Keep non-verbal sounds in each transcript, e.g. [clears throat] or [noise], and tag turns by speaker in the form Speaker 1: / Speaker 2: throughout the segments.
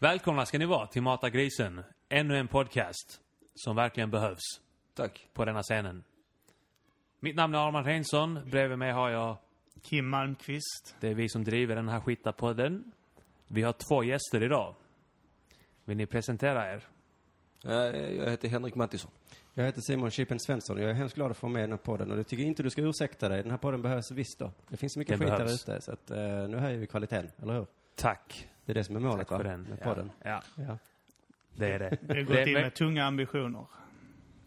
Speaker 1: Välkomna ska ni vara till Mata Grisen. Ännu en podcast som verkligen behövs
Speaker 2: Tack.
Speaker 1: på denna scenen. Mitt namn är Arman Reinsson. Bredvid mig har jag,
Speaker 3: Kim Malmqvist.
Speaker 1: det är vi som driver den här skita podden. Vi har två gäster idag. Vill ni presentera er?
Speaker 2: Eh, Jag heter Henrik Mattisson.
Speaker 4: Jag heter Simon Chippen Svensson och jag är hemskt glad att få med i den här podden och det tycker jag inte du ska ursäkta dig. Den här podden behövs visst då. Det finns så mycket
Speaker 1: Den
Speaker 4: skit där
Speaker 1: behövs.
Speaker 4: ute så att eh, nu höjer vi kvaliteten, eller hur?
Speaker 1: Tack.
Speaker 4: Det är det som är målet
Speaker 1: Tack
Speaker 4: va?
Speaker 1: för den.
Speaker 4: Med podden.
Speaker 1: Ja,
Speaker 4: Ja.
Speaker 1: ja, det är det.
Speaker 3: Vi har
Speaker 1: Det är
Speaker 3: gått in
Speaker 1: me-
Speaker 3: med tunga ambitioner.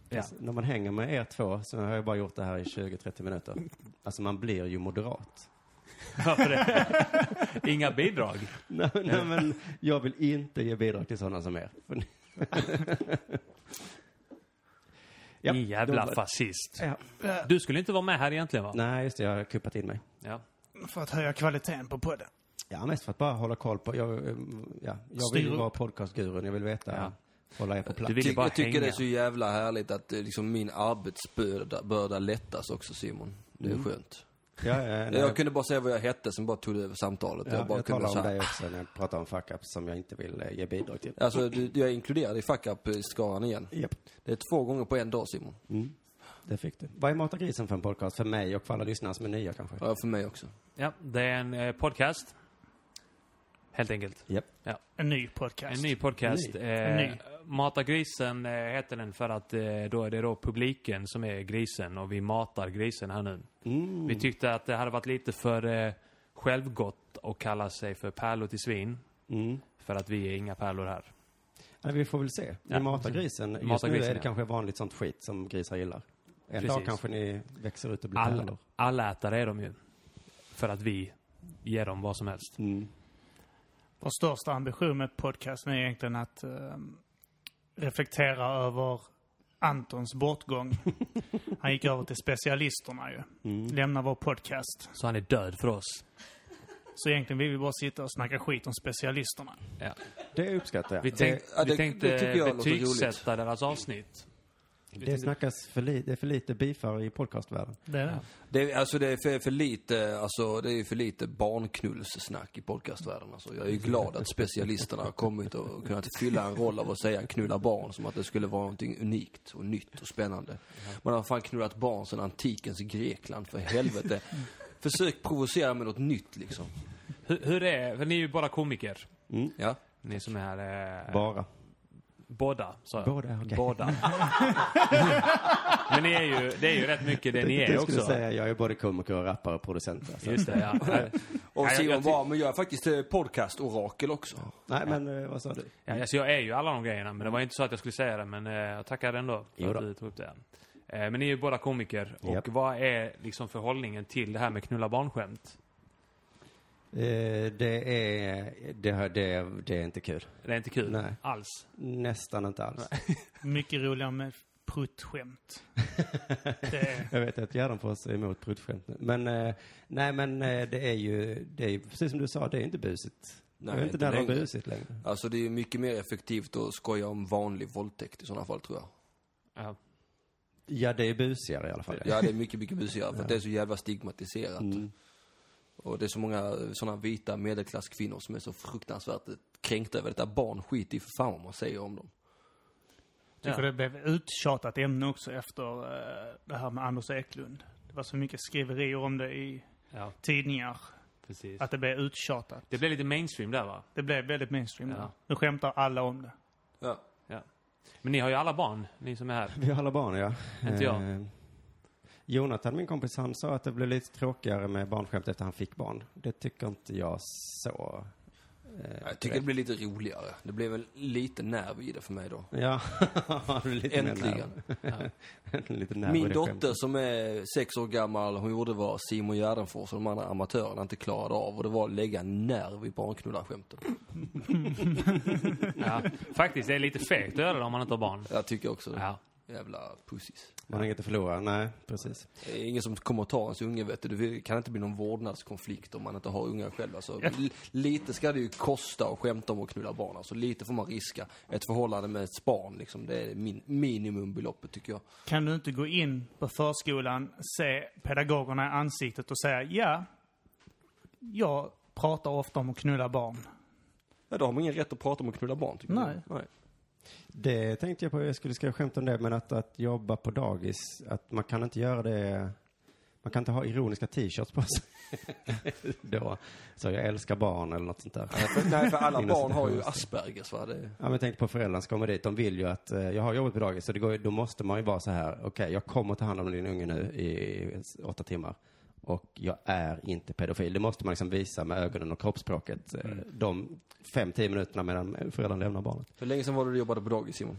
Speaker 1: Ja. [laughs]
Speaker 4: När man hänger med er två så har jag bara gjort det här i 20-30 minuter. Alltså man blir ju moderat. [laughs]
Speaker 1: Varför det? [laughs] Inga bidrag.
Speaker 4: Nej, men- nej men jag vill inte ge bidrag till sådana som er. [laughs]
Speaker 1: [laughs]
Speaker 4: För ni- Ja,
Speaker 1: Ni jävla
Speaker 4: då var-
Speaker 1: fascist.
Speaker 4: Ja.
Speaker 1: Du skulle inte vara med här egentligen va?
Speaker 4: Nej just det, jag har kuppat in mig.
Speaker 1: Ja.
Speaker 3: För att höja kvaliteten på podden.
Speaker 4: Ja, mest för att bara hålla koll på, jag, eh, ja, jag vill
Speaker 3: Styr
Speaker 4: ju
Speaker 3: upp.
Speaker 4: vara podcastgurun, jag vill veta,
Speaker 1: Ja.
Speaker 4: hålla er på plats.
Speaker 1: Du vill ju
Speaker 2: Ty-
Speaker 1: bara
Speaker 2: jag tycker
Speaker 1: hänga.
Speaker 2: det är så jävla härligt att eh, liksom, min arbetsbörda börda lättas också Simon. Det är skönt.
Speaker 1: [laughs]
Speaker 4: Ja, ja, Mm. ja, nej.
Speaker 2: Jag kunde bara säga vad jag hette, sen bara tog det över samtalet.
Speaker 4: Ja, jag,
Speaker 2: bara kunde
Speaker 4: talar om
Speaker 2: så här-
Speaker 4: dig också när jag pratar om fuck-ups som jag inte vill eh, ge bidrag till.
Speaker 2: Alltså, du, jag inkluderade i fuck up-skaran igen.
Speaker 4: Japp,
Speaker 2: Det är två gånger på en dag Simon.
Speaker 4: det fick du. Vad är Mata grisen för en podcast? För mig och för alla lyssnare som är nya kanske?
Speaker 2: Ja, för mig också.
Speaker 1: ja, det är en eh, podcast. Helt enkelt.
Speaker 4: Japp.
Speaker 3: En ny podcast.
Speaker 1: En ny podcast.
Speaker 4: En
Speaker 1: Eh,
Speaker 3: En ny.
Speaker 1: Mata grisen eh, heter den för att eh, då är det då publiken som är grisen och vi matar grisen här nu.
Speaker 4: Mm.
Speaker 1: Vi tyckte att det hade varit lite för eh, självgott att kalla sig för pärlor till svin.
Speaker 4: Mm.
Speaker 1: För att vi är inga pärlor här.
Speaker 4: Ja, vi får väl se. Ni
Speaker 1: Ja.
Speaker 4: matar grisen. Just
Speaker 1: Matar
Speaker 4: nu
Speaker 1: grisen,
Speaker 4: är det
Speaker 1: ja.
Speaker 4: kanske vanligt sånt skit som grisar gillar. En
Speaker 1: Precis.
Speaker 4: dag kanske ni växer ut och blir
Speaker 1: All,
Speaker 4: pärlor.
Speaker 1: allätare är de ju. För att vi ger dem vad som helst.
Speaker 4: Mm.
Speaker 3: Vår största ambition med podcasten är egentligen att eh, reflektera över
Speaker 1: [laughs]
Speaker 3: Antons bortgång. Han gick över till specialisterna ju.
Speaker 1: Mm.
Speaker 3: Lämnar vår podcast.
Speaker 1: Så han är död för oss.
Speaker 3: Så egentligen vill vi bara sitta och snacka skit om specialisterna.
Speaker 4: Det uppskattar jag.
Speaker 1: Vi, tänk,
Speaker 2: ja, det-
Speaker 1: vi tänkte
Speaker 2: det tycker jag låter
Speaker 1: betygsätta deras avsnitt.
Speaker 4: det, det snackas för, li- det är för lite bifar i podcastvärlden.
Speaker 3: Det är det.
Speaker 2: Det är, alltså det är för, för lite, alltså det är för lite barnknullssnack i podcastvärlden. Alltså, jag är ju glad att specialisterna har kommit och kunnat fylla en roll av att säga knulla barn som att det skulle vara någonting unikt och nytt och spännande. Man har fan knullat barn sedan antikens Grekland, för helvete. Försök provocera med något nytt liksom.
Speaker 1: Hur, hur är För ni är ju bara komiker.
Speaker 2: Ja.
Speaker 1: Ni som är här. Eh,
Speaker 4: Bara.
Speaker 1: båda, sa jag.
Speaker 4: Båda, okej.
Speaker 1: Båda. Men ni är ju, det är ju rätt mycket det ni
Speaker 4: jag
Speaker 1: är
Speaker 4: tänkte- skulle
Speaker 1: också.
Speaker 4: säga, jag är både komiker, och rappare och producent. Alltså.
Speaker 1: Just det, ja.
Speaker 2: Och
Speaker 1: Nej, jag-
Speaker 2: Simon
Speaker 1: jag ty-
Speaker 2: bara, men jag är faktiskt eh, podcast-orakel också.
Speaker 4: Nej, men eh, vad sa du?
Speaker 1: ja alltså jag är ju alla de grejerna, men det var inte så att jag skulle säga det. Men eh, jag tackar ändå för
Speaker 4: Jo
Speaker 1: att
Speaker 4: då.
Speaker 1: du tog upp det. Eh, men ni är ju båda komiker. Och
Speaker 4: Japp.
Speaker 1: vad är liksom förhållningen till det här med knulla barnskämt?
Speaker 4: Eh, det, är, det, har- det, det är inte kul.
Speaker 1: Det är inte kul
Speaker 4: Nej.
Speaker 1: alls.
Speaker 4: Nästan inte alls.
Speaker 3: Mycket roligare med pruttskämt. Det är
Speaker 4: Jag vet att Gärdenfors är emot pruttskämt nu. Men, eh, nej men eh, det är ju, det är ju precis som du sa, det är inte busigt.
Speaker 2: Nej,
Speaker 4: jag vet
Speaker 2: inte
Speaker 4: inte när det var
Speaker 2: längre.
Speaker 4: busigt längre.
Speaker 2: Alltså det är ju mycket mer effektivt att skoja om vanlig våldtäkt i sådana fall tror jag.
Speaker 1: Ja.
Speaker 4: Ja, det är busigare i alla fall.
Speaker 2: [laughs] Ja, det är mycket, mycket busigare för att det är så jävla stigmatiserat.
Speaker 4: Mm.
Speaker 2: Och det är så många sådana vita medelklasskvinnor som är så fruktansvärt kränkta över detta. Barn skiter ju för fan vad man säger om dem.
Speaker 3: Tycker det blev uttjatat ämne också efter eh, det här med Anders Eklund. Det var så mycket skriverier om det i
Speaker 1: Ja,
Speaker 3: tidningar.
Speaker 1: precis.
Speaker 3: Att det blev uttjatat.
Speaker 1: Det blev lite mainstream där va?
Speaker 3: Det blev väldigt mainstream.
Speaker 1: Ja.
Speaker 3: Nu skämtar alla om det.
Speaker 2: Ja.
Speaker 1: Ja. Men ni har ju alla barn, ni som är här.
Speaker 4: Vi har alla barn, ja.
Speaker 1: Inte jag.
Speaker 4: Eh, Jonathan, min kompis, han sa att det blev lite tråkigare med barnskämt efter han fick barn. Det tycker inte jag så. eh,
Speaker 2: Jag tycker det blir lite roligare. Det blev väl lite nerv i det för mig då.
Speaker 4: Ja, det blir [laughs] lite mer
Speaker 2: Äntligen.
Speaker 4: nerv. [laughs] lite nerv i
Speaker 2: Min
Speaker 4: det
Speaker 2: dotter
Speaker 4: skämtet.
Speaker 2: som är sex år gammal, hon gjorde vad Simon Gärdenfors och de andra amatörerna inte klarade av och det var att lägga nerv i barnknullarskämten.
Speaker 1: Ja. Faktiskt, det är lite fegt att göra det om man inte har barn.
Speaker 2: Jag tycker också det.
Speaker 1: Ja.
Speaker 2: Jävla pussis.
Speaker 4: Man har inget att förlora. Nej, precis.
Speaker 2: Det är ingen som kommer att ta ens unge vet du. Det kan inte bli någon vårdnadskonflikt om man inte har unga själv. Alltså, l- lite ska det ju kosta att skämta om att knulla barn. Alltså, lite får man riska. Ett förhållande med ett barn, liksom, det är min, minimumbeloppet tycker jag.
Speaker 3: Kan du inte gå in på förskolan, se pedagogerna i ansiktet och säga ja, jag pratar ofta om att knulla barn.
Speaker 2: Ja, då har man ingen rätt att prata om att knulla barn tycker
Speaker 3: Nej.
Speaker 2: jag. Nej.
Speaker 4: Det tänkte jag på, jag skulle skriva skämt om det, men att, att jobba på dagis, att man kan inte göra det, man kan inte ha ironiska t-shirts på sig. [laughs] Då, så jag älskar barn eller något sånt där.
Speaker 2: Nej, för, nej, för alla
Speaker 4: Inom
Speaker 2: barn har ju
Speaker 4: citationstecken.
Speaker 2: Aspergers va? Det,
Speaker 4: Ja, men tänk på föräldrarna som kommer dit. De vill ju att, eh, jag har jobbat på dagis, så det går, ju- då måste man ju vara så här, okej, jag kommer ta hand om din unge nu i s- åtta timmar. Och jag är inte pedofil. Det måste man liksom visa med ögonen och kroppsspråket. eh, De fem, tio minuterna medan föräldern lämnar barnet.
Speaker 2: hur länge sedan var det du jobbade på dagis Simon?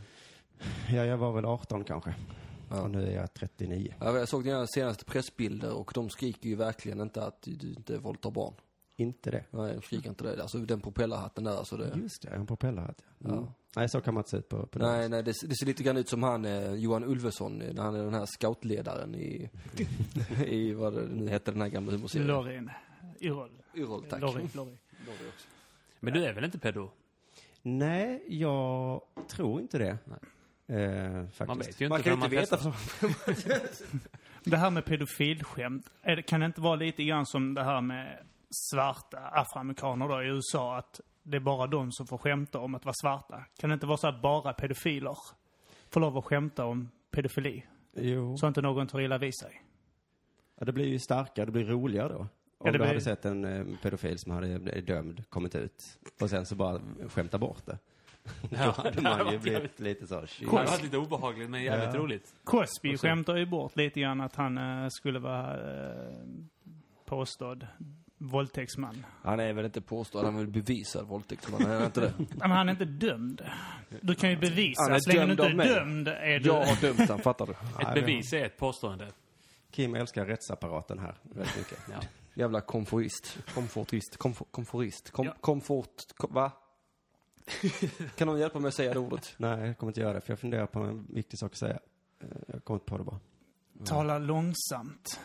Speaker 4: Ja, jag var väl 18 kanske.
Speaker 2: Ja.
Speaker 4: Och nu är jag 39.
Speaker 2: Ja, Jag såg dina senaste pressbilder och de skriker ju verkligen inte att du inte våldtar barn.
Speaker 4: Inte det.
Speaker 2: Nej, de skriker inte det. Alltså den propellerhatten där alltså. Det,
Speaker 4: Just det, jag har en propellerhatt. Mm. Nej, så kan man inte se ut på, på
Speaker 2: nej,
Speaker 4: dagis.
Speaker 2: nej, det, det ser lite grann ut som han eh, Johan Ulveson, eh, när han är den här scoutledaren [laughs] i, i vad det nu hette den här gamla humorserien.
Speaker 3: Lorin. Yrol.
Speaker 2: Yrrol, tack.
Speaker 3: Lorry, Lorry.
Speaker 2: Lorry också.
Speaker 1: Men du är väl inte pedo?
Speaker 4: Nej, jag tror inte det. Eh, faktiskt.
Speaker 1: Man vet ju inte
Speaker 2: Man kan ju
Speaker 1: förrän
Speaker 2: inte veta.
Speaker 1: testar.
Speaker 3: Det här med pedofilskämt, är det, kan det inte vara lite grann som det här med svarta afroamerikaner då i USA? Att det är bara de som får skämta om att vara svarta. Kan det inte vara så att bara pedofiler får lov att skämta om pedofili?
Speaker 4: Jo.
Speaker 3: Så inte någon tar illa vid sig.
Speaker 4: Ja, det blir ju starkare, det blir roligare då. Om
Speaker 3: det
Speaker 4: du
Speaker 3: blir-
Speaker 4: hade sett en eh, pedofil som hade blivit dömd, kommit ut och sen så bara skämta bort det. [laughs]
Speaker 1: Ja,
Speaker 4: Då hade
Speaker 1: det hade
Speaker 4: man ju
Speaker 1: varit
Speaker 4: blivit
Speaker 1: jävligt-
Speaker 4: lite så,
Speaker 1: det
Speaker 4: shit.
Speaker 1: hade varit lite obehagligt men jävligt roligt.
Speaker 3: Cosby skämtar ju bort lite grann att han eh, skulle vara eh, påstådd våldtäktsman.
Speaker 2: Han är väl inte påstådd, han är väl bevisad våldtäktsman, han är inte [laughs] det?
Speaker 3: Nej, Men han är inte dömd. Du kan ju bevisa.
Speaker 2: Han är
Speaker 3: Så länge du
Speaker 2: dömd
Speaker 3: inte
Speaker 2: av
Speaker 3: är
Speaker 2: mig.
Speaker 3: dömd är du...
Speaker 2: Jag har dömt han, fattar du?
Speaker 1: Ett
Speaker 4: det-
Speaker 1: bevis är ett påstående.
Speaker 4: Kim älskar rättsapparaten här väldigt mycket.
Speaker 1: [laughs] Ja.
Speaker 2: Jävla komfortist. Komfortist. Komfor, komfortist. Kom,
Speaker 1: Ja.
Speaker 2: Komfort... Kom, va? kan någon hjälpa mig att säga det ordet?
Speaker 4: Nej, jag kommer inte göra det, för jag funderar på en viktig sak att säga. Eh, Jag kommer inte på det bara.
Speaker 3: Tala långsamt.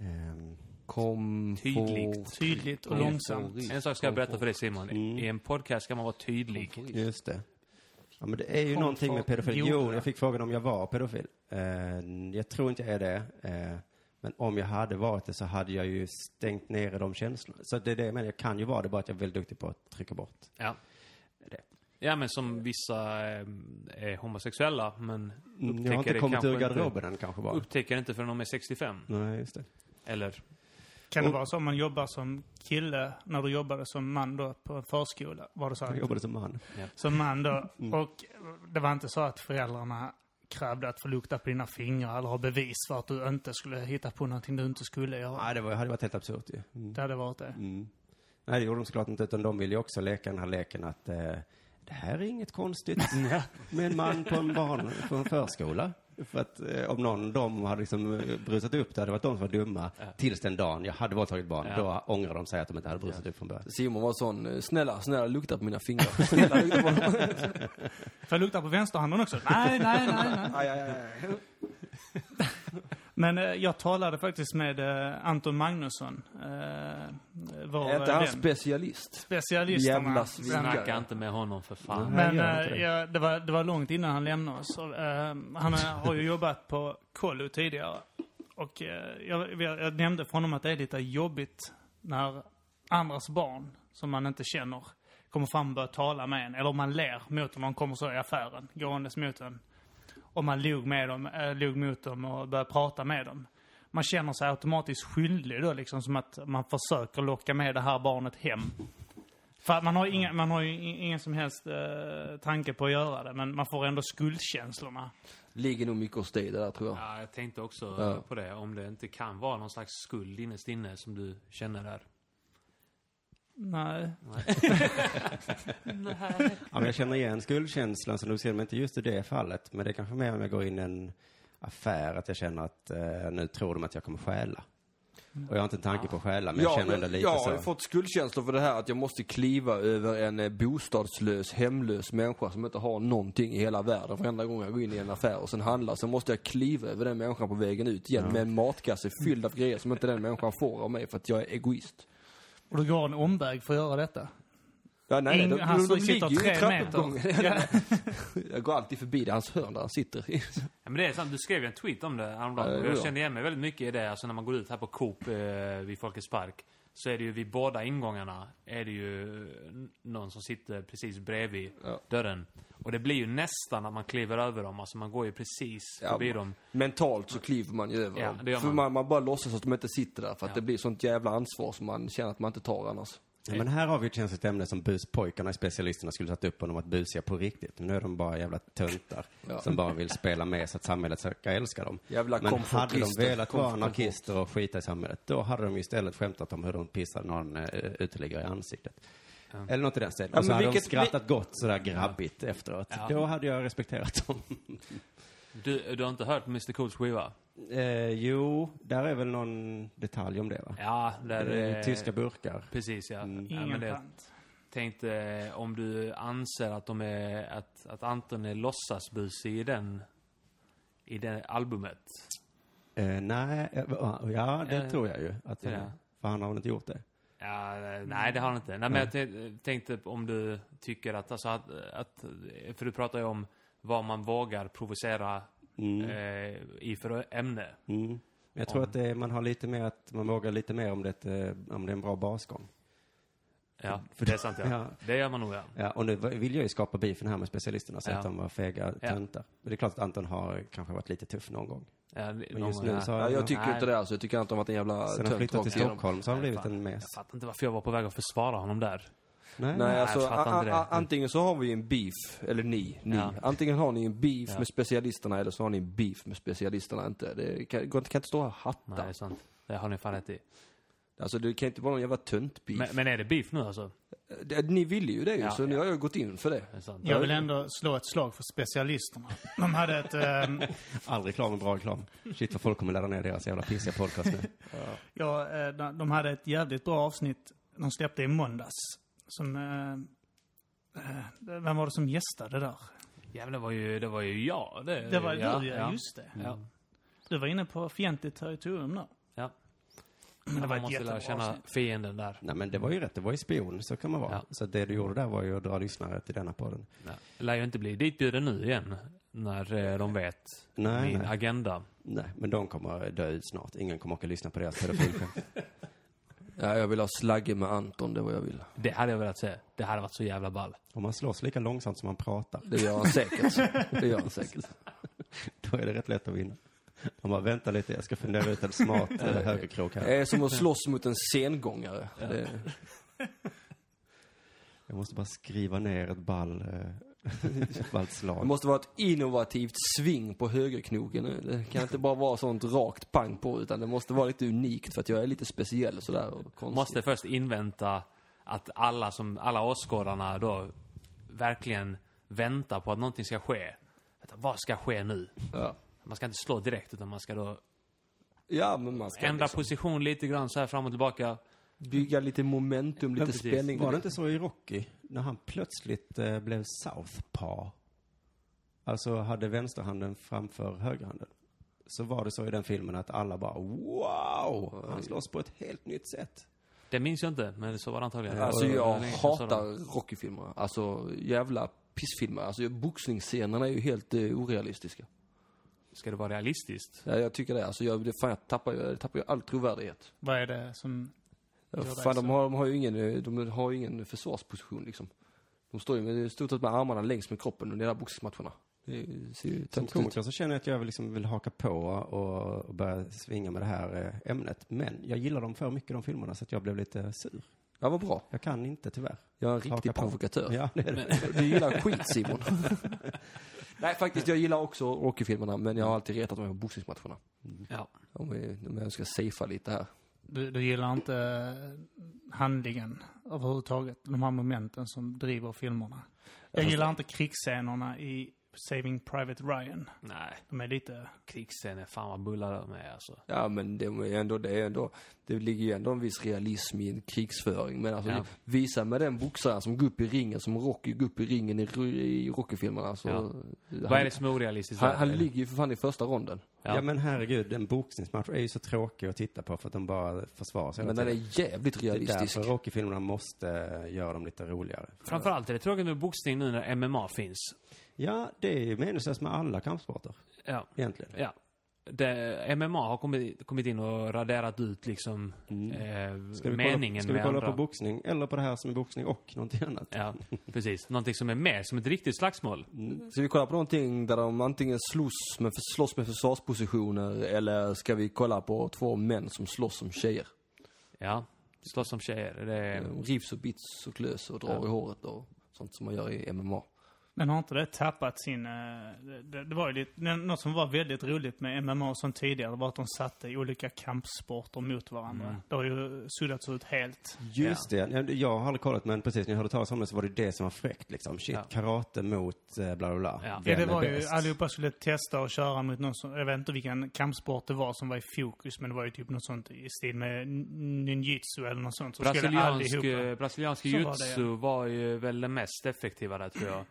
Speaker 4: Ehm,
Speaker 2: Komfort...
Speaker 1: Tydligt.
Speaker 3: Tydligt och långsamt.
Speaker 1: En sak ska jag berätta för dig Simon.
Speaker 4: Mm.
Speaker 1: I en podcast ska man vara tydlig.
Speaker 4: Just det. Ja, men det är ju
Speaker 3: Kom
Speaker 4: någonting med
Speaker 3: från
Speaker 4: pedofil. Jo,
Speaker 3: jorden.
Speaker 4: jag fick frågan om jag var pedofil. Eh, jag tror inte jag är det. Eh, men om jag hade varit det så hade jag ju stängt ner de känslorna. Så det är det jag menar. Jag kan ju vara det, bara att jag är väldigt duktig på att trycka bort.
Speaker 1: Ja. Ja men som vissa eh, är homosexuella men upptäcker
Speaker 4: Mm, Jag har inte
Speaker 1: det
Speaker 4: kommit
Speaker 1: kanske
Speaker 4: ur garderoben än kanske bara.
Speaker 1: Inte, upptäcker det inte förrän de är 65.
Speaker 4: Nej, just det.
Speaker 1: Eller?
Speaker 3: Kan det
Speaker 4: Och-
Speaker 3: vara så om man jobbar som kille, när du jobbade som man då på en förskola? Var det så
Speaker 4: Jag Mm.
Speaker 3: att,
Speaker 4: jobbade som man.
Speaker 3: som man då, och det var inte så att föräldrarna krävde att få lukta på dina fingrar eller ha bevis för att du inte skulle hitta på någonting du inte skulle göra?
Speaker 4: Nej, det var, hade varit helt absurt ju. Mm.
Speaker 3: Det hade varit det.
Speaker 4: Mm. Nej, det gjorde de såklart inte, utan de ville ju också leka den här leken att eh, det här är inget konstigt med en man på en barn på en förskola. För att eh, om någon av dem hade liksom eh, brusat upp, det hade varit de som var dumma tills den dagen jag hade våldtagit barn. Då ångrar de sig att de inte hade brusat upp från början.
Speaker 2: Simon var sån, eh, snälla, snälla lukta på mina [laughs] fingrar. Snälla lukta på dem.
Speaker 3: Får jag lukta på vänsterhanden
Speaker 4: [laughs]
Speaker 3: också? Nej, nej, nej, nej.
Speaker 2: aj, aj, aj.
Speaker 3: Men eh, jag talade faktiskt med eh, Anton Magnusson, eh,
Speaker 2: Är
Speaker 3: vår
Speaker 2: inte han
Speaker 3: eh, vän.
Speaker 2: specialist?
Speaker 3: Specialisterna.
Speaker 2: jävla
Speaker 3: Men-
Speaker 2: svin.
Speaker 1: Snacka inte med honom för fan.
Speaker 4: Nej,
Speaker 3: Men
Speaker 4: gör inte
Speaker 3: eh,
Speaker 4: det.
Speaker 3: ja, det, var, det var långt innan han lämnade oss. Och, eh, han eh, har ju jobbat på Kollo tidigare. Och eh, jag, jag, jag nämnde för honom att det är lite jobbigt när andras barn, som man inte känner, kommer fram och börjar tala med en. Eller om man ler mot dem, de kommer så i affären, gåendes mot en. Och man log, med dem, äh, log mot dem och började prata med dem. Man känner sig automatiskt skyldig då, liksom som att man försöker locka med det här barnet hem. För att man har, inga, man har ju in- ingen som helst eh, tanke på att göra det, men man får ändå skuldkänslorna.
Speaker 2: Ligger nog mycket hos dig det där tror jag.
Speaker 1: Ja, jag tänkte också
Speaker 2: Ja.
Speaker 1: eh, på det. Om det inte kan vara någon slags skuld innerst inne som du känner där.
Speaker 3: Nej.
Speaker 4: Ja, men jag känner igen skuldkänslan som du ser, men inte just i det fallet. Men det är kanske mer om jag går in i en affär, att jag känner att eh, nu tror de att jag kommer stjäla. Och jag har inte en tanke på att stjäla, men jag känner ändå lite
Speaker 2: jag
Speaker 4: så.
Speaker 2: har ju fått skuldkänslor för det här att jag måste kliva över en eh, bostadslös, hemlös människa som inte har någonting i hela världen. Varenda gång jag går in i en affär och sen handlar så måste jag kliva över den människan på vägen ut igen med en matkasse fylld av grejer som inte den människan får av mig för att jag är egoist.
Speaker 3: Och du går en omväg för att göra detta.
Speaker 2: Ja, nej, nej,
Speaker 3: Ing-
Speaker 2: de,
Speaker 3: han
Speaker 2: de, de
Speaker 3: sitter
Speaker 2: ligger ju i
Speaker 3: tre
Speaker 2: trappuppgången.
Speaker 3: meter. Ja.
Speaker 2: [laughs] Jag går alltid förbi det, hans hörn där han sitter.
Speaker 1: Ja, men det är sant, du skrev ju en tweet om det häromdagen.
Speaker 2: Ja,
Speaker 1: och
Speaker 2: det gjorde
Speaker 1: jag
Speaker 2: jag.
Speaker 1: kände igen mig väldigt mycket i det. Alltså när man går ut här på Coop eh, vid Folkets Park. så är det ju vid båda ingångarna är det ju eh, någon som sitter precis bredvid dörren. Och det blir ju nästan att man kliver över dem. Alltså man går ju precis förbi dem.
Speaker 2: Mentalt så kliver man ju över
Speaker 1: Ja,
Speaker 2: dem.
Speaker 1: det gör
Speaker 2: För
Speaker 1: man.
Speaker 2: man, man bara låtsas att de inte sitter där för att
Speaker 1: Ja.
Speaker 2: det blir sånt jävla ansvar som man känner att man inte tar annars.
Speaker 4: Ja, men här har vi ett känsligt ämne som buspojkarna i specialisterna skulle tagit upp om de varit busiga på riktigt. Men nu är de bara jävla töntar
Speaker 2: [laughs] Ja.
Speaker 4: som bara vill spela med så att samhället ska älska dem.
Speaker 2: Jävla
Speaker 4: men hade de
Speaker 2: komfortister.
Speaker 4: velat vara
Speaker 2: Komfort-
Speaker 4: anarkister och skita i samhället, då hade de ju istället skämtat om hur de pissar någon eh, uteliggare i ansiktet. Eller något i den stilen.
Speaker 2: Ja,
Speaker 4: och så
Speaker 2: men
Speaker 4: hade de
Speaker 2: vilket-
Speaker 4: skrattat gott sådär grabbigt efteråt. Då hade jag respekterat dem. [laughs]
Speaker 1: Du, du har inte hört Mr Cools skiva?
Speaker 4: eh, jo, där är väl någon detalj om det va?
Speaker 1: Ja, där...
Speaker 4: Eh,
Speaker 1: eh,
Speaker 4: Tyska burkar.
Speaker 1: Precis ja. ja men
Speaker 3: Ingen
Speaker 1: det,
Speaker 3: pant.
Speaker 1: tänkte eh, om du anser att de är, att, att Anton är låtsasbusig i den, i det albumet.
Speaker 4: Eh, nej, eh, va- ja det
Speaker 1: Eh,
Speaker 4: tror jag ju. Att han,
Speaker 1: ja.
Speaker 4: För han har väl inte gjort det?
Speaker 1: Ja, eh, nej det har han inte. Nej, men jag t- tänkte om du tycker att, alltså att, att, för du pratar ju om vad man vågar provocera eh, i för ämne.
Speaker 4: Mm. Jag tror att det, man har lite mer att man vågar lite mer om det, är ett, eh, om det är en bra basgång.
Speaker 1: Ja, för det är sant ja.
Speaker 4: Mm. [laughs] Ja.
Speaker 1: Det gör man nog ja.
Speaker 4: Ja, och nu vill jag ju skapa beefen här med specialisterna så
Speaker 1: Ja.
Speaker 4: att de var fega
Speaker 1: Ja.
Speaker 4: töntar. Men det är klart att Anton har kanske varit lite tuff någon gång.
Speaker 1: ja
Speaker 4: Men just nu så har
Speaker 2: Ja, jag tycker
Speaker 1: Nej.
Speaker 2: inte det alltså. Jag tycker inte om att en jävla
Speaker 4: Sen han
Speaker 2: tönt
Speaker 4: flyttat
Speaker 2: rakt
Speaker 4: till
Speaker 2: igenom.
Speaker 4: Stockholm så har han blivit
Speaker 1: fan.
Speaker 4: en mes.
Speaker 1: Jag fattar inte varför jag var på väg att försvara honom där.
Speaker 4: Nej.
Speaker 2: Nej, alltså
Speaker 1: jag fattar
Speaker 2: a-
Speaker 1: inte
Speaker 2: a-
Speaker 1: det.
Speaker 2: antingen så har vi ju en beef, eller ni, ni.
Speaker 1: Ja.
Speaker 2: Antingen har ni en beef
Speaker 1: Ja.
Speaker 2: med specialisterna eller så har ni en beef med specialisterna inte. Det kan, går inte- kan inte stå här och
Speaker 1: Nej,
Speaker 2: hatta.
Speaker 1: det är sant. Det har ni fan rätt i.
Speaker 2: Alltså det kan inte vara någon jävla tönt beef.
Speaker 1: Men, men är det beef nu alltså?
Speaker 2: Det- Ni ville ju det ju,
Speaker 1: Ja,
Speaker 2: så nu har jag gått in för det.
Speaker 1: Det är sant.
Speaker 3: Jag vill ändå slå ett slag för specialisterna. De hade ett... ehm,
Speaker 4: All reklam är bra reklam. Shit vad folk kommer ladda ner deras jävla pissiga podcast nu.
Speaker 3: Ja, eh, de de hade ett jävligt bra avsnitt de släppte i måndags. Som, eh, eh, vem var det som gästade där?
Speaker 1: Ja, men det var ju, det var ju jag. Det,
Speaker 3: Det var
Speaker 1: Eh, ja,
Speaker 3: du, ja, just det.
Speaker 1: Ja.
Speaker 3: Du var inne på fientligt territorium där.
Speaker 1: Ja.
Speaker 3: Men det var
Speaker 1: Man
Speaker 3: ett
Speaker 1: måste lära
Speaker 3: jättebra
Speaker 1: känna
Speaker 3: avsnitt.
Speaker 1: fienden där.
Speaker 4: Nej men det var ju rätt, det var ju spion, så kan man vara.
Speaker 1: Ja.
Speaker 4: Så det du gjorde där var ju att dra lyssnare till denna podden.
Speaker 1: Ja. Lär ju inte bli ditbjuden nu igen. När eh, de vet
Speaker 4: Nej,
Speaker 1: min
Speaker 4: nej.
Speaker 1: agenda.
Speaker 4: Nej, men de kommer dö ut snart. Ingen kommer åka och lyssna på deras pedofilskämt.
Speaker 2: Ja, jag vill ha slagge med Anton, det var jag vill.
Speaker 1: Det hade jag velat se. Det hade varit så jävla ball.
Speaker 4: Om man slåss lika långsamt som man pratar,
Speaker 2: Det gör
Speaker 1: [laughs]
Speaker 2: han säkert. Det gör han säkert.
Speaker 4: då är det rätt lätt att vinna. Om man väntar lite, jag ska fundera ut en smart eh, högerkrok här.
Speaker 2: Det är
Speaker 4: [laughs]
Speaker 2: som att slåss mot en sengångare. Det,
Speaker 4: Jag måste bara skriva ner ett ball, eh, [laughs] ett ballt
Speaker 2: det
Speaker 4: slag.
Speaker 2: måste vara ett innovativt sving på högerknogen nu. Det kan inte bara vara sånt rakt pang på, utan det måste vara lite unikt för att jag är lite speciell och sådär. Och konstig.
Speaker 1: Måste först invänta att alla, som, alla åskådarna då verkligen väntar på att någonting ska ske. Vänta, vad ska ske nu?
Speaker 2: Ja.
Speaker 1: Man ska inte slå direkt utan man ska då
Speaker 2: ja, men man ska
Speaker 1: ändra
Speaker 2: liksom
Speaker 1: position lite grann så här fram och tillbaka.
Speaker 2: bygga lite momentum, lite
Speaker 1: precis.
Speaker 2: spänning.
Speaker 4: Var det inte så i Rocky, när han plötsligt eh, blev southpaw? Alltså hade vänsterhanden framför högerhanden. Så var det så i den filmen att alla bara wow, han slåss på ett helt nytt sätt.
Speaker 1: Det minns jag inte, men så var det antagligen.
Speaker 2: Alltså
Speaker 1: Det var
Speaker 2: jag
Speaker 1: länge sedan jag såg dem.
Speaker 2: hatar Rocky-filmer. Alltså jävla pissfilmer. Alltså boxningsscenerna är ju helt eh, orealistiska.
Speaker 1: Ska det vara realistiskt?
Speaker 2: Ja, jag tycker det. Alltså jag, det fan, jag tappar ju, jag tappar ju all trovärdighet.
Speaker 3: Vad är det som...
Speaker 2: Ja,
Speaker 3: det är
Speaker 2: fan,
Speaker 3: så.
Speaker 2: de har, de har ju ingen, eh, de har ju ingen försvarsposition liksom. De står ju med, i stort sett med armarna längs med kroppen under hela boxningsmatcherna. Det ser ju
Speaker 4: Som
Speaker 2: töntigt ut.
Speaker 4: komiker så känner jag att jag liksom vill haka på och och börja svinga med det här eh, ämnet. Men jag gillar dem för mycket, de filmerna, så att jag blev lite sur.
Speaker 2: Ja, vad bra.
Speaker 4: Jag kan inte tyvärr.
Speaker 2: Jag är en
Speaker 4: Haka
Speaker 2: riktig
Speaker 4: på.
Speaker 2: provokatör.
Speaker 4: Ja, det är
Speaker 2: [laughs]
Speaker 4: det.
Speaker 2: Du gillar skit Simon. [laughs] Nej, faktiskt jag gillar också Rocky-filmerna men
Speaker 4: Mm.
Speaker 2: jag har alltid retat mig på boxningsmatcherna.
Speaker 1: Ja.
Speaker 2: Om jag, om jag ska safea lite här.
Speaker 3: Du, du gillar inte eh, handlingen överhuvudtaget. De här momenten som driver filmerna. Jag gillar inte krigsscenerna i Saving Private Ryan.
Speaker 1: Nej,
Speaker 3: De är lite...
Speaker 1: krigsscener, fan vad bullar de är alltså.
Speaker 2: Ja men det är ändå, det är ändå, det ligger ju ändå en viss realism i en krigsföring. Men alltså
Speaker 1: Ja.
Speaker 2: visa med den boxaren som går upp i ringen, som Rocky går upp i ringen i, i Rocky-filmerna så...
Speaker 1: Ja.
Speaker 2: Han,
Speaker 1: Vad är det som är orealistiskt?
Speaker 2: han,
Speaker 1: där?
Speaker 2: han ligger ju för fan i första ronden.
Speaker 1: Ja.
Speaker 4: Ja. men herregud, en boxningsmatch är ju så tråkig att titta på för att de bara försvarar sig
Speaker 2: Men den
Speaker 4: hela
Speaker 2: är jävligt
Speaker 4: tiden. Det är
Speaker 2: realistisk.
Speaker 4: därför Rocky-filmerna måste eh, göra dem lite roligare.
Speaker 1: Framförallt är det tråkigt med boxning nu när MMA finns.
Speaker 4: Ja, det är ju meningslöst med alla kampsporter
Speaker 1: Ja.
Speaker 4: egentligen.
Speaker 1: ja. det, MMA har kommit, kommit in och raderat ut liksom eh,
Speaker 4: Ska vi
Speaker 1: meningen
Speaker 4: kolla, ska vi
Speaker 1: med
Speaker 4: kolla
Speaker 1: andra.
Speaker 4: på boxning eller på det här som är boxning och någonting annat?
Speaker 1: Ja, precis. Någonting som är med, som ett riktigt slagsmål.
Speaker 2: Ska vi kolla på någonting där de antingen slåss med, slåss med försvarspositioner eller ska vi kolla på två män som slåss som tjejer?
Speaker 1: Ja, slåss som tjejer. Det är,
Speaker 2: Mm. Rivs och bits och klös och drar i håret och sånt som man gör i MMA.
Speaker 3: Men har inte det tappat sin... eh, Det, det, det var ju lite, men något som var väldigt roligt med MMA och sånt tidigare var att de satte olika kampsporter mot varandra. Det har ju suddats ut helt.
Speaker 4: Just det. Ja, Jag har aldrig kollat, men precis när jag hörde talas om det så var det det som var fräckt. Liksom. Shit,
Speaker 1: Ja.
Speaker 4: karate mot eh, bla bla bla.
Speaker 1: Ja.
Speaker 4: Vem
Speaker 3: ja, det
Speaker 4: är
Speaker 3: var ju,
Speaker 4: bäst?
Speaker 3: allihopa skulle testa och köra mot någon som, jag vet inte vilken kampsport det var som var i fokus, men det var ju typ något sånt i stil med n- ninjutsu eller något sånt. Så skulle
Speaker 1: brasiliansk,
Speaker 3: allihopa...
Speaker 1: eh, brasiliansk
Speaker 3: Så var det, Mm.
Speaker 1: jujutsu var, ju väl den mest effektiva där tror jag.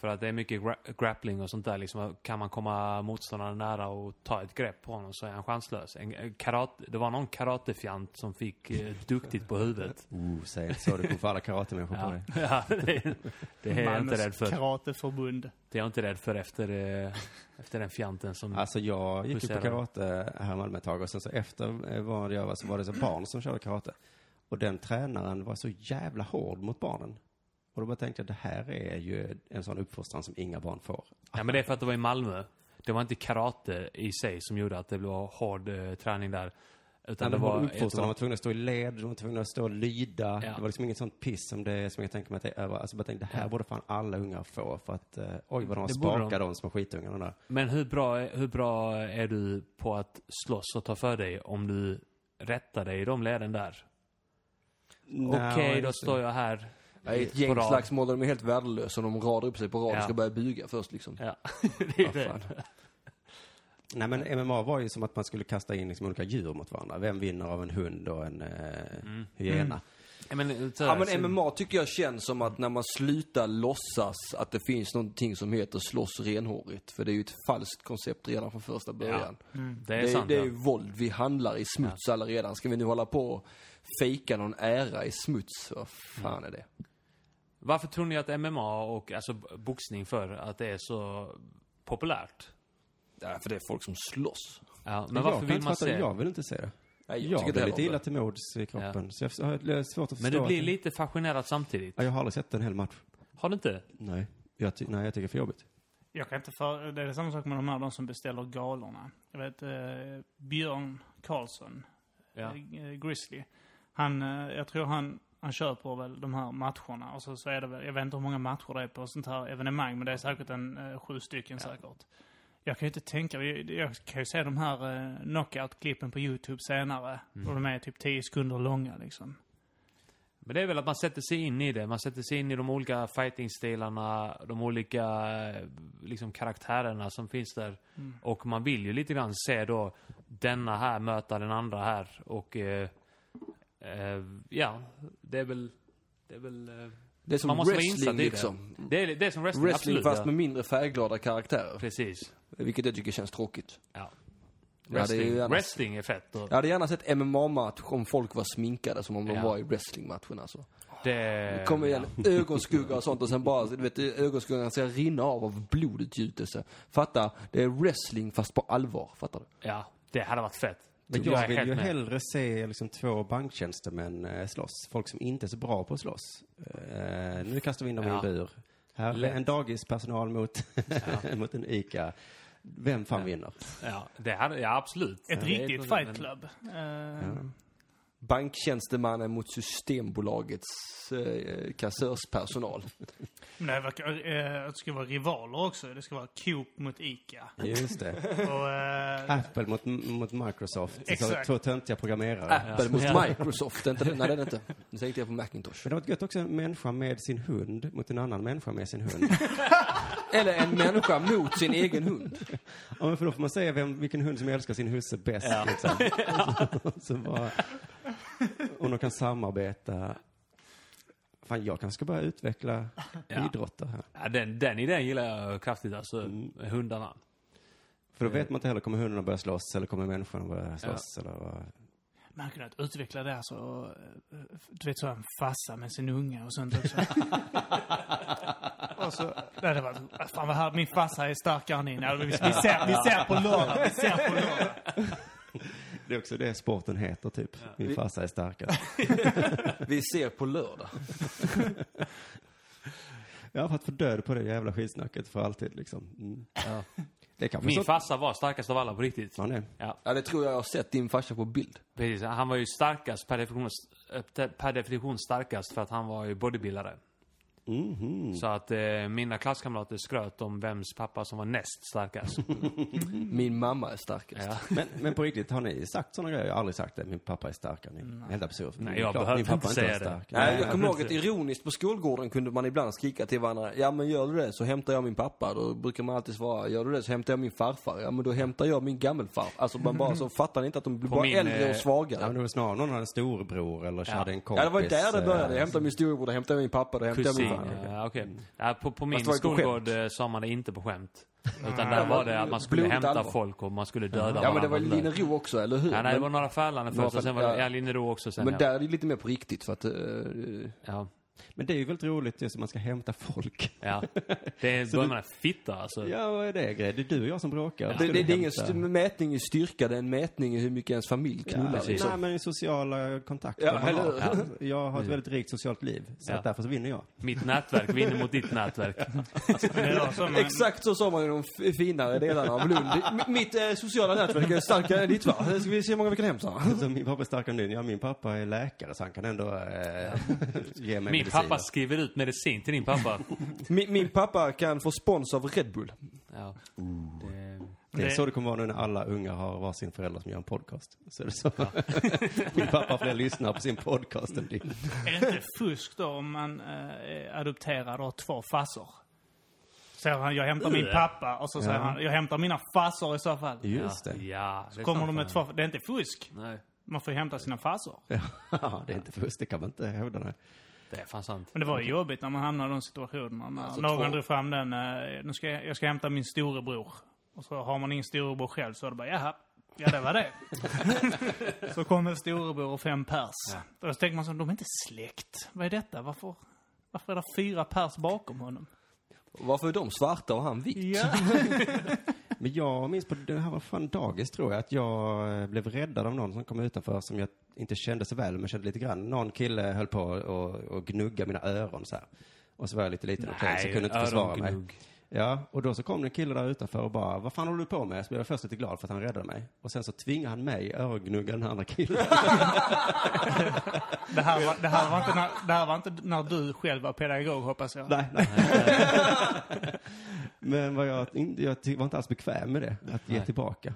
Speaker 1: För att det är mycket gra grappling och sånt där liksom. Kan man komma motståndaren nära och ta ett grepp på honom så är han chanslös. En, en karate, det var någon karatefjant som fick eh, duktigt på huvudet.
Speaker 4: Oh, säg inte så. Du kommer få alla karatemänniskor på
Speaker 1: Ja,
Speaker 4: dig.
Speaker 1: [laughs] ja det, det är jag inte
Speaker 3: Malmös
Speaker 1: rädd för.
Speaker 3: karateförbund.
Speaker 1: Det är jag inte rädd för efter, eh, efter den fjanten som...
Speaker 4: Alltså jag gick ju på
Speaker 1: Huserar.
Speaker 4: karate här i Malmö ett tag och sen så efter eh, vad jag var så var det så barn som körde karate. Och den tränaren var så jävla hård mot barnen. Och då bara tänkte jag, det här är ju en sån uppfostran som inga barn får.
Speaker 1: Ja, men det är för att det var i Malmö. Det var inte karate i sig som gjorde att det blev hård eh, träning där. Utan
Speaker 4: Nej,
Speaker 1: det var...
Speaker 4: uppfostran, de var tvungna att stå i led, de var tvungna att stå och lyda.
Speaker 1: Ja.
Speaker 4: Det var liksom inget sånt piss som, det, som jag tänker mig att det är över. Alltså jag bara tänkte, det här borde fan alla ungar få för att, eh, oj vad de har
Speaker 1: Det borde
Speaker 4: spakat
Speaker 1: de.
Speaker 4: de små skitungarna där.
Speaker 1: Men hur bra, hur bra är du på att slåss och ta för dig om du rättar dig i de leden där? Okej, då står jag här.
Speaker 2: Ja, I ett
Speaker 1: på
Speaker 2: gäng
Speaker 1: rad.
Speaker 2: slagsmål där de är helt värdelösa och de radar upp sig på rad och
Speaker 1: Ja.
Speaker 2: ska börja buga först liksom.
Speaker 1: Ja, [laughs] det är
Speaker 2: Ah,
Speaker 1: det.
Speaker 2: fan.
Speaker 4: Nej men MMA var ju som att man skulle kasta in liksom olika djur mot varandra. Vem vinner av en hund och en eh,
Speaker 1: Mm.
Speaker 4: hyena?
Speaker 1: Ja, men, så,
Speaker 2: Ja men MMA tycker jag känns som att när man slutar låtsas att det finns någonting som heter slåss renhårigt. För det är ju ett falskt koncept redan från första början.
Speaker 1: det är
Speaker 2: Mm. Det är,
Speaker 1: sant.
Speaker 2: det är
Speaker 1: ja.
Speaker 2: ju våld, vi handlar i smuts alla redan. Ska vi nu hålla på och fejka någon ära i smuts? Vad fan är det?
Speaker 1: Varför tror ni att MMA och alltså, boxning för att det är så populärt?
Speaker 2: Ja, för det är folk som slåss.
Speaker 1: Ja, men
Speaker 4: Jag
Speaker 1: varför
Speaker 4: kan
Speaker 1: vill
Speaker 4: inte
Speaker 1: man
Speaker 4: fatta
Speaker 1: se?
Speaker 4: det. Jag vill inte se det.
Speaker 2: Nej, jag
Speaker 4: jag
Speaker 2: tycker inte
Speaker 4: blir lite
Speaker 2: heller om
Speaker 4: illa
Speaker 2: det.
Speaker 4: till mods i kroppen. Så jag har jag har svårt att
Speaker 1: Men
Speaker 4: förstå.
Speaker 1: du blir
Speaker 4: att-
Speaker 1: lite fascinerad samtidigt.
Speaker 4: Ja, jag har aldrig sett en hel match.
Speaker 1: Har du inte?
Speaker 4: Nej. Jag, ty- nej, jag tycker det är för jobbigt.
Speaker 3: Jag kan inte för... Det är samma sak med de här, de som beställer galorna. Jag vet, eh, Björn Karlsson,
Speaker 1: Ja.
Speaker 3: eh, Grizzly. Han, eh, jag tror han, han köper väl de här matcherna och så, så är det väl, jag vet inte hur många matcher det är på sånt här evenemang, men det är säkert en eh, sju stycken säkert. Jag kan ju inte tänka, jag, jag kan ju se de här eh, knockout-klippen på YouTube senare.
Speaker 1: Mm.
Speaker 3: Och de är typ 10 sekunder långa liksom.
Speaker 1: Men det är väl att man sätter sig in i det. Man sätter sig in i de olika fightingstilarna, de olika eh, liksom, karaktärerna som finns där. Och man vill ju lite grann se då denna här möta den andra här. Och eh, eh, ja, det är väl... Det är väl... Eh,
Speaker 2: Det är som
Speaker 1: man måste vara
Speaker 2: wrestling
Speaker 1: insatt i
Speaker 2: liksom.
Speaker 1: det. Det är, det är som wrestling,
Speaker 2: Wrestling
Speaker 1: absolut.
Speaker 2: fast
Speaker 1: ja.
Speaker 2: med mindre färgglada karaktärer.
Speaker 1: Precis.
Speaker 2: Vilket jag tycker känns tråkigt.
Speaker 1: Ja.
Speaker 2: det är
Speaker 1: Wrestling.
Speaker 2: ju annars-
Speaker 1: wrestling är fett. Och
Speaker 2: Jag hade gärna sett MMA-match om folk var sminkade som om de
Speaker 1: Ja. Eh,
Speaker 2: var i wrestlingmatchen alltså.
Speaker 1: det...
Speaker 2: Kommer igen, ögonskugga och sånt och sen bara, du vet, ögonskuggan ska rinna av av blodutgjutelse. Fatta, det är wrestling fast på allvar. Fattar du?
Speaker 1: Ja, det hade varit fett.
Speaker 4: Men jag,
Speaker 1: är
Speaker 4: vill
Speaker 1: helt
Speaker 4: ju
Speaker 1: med.
Speaker 4: hellre se liksom två banktjänstemän eh, slåss. Folk som inte är så bra på att slåss. Eh, nu kastar vi in dem i en
Speaker 1: Ja.
Speaker 4: bur. Här är
Speaker 1: Lätt.
Speaker 4: en dagispersonal mot, [laughs] mot en ICA. Vem fan vinner?
Speaker 1: Ja, det hade, ja absolut.
Speaker 3: Ett
Speaker 1: Ja, det är
Speaker 3: riktigt
Speaker 1: problem,
Speaker 3: fight
Speaker 1: men-
Speaker 3: club. Eh,
Speaker 2: Banktjänstemannen mot Systembolagets eh, kassörspersonal.
Speaker 3: Men det, verkar, eh, det ska vara rivaler också. Det ska vara Coop
Speaker 1: [laughs]
Speaker 3: mot Ica.
Speaker 4: Just det.
Speaker 3: Och, eh,
Speaker 4: Apple mot, mot Microsoft.
Speaker 3: Exakt.
Speaker 4: Så, två töntiga programmerare.
Speaker 1: Ah.
Speaker 2: Apple mot Microsoft, det är inte det? Nej, det är det inte. Nu tänkte jag på Macintosh.
Speaker 4: Men det var ett gött också, en människa med sin hund mot en annan människa med sin hund.
Speaker 2: Eller en människa mot sin egen hund.
Speaker 4: ja, men för då får man säga vem, vilken hund som älskar sin husse bäst. Liksom.
Speaker 1: [laughs]
Speaker 4: Och så bara, om de kan samarbeta. Fan, jag kanske ska börja utveckla
Speaker 1: Ja.
Speaker 4: idrotter här.
Speaker 1: Ja, den, den idén gillar jag kraftigt alltså.
Speaker 2: Mm.
Speaker 1: Hundarna.
Speaker 4: För då vet man inte heller, kommer hundarna börja slåss eller kommer människorna börja slåss? Eller vad?
Speaker 3: Man har kunnat utveckla det här så, eh, du vet så en farsa med sin unge och sånt också. och förr så... Det hade varit, "Ah, fan vad här, min farsa är starkare än din. Ja, vi, vi, ser, vi ser på lördag, vi ser på lördag.
Speaker 4: Det är också det sporten heter typ. Min farsa är starkare.
Speaker 2: Vi ser på lördag.
Speaker 4: Jag har fått för död på det jävla skitsnacket för alltid liksom. Mm. Det är kanske
Speaker 1: Min
Speaker 4: så-
Speaker 1: farsa var starkast av alla på riktigt.
Speaker 4: Ja, nej.
Speaker 1: Ja,
Speaker 2: Ja, det tror jag jag har sett din farsa på bild.
Speaker 1: precis. Han var ju starkast, per definition, eh, per definition starkast, för att han var ju bodybuildare.
Speaker 2: Mhm.
Speaker 1: Så att eh, mina klasskamrater skröt om vems pappa som var näst
Speaker 2: [laughs]
Speaker 1: starkast.
Speaker 2: Min mamma är starkast.
Speaker 1: Ja.
Speaker 4: Men, men på riktigt, har ni sagt sådana grejer? Jag har aldrig sagt det. Min pappa är starkare. Ni är helt absurd.
Speaker 1: Nej,
Speaker 4: Det är
Speaker 1: jag
Speaker 4: klart
Speaker 1: behöver
Speaker 4: min pappa
Speaker 1: inte
Speaker 4: var
Speaker 1: säga det.
Speaker 4: stark.
Speaker 2: Nej, jag kommer
Speaker 1: men
Speaker 2: ihåg att ironiskt på skolgården kunde man ibland skrika till varandra. Ja men gör du det så hämtar jag min pappa. Då brukar man alltid svara. Gör du det så hämtar jag min farfar. Ja men då hämtar jag min gammelfar. Alltså man bara så fattar ni inte att de blir
Speaker 1: På
Speaker 2: bara
Speaker 1: min,
Speaker 2: äldre och
Speaker 1: eh,
Speaker 4: Ja, men
Speaker 2: svagare.
Speaker 4: det var snarare någon hade en storbror eller så
Speaker 1: Ja.
Speaker 4: hade en kompis.
Speaker 2: Ja det var där det började. Jag
Speaker 4: eh,
Speaker 2: hämtar min storebror, då hämtar jag min pappa, då hämtar jag min
Speaker 1: Kusin,
Speaker 2: farfar.
Speaker 1: ja, okej. Ja, på, på min
Speaker 2: Mm. det var ju på
Speaker 1: skolgård eh, sa man det inte på skämt. Utan där
Speaker 2: Det var
Speaker 1: var det att man skulle
Speaker 2: blodigt
Speaker 1: hämta
Speaker 2: allvar.
Speaker 1: folk och man skulle döda varandra.
Speaker 2: Ja men det var Linnero också, eller hur?
Speaker 1: Ja, nej, det var
Speaker 2: men,
Speaker 1: några Färlande
Speaker 2: Några
Speaker 1: först och sen var
Speaker 2: Färlande,
Speaker 1: det
Speaker 2: ja.
Speaker 1: ja, Linnero också sen.
Speaker 2: men
Speaker 1: ja.
Speaker 2: där är det lite mer på riktigt för att... eh,
Speaker 1: Ja,
Speaker 4: Men det är ju väldigt roligt just att man ska hämta folk.
Speaker 2: [laughs]
Speaker 1: ja. Det är börjar man fitta alltså.
Speaker 4: Ja, vad är det grej? Det är du och jag som bråkar. Ska
Speaker 2: det, det,
Speaker 4: du
Speaker 2: det är ingen
Speaker 4: hämta-
Speaker 2: st- mätning i styrka, det är en mätning i hur mycket ens familj knullar.
Speaker 4: Ja,
Speaker 2: liksom.
Speaker 4: nej, men i sociala kontakter.
Speaker 2: Ja,
Speaker 4: man har.
Speaker 2: eller hur?
Speaker 4: Alltså, Jag har ett väldigt rikt socialt liv, så
Speaker 1: Ja.
Speaker 4: att därför så vinner jag.
Speaker 1: Mitt nätverk vinner mot ditt
Speaker 2: [laughs]
Speaker 1: nätverk.
Speaker 3: Det var som en-
Speaker 2: Exakt så sa man i de f- finare delarna av Lund. M- Mitt eh, sociala nätverk är starkare än ditt va? Här Ska vi se hur många vi kan hämta?
Speaker 4: Så min pappa är starkare än din. Ja, min pappa är läkare, så han kan ändå eh, ge mig
Speaker 1: Min
Speaker 4: mediciner.
Speaker 1: pappa skriver ut medicin till din pappa.
Speaker 2: Min, min pappa kan få spons av Red Bull.
Speaker 1: Ja. Det...
Speaker 4: Det är
Speaker 3: Det-
Speaker 4: så det kommer vara nu när alla unga har varsin förälder som gör en podcast. Så är det så. [laughs] min pappa har fler lyssnare på sin podcast än din.
Speaker 3: Är det inte fusk då om man eh, är adopterad och har två farsor? Säger han, jag hämtar min pappa och så säger han, jag hämtar mina farsor i så fall.
Speaker 4: Just
Speaker 1: Ja,
Speaker 4: det.
Speaker 1: ja det är
Speaker 3: Kommer
Speaker 1: klart
Speaker 3: de med
Speaker 1: fan.
Speaker 3: två, det är inte fusk.
Speaker 1: Nej,
Speaker 3: Man får ju hämta sina farsor.
Speaker 4: Ja, det är inte fusk. Det kan man inte hävda. Nej.
Speaker 1: det är fan sant.
Speaker 3: Men det var ju jobbigt när man hamnade i de situationerna. När
Speaker 2: Alltså,
Speaker 3: någon
Speaker 2: två.
Speaker 3: drog fram den, eh, nu ska jag, jag ska hämta min storebror. Och så har man ingen storebror själv så är det bara, jaha, ja det
Speaker 2: [laughs]
Speaker 3: var det. så kom en storebror och fem pers. Och så tänker man så, de är inte släkt. Vad är detta? Varför, varför är det fyra pers bakom honom?
Speaker 2: Varför är de svarta och han vit?
Speaker 3: Ja.
Speaker 4: Men jag minns på, det här var fan dagis tror jag, att jag eh, blev räddad av någon som kom utanför som jag inte kände så väl, men kände lite grann. Någon kille höll på och, och gnugga mina öron så här. Och så var jag lite liten och klen, så jag kunde inte försvara mig.
Speaker 1: örongnugg.
Speaker 4: Ja, och då så kom det en kille där utanför och bara, vad fan håller du på med? Så blev jag först lite glad för att han räddade mig. Och sen så tvingade han mig örongnugga den här
Speaker 1: [laughs]
Speaker 4: andra killen.
Speaker 3: [laughs] Det här, var, det, här var inte när, det här var inte när du själv var pedagog hoppas jag.
Speaker 4: nej, nej. men vad jag, inte- jag ty- var inte alls bekväm med det, att ge tillbaka.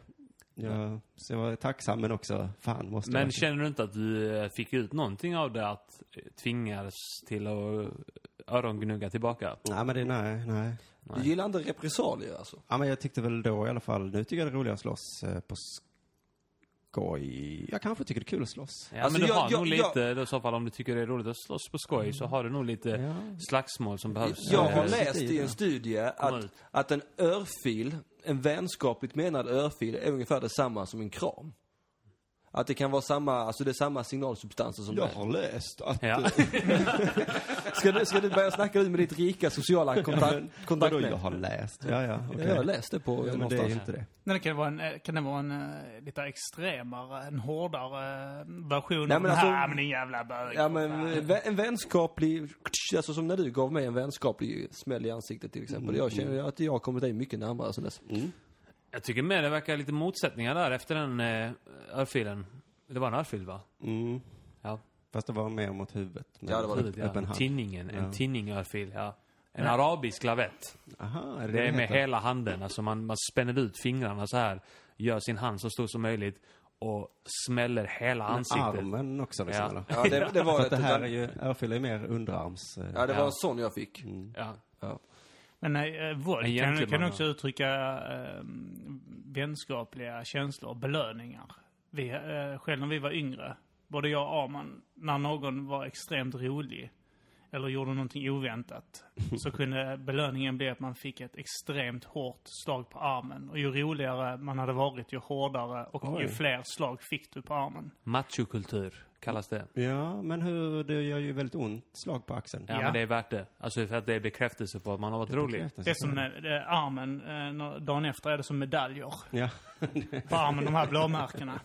Speaker 4: Jag, så jag var tacksam men också, fan måste jag
Speaker 1: Men
Speaker 4: verkligen-
Speaker 1: känner du inte att du eh, fick ut någonting av det att eh, tvingas till att eh, örongnugga tillbaka?
Speaker 4: Nej, men det, nej, nej.
Speaker 2: Du gillar inte repressalier alltså?
Speaker 4: Ja, men jag tyckte väl då i alla fall, nu tycker jag det är roligare att slåss eh, på skoj. Jag kanske tycker det är kul att slåss.
Speaker 1: Ja,
Speaker 2: Alltså,
Speaker 1: men du
Speaker 2: jag-
Speaker 1: har
Speaker 2: jag-
Speaker 1: nog
Speaker 2: jag-
Speaker 1: lite, i så fall om du tycker det är roligt att slåss på skoj, så har du nog lite slagsmål som behövs.
Speaker 2: Jag
Speaker 1: Eh,
Speaker 2: har läst i en studie
Speaker 1: Kom
Speaker 2: att,
Speaker 1: ut.
Speaker 2: att en örfil, en vänskapligt menad örfil, är ungefär detsamma som en kram. Att det kan vara samma, alltså det är samma signalsubstanser som det är.
Speaker 4: läst att...
Speaker 1: Ja.
Speaker 2: Ska du, ska du börja snacka ut med ditt rika
Speaker 4: [laughs]
Speaker 2: sociala [laughs] kontakt,
Speaker 4: Vadå, jag
Speaker 2: kontaktnät?
Speaker 4: har läst? Ja, ja, okej.
Speaker 2: Jag har läst det på
Speaker 4: Ja, men det
Speaker 2: någonstans.
Speaker 4: är ju inte det.
Speaker 3: Men det kan, vara en, eh, kan det vara en eh, lite extremare, en hårdare eh, version
Speaker 2: Nej,
Speaker 3: av
Speaker 2: men
Speaker 3: den här,
Speaker 2: alltså-
Speaker 3: "Ah, men din jävla bög.
Speaker 2: Ja
Speaker 3: för
Speaker 2: men
Speaker 3: fan."
Speaker 2: vä- en vänskaplig, alltså som när du gav mig en vänskaplig smäll i ansiktet till
Speaker 4: Mm,
Speaker 2: exempel. Jag känner ju att jag har kommit dig mycket närmare sen dess.
Speaker 1: Jag tycker med det verkar lite motsättningar där efter den eh, örfilen. Det var en örfil va?
Speaker 4: Mm.
Speaker 1: Ja.
Speaker 4: Fast det var mer mot huvudet. men-
Speaker 2: Ja, det var det.
Speaker 1: Huvudet, ja.
Speaker 4: Öppen hand.
Speaker 1: Tinningen, en tinningörfil, ja. En arabisk lavett.
Speaker 4: Aha, är det,
Speaker 1: Det
Speaker 4: det
Speaker 1: är med
Speaker 4: heter?
Speaker 1: hela handen. Alltså man, man spänner ut fingrarna så här. Gör sin hand så stor som möjligt. Och smäller hela ansiktet.
Speaker 4: Armen också liksom,
Speaker 1: Ja.
Speaker 4: eller?
Speaker 2: Ja det, det
Speaker 4: [laughs] För
Speaker 2: var
Speaker 4: att det
Speaker 2: ett,
Speaker 4: här är ju, örfil är ju mer underarms... eh,
Speaker 2: ja det var
Speaker 1: Ja.
Speaker 2: en sån jag fick.
Speaker 4: Mm.
Speaker 1: Ja.
Speaker 2: Ja.
Speaker 3: Men eh, våld kan,
Speaker 1: Egentligen,
Speaker 3: kan
Speaker 1: man-
Speaker 3: också uttrycka eh, vänskapliga känslor och belöningar. Vi, eh, själv när vi var yngre, både jag och Arman, när någon var extremt rolig eller gjorde någonting oväntat så kunde belöningen bli att man fick ett extremt hårt slag på armen. Och ju roligare man hade varit, ju hårdare och ju fler slag fick du på armen.
Speaker 1: Machokultur kallas det.
Speaker 4: Ja, men hur, det gör ju väldigt ont slag på axeln.
Speaker 1: Ja,
Speaker 3: Ja.
Speaker 1: men det är värt det. Alltså för att det är bekräftelse på att man har varit rolig.
Speaker 3: Det
Speaker 4: Bekräftelse.
Speaker 3: är som med eh, armen, eh, nå- dagen efter är det som medaljer
Speaker 4: Ja,
Speaker 3: på armen, de här blåmärkena.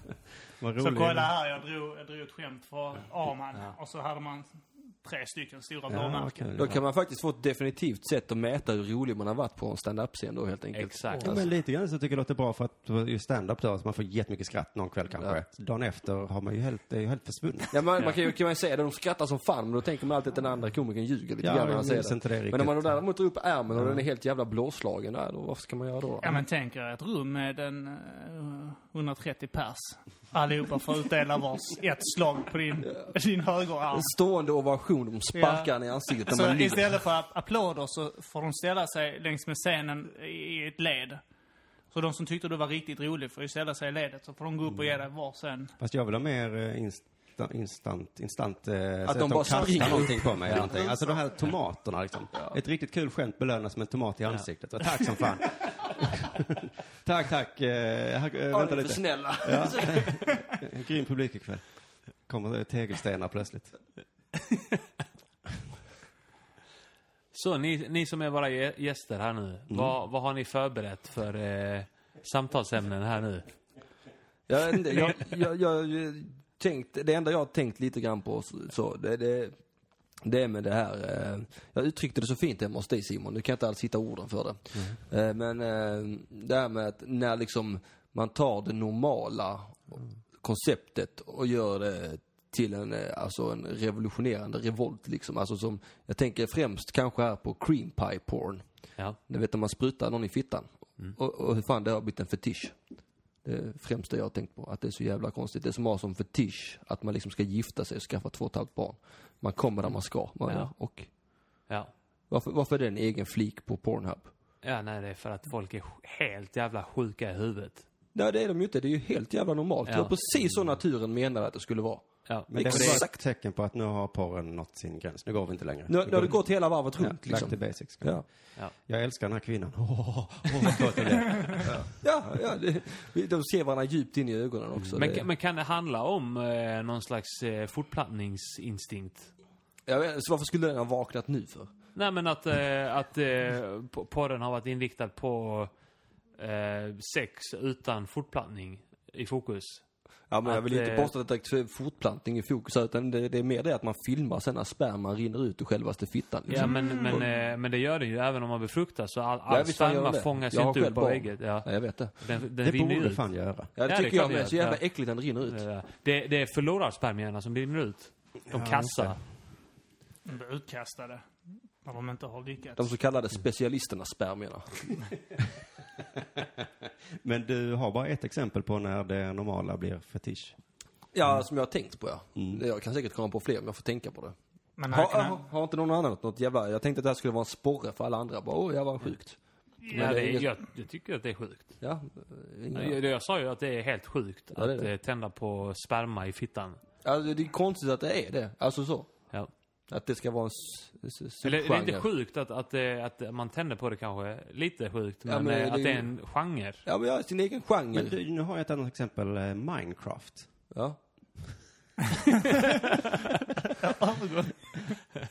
Speaker 4: vad
Speaker 3: Så
Speaker 4: roligt.
Speaker 3: kolla här, jag drog, jag drog ett skämt för Arman. Och så hade man tre stycken stora
Speaker 4: Ja, vad
Speaker 3: blåmärken.
Speaker 4: kul.
Speaker 2: Då kan man faktiskt få ett definitivt sätt att mäta hur rolig man har varit på en stand-up-scen då helt enkelt.
Speaker 1: Exakt.
Speaker 4: Ja,
Speaker 2: Alltså.
Speaker 4: men lite grann så tycker jag det låter bra för att just stand-up då, så man får jättemycket skratt någon kväll kanske. Dagen efter har man ju helt, det är ju
Speaker 2: [laughs]
Speaker 4: helt försvunnet.
Speaker 2: Ja, man, man kan ju kan man ju säga det, de skrattar som fan, men då tänker man alltid att den andra komikern ljuger lite
Speaker 4: Ja,
Speaker 2: grann när
Speaker 4: jag
Speaker 2: han säger
Speaker 4: minns
Speaker 2: det.
Speaker 4: inte det
Speaker 2: men
Speaker 4: riktigt.
Speaker 2: om man då däremot drar upp ärmen och den är helt jävla blåslagen, nej, då, vad ska man göra då?
Speaker 3: Ja men tänk er ett rum med en eh, 130 pers. Allihopa får
Speaker 2: [laughs]
Speaker 3: utdela vars ett slag på din, din högerarm.
Speaker 2: En stående ovation, de sparkar
Speaker 3: Ja.
Speaker 2: en i ansiktet när
Speaker 3: Så
Speaker 2: man ligger.
Speaker 3: istället för app- applåder så får de ställa sig längs med scenen i- i ett led. Så de som tyckte du var riktigt rolig får ju ställa sig i ledet. Så får de gå upp och ge
Speaker 2: Mm.
Speaker 3: dig varsin.
Speaker 4: Fast jag vill ha mer eh, insta, instant, instant, eh, så
Speaker 2: de bara
Speaker 4: kastar
Speaker 2: springer.
Speaker 4: någonting på mig. eller Någonting. Alltså de här tomaterna liksom. Ett riktigt kul skämt belönas med en tomat i ansiktet. Så, tack
Speaker 2: [laughs]
Speaker 4: som fan. tack, tack. Eh, här, eh,
Speaker 2: Ja, ni
Speaker 4: vänta
Speaker 2: är för
Speaker 4: lite.
Speaker 2: snälla. [laughs]
Speaker 4: En grym publik ikväll. Kommer tegelstenar plötsligt.
Speaker 1: Så ni, ni som är våra gä- gäster här
Speaker 4: Mm.
Speaker 1: nu, vad, vad har ni förberett för eh, samtalsämnen här nu?
Speaker 2: Jag, vet inte, jag, jag, jag, jag tänkt, det enda jag har tänkt lite grann på så- så, det, det, det är med det här, eh, jag uttryckte det så fint hemma hos dig Simon, du kan inte alls hitta orden för det. Eh, men eh, det här med att när liksom man tar det normala konceptet och gör det till en, eh, alltså en revolutionerande revolt liksom. Alltså som, jag tänker främst kanske här på cream pie porn.
Speaker 1: Ja.
Speaker 2: Du vet när man sprutar någon i fittan. Och, och hur fan det har blivit en fetisch. Det är främst det jag har tänkt på. Att det är så jävla konstigt. Det är som att ha som fetisch att man liksom ska gifta sig och skaffa två och ett halvt barn. Man kommer där man ska. Man,
Speaker 1: Ja.
Speaker 2: och
Speaker 1: Ja.
Speaker 2: varför, varför är det en egen flik på Pornhub?
Speaker 1: ja, nej det är för att folk är sj- helt jävla sjuka i huvudet.
Speaker 2: Nej det är de ju inte. Det är ju helt jävla normalt.
Speaker 1: Ja.
Speaker 2: Det var precis så naturen menade att det skulle vara.
Speaker 1: Ja.
Speaker 4: Men det är bara
Speaker 2: Exakt.
Speaker 4: ett tecken på att nu har porren nått sin gräns. Nu går vi inte längre.
Speaker 2: Nu, nu har det gått hela varvet runt
Speaker 4: Ja, back to
Speaker 2: liksom.
Speaker 4: basics.
Speaker 2: Ja,
Speaker 4: Jag älskar den här
Speaker 2: [laughs]
Speaker 4: kvinnan. Åh, oh, oh, [laughs] oh,
Speaker 2: ja, ja det, de ser varandra djupt in i ögonen också.
Speaker 1: Men,
Speaker 2: Det-
Speaker 1: ka- men kan det handla om eh, någon slags eh, fortplantningsinstinkt?
Speaker 2: jag vet, så varför skulle den ha vaknat nu för?
Speaker 1: Nej men att, eh, att eh, po- porren har varit inriktad på eh, sex utan fortplantning i fokus.
Speaker 2: Ja, men jag
Speaker 1: Att,
Speaker 2: vill inte
Speaker 1: eh,
Speaker 2: påstå att det är direkt fortplantning i fokus här, utan det, det är mer det att man filmar sen när sperman rinner ut ur självaste fittan.
Speaker 1: Ja
Speaker 2: Liksom.
Speaker 1: men, men, eh, men det gör det ju även om man befruktas. Så all,
Speaker 2: Ja,
Speaker 1: all
Speaker 2: visst fan gör
Speaker 1: sperma
Speaker 2: det.
Speaker 1: fångas
Speaker 2: Jag
Speaker 1: ju
Speaker 2: har
Speaker 1: inte
Speaker 2: själv
Speaker 1: upp på
Speaker 2: barn.
Speaker 1: ägget. Ja.
Speaker 2: Ja, jag vet det.
Speaker 1: Den, den
Speaker 4: det
Speaker 1: rinner ju
Speaker 4: borde
Speaker 1: ut.
Speaker 4: fan göra.
Speaker 2: Ja, det
Speaker 1: Ja, det är
Speaker 2: tycker
Speaker 1: klart
Speaker 2: jag
Speaker 1: det
Speaker 2: med.
Speaker 1: gör.
Speaker 2: Så jävla
Speaker 1: Ja. Eh.
Speaker 2: äckligt den rinner ut.
Speaker 1: Ja. Det, det är förlorarspermierna som rinner ut. De kassar.
Speaker 3: De blir utkastade. När de inte har lyckats.
Speaker 2: De så kallade specialisterna spermierna.
Speaker 4: Men du har bara ett exempel på när det normala blir fetisch.
Speaker 2: Ja,
Speaker 1: Mm.
Speaker 2: som jag har tänkt på ja. Jag kan säkert komma på fler om jag får tänka på det.
Speaker 3: Men
Speaker 2: Har,
Speaker 3: här kan
Speaker 2: har, har inte någon annan något, något jävla... Jag tänkte att det här skulle vara en sporre för alla andra. Bara, åh jävlar vad sjukt.
Speaker 1: Ja,
Speaker 2: det
Speaker 1: det
Speaker 2: är inget-
Speaker 1: är, jag, jag tycker att det är sjukt.
Speaker 2: Ja, eh, inga-
Speaker 1: Jag, jag sa ju att det är helt sjukt
Speaker 2: Ja, det är
Speaker 1: att
Speaker 2: det.
Speaker 1: eh, tända på sperma i fittan.
Speaker 2: Alltså, det är konstigt att det är det. Alltså så.
Speaker 1: Ja.
Speaker 2: Att det ska vara en s- s- s-
Speaker 1: Eller det är inte
Speaker 2: subgenre.
Speaker 1: sjukt att, att, eh, att man tänder på det kanske. Lite sjukt, men,
Speaker 2: men
Speaker 1: eh,
Speaker 2: det är
Speaker 1: att det är
Speaker 2: ju-
Speaker 1: en genre.
Speaker 2: Ja, men ja, sin egen genre.
Speaker 4: Men du, nu har jag ett annat exempel,
Speaker 2: [laughs]
Speaker 4: eh, Minecraft.
Speaker 2: Ja.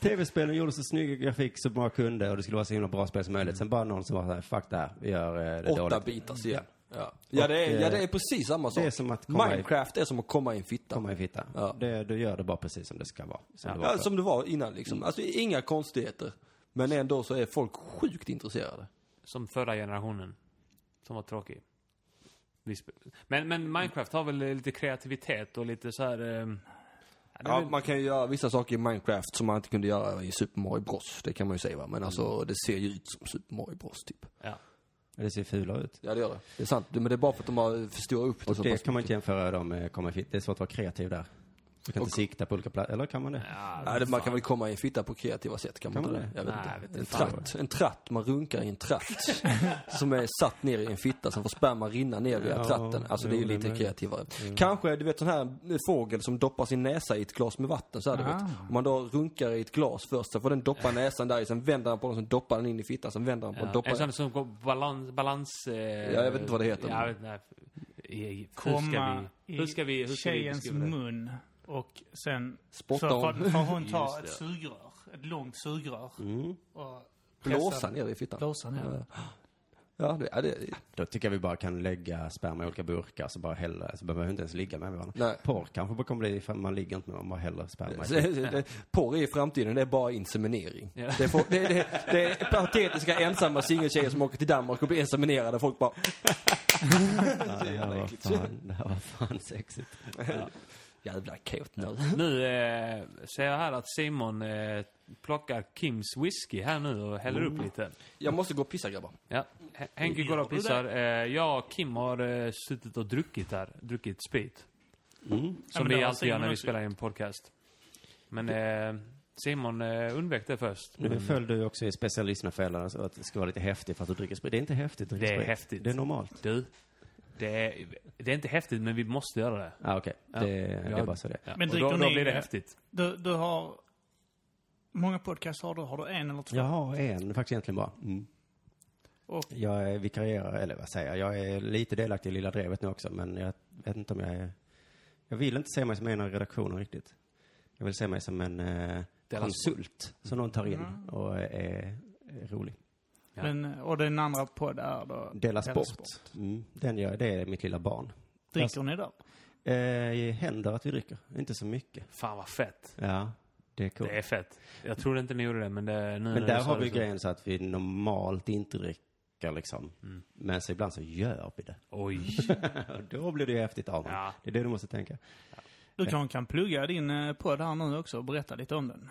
Speaker 4: Tv-spelen gjorde så snygg grafik så man kunde och det skulle vara så himla bra spel som möjligt. Sen bara någon som var såhär, fuck det här, vi gör eh, det
Speaker 2: Åtta
Speaker 4: dåligt. eh,
Speaker 2: bitars igen. Ja. Ja, det är, ja, det är precis samma sak.
Speaker 4: det är som att komma i-
Speaker 2: Minecraft är som att komma i en fitta.
Speaker 4: Komma i fitta.
Speaker 2: Ja.
Speaker 4: Det, du gör det bara precis som det ska vara. Som det var
Speaker 2: Ja,
Speaker 4: förr.
Speaker 2: som det var innan liksom.
Speaker 4: Mm.
Speaker 2: Alltså inga konstigheter. Men ändå så är folk sjukt intresserade.
Speaker 1: Som förra generationen. Som var tråkig. Vi sp- Men, men Minecraft har väl eh, lite kreativitet och lite så här... Eh,
Speaker 2: Ja, man kan ju göra vissa saker i Minecraft som man inte kunde göra i Super Mario Bros. Det kan man ju säga va. Men alltså
Speaker 4: Mm.
Speaker 2: det ser ju ut som Super Mario Bros typ.
Speaker 1: ja.
Speaker 4: Det ser fulare ut.
Speaker 2: Ja det gör det. Det är sant. Men det är bara för att de har förstorat upp det så
Speaker 4: Det
Speaker 2: pass
Speaker 4: kan man
Speaker 2: mycket.
Speaker 4: inte jämföra dem med komma i fitta. Det är svårt att vara kreativ där. Du kan inte sikta på olika platser, eller kan man det?
Speaker 2: Nej, det, man kan väl komma i en fitta på kreativa sätt, kan man
Speaker 4: Kan
Speaker 2: inte
Speaker 4: man
Speaker 2: det?
Speaker 4: det?
Speaker 2: Jag vet
Speaker 1: Nej,
Speaker 2: inte.
Speaker 1: jag vet
Speaker 2: en, tratt, en tratt, man runkar i en tratt som är satt ner i en fitta som får sperma rinna ner via
Speaker 4: Ja,
Speaker 2: tratten. Alltså det är ju
Speaker 4: jo, det
Speaker 2: lite
Speaker 4: med.
Speaker 2: kreativare. Kanske, du vet sån här fågel som doppar sin näsa i ett glas med vatten så här, du vet. Om man då runkar i ett glas först så får den doppa näsan där i, sen vänder han på den, sen doppar den in i fittan, sen vänder han på den,
Speaker 1: Ja.
Speaker 2: doppar
Speaker 1: En sån som går balans... balans eh,
Speaker 2: Ja, jag vet inte vad det heter.
Speaker 1: Jag vet, nej, I- i- hur ska
Speaker 3: Komma
Speaker 1: vi... Hur ska vi... Hur
Speaker 3: i
Speaker 1: ska vi
Speaker 3: tjejens
Speaker 1: beskriva det?
Speaker 3: mun och sen
Speaker 2: Spotta
Speaker 3: så
Speaker 2: om.
Speaker 3: får, får hon
Speaker 1: Just
Speaker 3: ta
Speaker 1: det.
Speaker 3: ett sugrör, ett långt sugrör och
Speaker 2: Blåsa ner i fittan.
Speaker 3: blåsa ner.
Speaker 2: Ja, det, ja, det,
Speaker 4: Då tycker jag vi bara kan lägga sperma i olika burkar, så bara hälla, så behöver vi inte ens ligga med varandra.
Speaker 2: Nej.
Speaker 4: Porr kanske bara kommer bli, ifall man ligger inte med man bara häller sperma i.
Speaker 2: det, porr är i framtiden, det är bara inseminering.
Speaker 1: Ja.
Speaker 2: Det, är folk, det, det, det är patetiska ensamma singeltjejer som åker till Danmark och blir inseminerade. Folk bara...
Speaker 4: Ja, det här var fan, det här var fan sexigt.
Speaker 2: Jävla kåtnöl.
Speaker 1: Nu eh, ser jag här att Simon eh, plockar Kims whisky här nu och häller upp lite.
Speaker 2: Jag måste gå och pissa grabbar.
Speaker 1: Ja. H- Henke går och pissar. Eh, jag och Kim har eh, suttit och druckit här. Druckit sprit. Mm.
Speaker 3: Ja, men
Speaker 1: Som
Speaker 3: det
Speaker 1: vi
Speaker 3: har
Speaker 1: alltid gör
Speaker 3: Simon
Speaker 1: när vi
Speaker 3: också
Speaker 1: spelar in en podcast. Men eh, Simon eh, undvek det först.
Speaker 4: Nu föll du också i specialisterna för hela, så att det ska vara lite häftigt för att du dricker sprit. Det är inte häftigt att dricka
Speaker 1: Det är
Speaker 4: sprit.
Speaker 1: häftigt.
Speaker 4: Det är normalt.
Speaker 1: Du, det är, det är inte häftigt men vi måste göra det.
Speaker 4: Ah, okej. Det, det
Speaker 1: Ja.
Speaker 4: är bara så det är.
Speaker 1: Ja.
Speaker 3: Men
Speaker 1: och då,
Speaker 3: dricker
Speaker 1: då
Speaker 3: ni-
Speaker 1: blir det häftigt.
Speaker 3: Du, du har... många podcasts har du? Har du en eller två?
Speaker 4: Jag har en faktiskt egentligen bara. Mm.
Speaker 3: Och-
Speaker 4: Jag är vikarierar, eller vad säger jag, jag är lite delaktig i Lilla Drevet nu också, men jag vet inte om jag är... Jag vill inte se mig som en av redaktionen riktigt. Jag vill se mig som en eh,
Speaker 1: Delas-
Speaker 4: konsult som någon tar in och är, är rolig.
Speaker 1: Ja.
Speaker 3: Men, och den andra podd är då?
Speaker 4: Dela
Speaker 3: Dela
Speaker 4: sport. Mm. Den gör, det är mitt lilla barn.
Speaker 3: Dricker ni där?
Speaker 4: Eh, det händer att vi dricker, inte så mycket.
Speaker 1: Fan vad fett.
Speaker 4: Ja, det är coolt.
Speaker 1: Det är fett. Jag trodde inte ni gjorde det men det, nu när
Speaker 4: Men
Speaker 1: du
Speaker 4: där
Speaker 1: sa
Speaker 4: har
Speaker 1: det
Speaker 4: vi
Speaker 1: så-
Speaker 4: grejen så att vi normalt inte dricker liksom. Men så ibland så gör vi det.
Speaker 1: [laughs] Oj.
Speaker 4: [laughs] Ja, Då blir det ju häftigt av
Speaker 1: Ja.
Speaker 4: ja. Det är det du måste tänka.
Speaker 3: Du kanske kan plugga din eh, podd här nu också och berätta lite om den.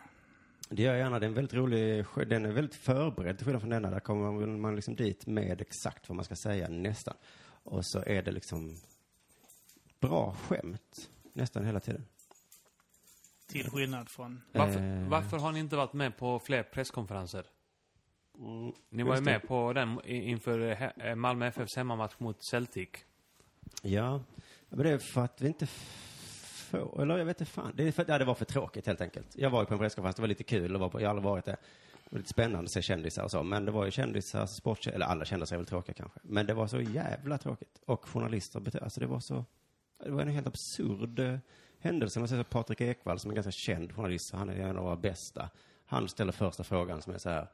Speaker 4: Det gör jag gärna. Det är en väldigt rolig, sk- den är väldigt förberedd till skillnad från denna. Där kommer man- man liksom dit med exakt vad man ska säga nästan. Och så är det liksom bra skämt nästan hela tiden.
Speaker 3: Till skillnad från...
Speaker 1: Varför, varför har ni inte varit med på fler presskonferenser?
Speaker 4: Mm,
Speaker 1: Ni var ju med på den i- inför eh, he- eh, Malmö FFs hemmamatch mot Celtic.
Speaker 4: Ja, men det är för att vi inte f- får, eller jag vet inte fan. Det, är för, ja, det var för tråkigt helt enkelt. Jag var ju på en presskonferens, det var lite kul att vara på, jag har aldrig varit där. Det var lite spännande att se kändisar och så, men det var ju kändisar, sportkändisar, eller alla kändisar är väl tråkiga kanske. Men det var så jävla tråkigt. Och journalister, bete- alltså det var så, det var en helt absurd eh, händelse. Man ser så Patrik Ekwall som är en ganska känd journalist, så han är en av våra bästa. Han ställer första frågan som är så här.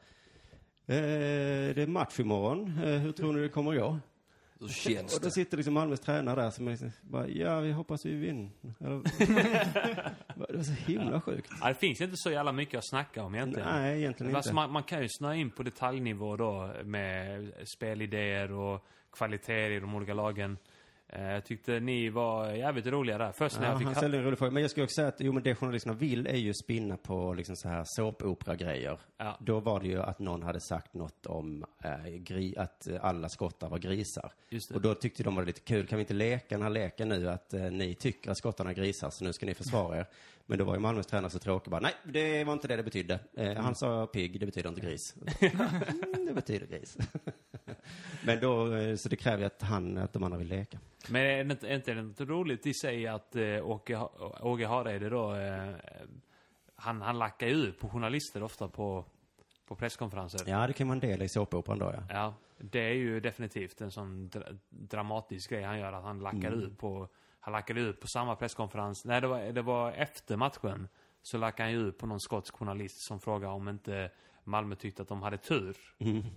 Speaker 4: Eh, det är match imorgon, eh, hur tror ni det kommer gå?
Speaker 2: Så känns
Speaker 4: Och då
Speaker 2: det.
Speaker 4: sitter liksom Malmös tränare där som är liksom bara, ja vi hoppas vi vinner. [laughs] Eller- det var så himla sjukt.
Speaker 1: Ja, det finns inte så jävla mycket att snacka om egentligen.
Speaker 4: Nej, egentligen
Speaker 1: Alltså,
Speaker 4: inte.
Speaker 1: man, man kan ju snöa in på detaljnivå då med spelidéer och kvaliteter i de olika lagen. Eh, Jag tyckte ni var jävligt roliga där. Först när
Speaker 4: Ja,
Speaker 1: jag fick...
Speaker 4: han ställde en rolig fråga. Men jag skulle också säga att jo, men det journalisterna vill är ju spinna på liksom så här såpopera-grejer.
Speaker 1: Ja.
Speaker 4: Då var det ju att någon hade sagt något om eh, gri, att eh, alla skottar var grisar.
Speaker 1: Just det.
Speaker 4: Och då tyckte de var lite kul. Kan vi inte leka den här leken nu att eh, ni tycker att skottarna är grisar så nu ska ni försvara er. Men då var ju Malmös tränare så tråkig bara, nej det var inte det det betydde. Eh,
Speaker 1: Mm.
Speaker 4: Han sa pigg, det betyder
Speaker 1: [laughs]
Speaker 4: inte gris. Mm, det betyder gris. [laughs] Men då, eh, så det kräver ju att han, att de andra vill leka.
Speaker 1: Men är det inte, är inte det inte roligt i sig att eh, Åke, Ha- Åge Hareide då, eh, eh, han, han lackar ju ur på journalister ofta på, på presskonferenser. Ja.
Speaker 4: Ja, det kan man dela i såpoperan då ja.
Speaker 1: det är ju definitivt en sån dra- dramatisk grej han gör, att han lackar ur på, han lackade ur på samma presskonferens. Nej, det var, det var efter matchen. Så lackade han ju ur på någon skotsk journalist som frågade om inte Malmö tyckte att de hade tur.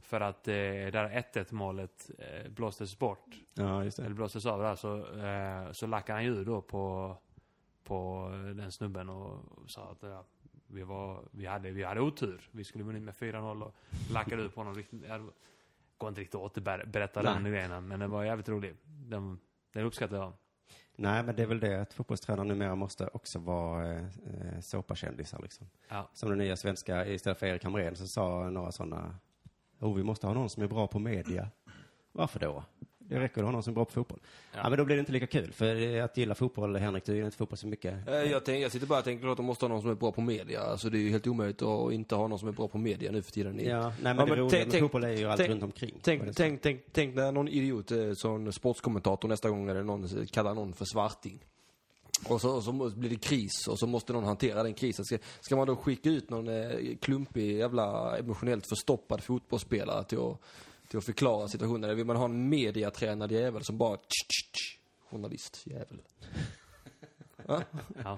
Speaker 1: För att eh, det där 1-1 målet eh, blåstes bort
Speaker 4: Ja, just det.
Speaker 1: eller blåstes av där så, eh, så lackade han ju då på, på den snubben och sa att ja, vi, var, vi, hade, vi hade otur. Vi skulle vunnit med 4-0 och lackade ut på honom. Riktigt, ja, det går inte riktigt att återberätta den
Speaker 4: Nej.
Speaker 1: grejen men den var jävligt rolig. Den, den uppskattar jag.
Speaker 4: Nej, men det är väl det att fotbollstränare numera måste också vara eh, eh, såpakändisar liksom.
Speaker 1: Ja.
Speaker 4: Som den nya svenska, istället för Erik Hamrén så sa några sådana, oh vi måste ha någon som är bra på media. Varför då? Det räcker att ha någon som är bra på fotboll. Ja. men då blir det inte lika kul. För att gilla fotboll, Henrik, du gillar inte fotboll så mycket.
Speaker 2: Eh, Jag, tänk, jag sitter bara och tänker att de måste ha någon som är bra på media. Alltså det är ju helt omöjligt att inte ha någon som är bra på media nu för tiden.
Speaker 4: Ja, nej men det roliga med fotboll är ju allt runt omkring. Och det är
Speaker 2: Tänk,
Speaker 4: så.
Speaker 2: tänk, tänk, tänk när någon idiot, eh, sån sportskommentator nästa gång eller någon eh, kallar någon för svarting. Och så, och så må- blir det kris och så måste någon hantera den krisen. Ska, ska man då skicka ut någon eh, klumpig jävla emotionellt förstoppad fotbollsspelare till att, till att förklara situationen? Eller vill man ha en mediatränad jävel som bara tsch, tsch, tsch, journalist, jävel. [laughs] Va?
Speaker 1: Ja.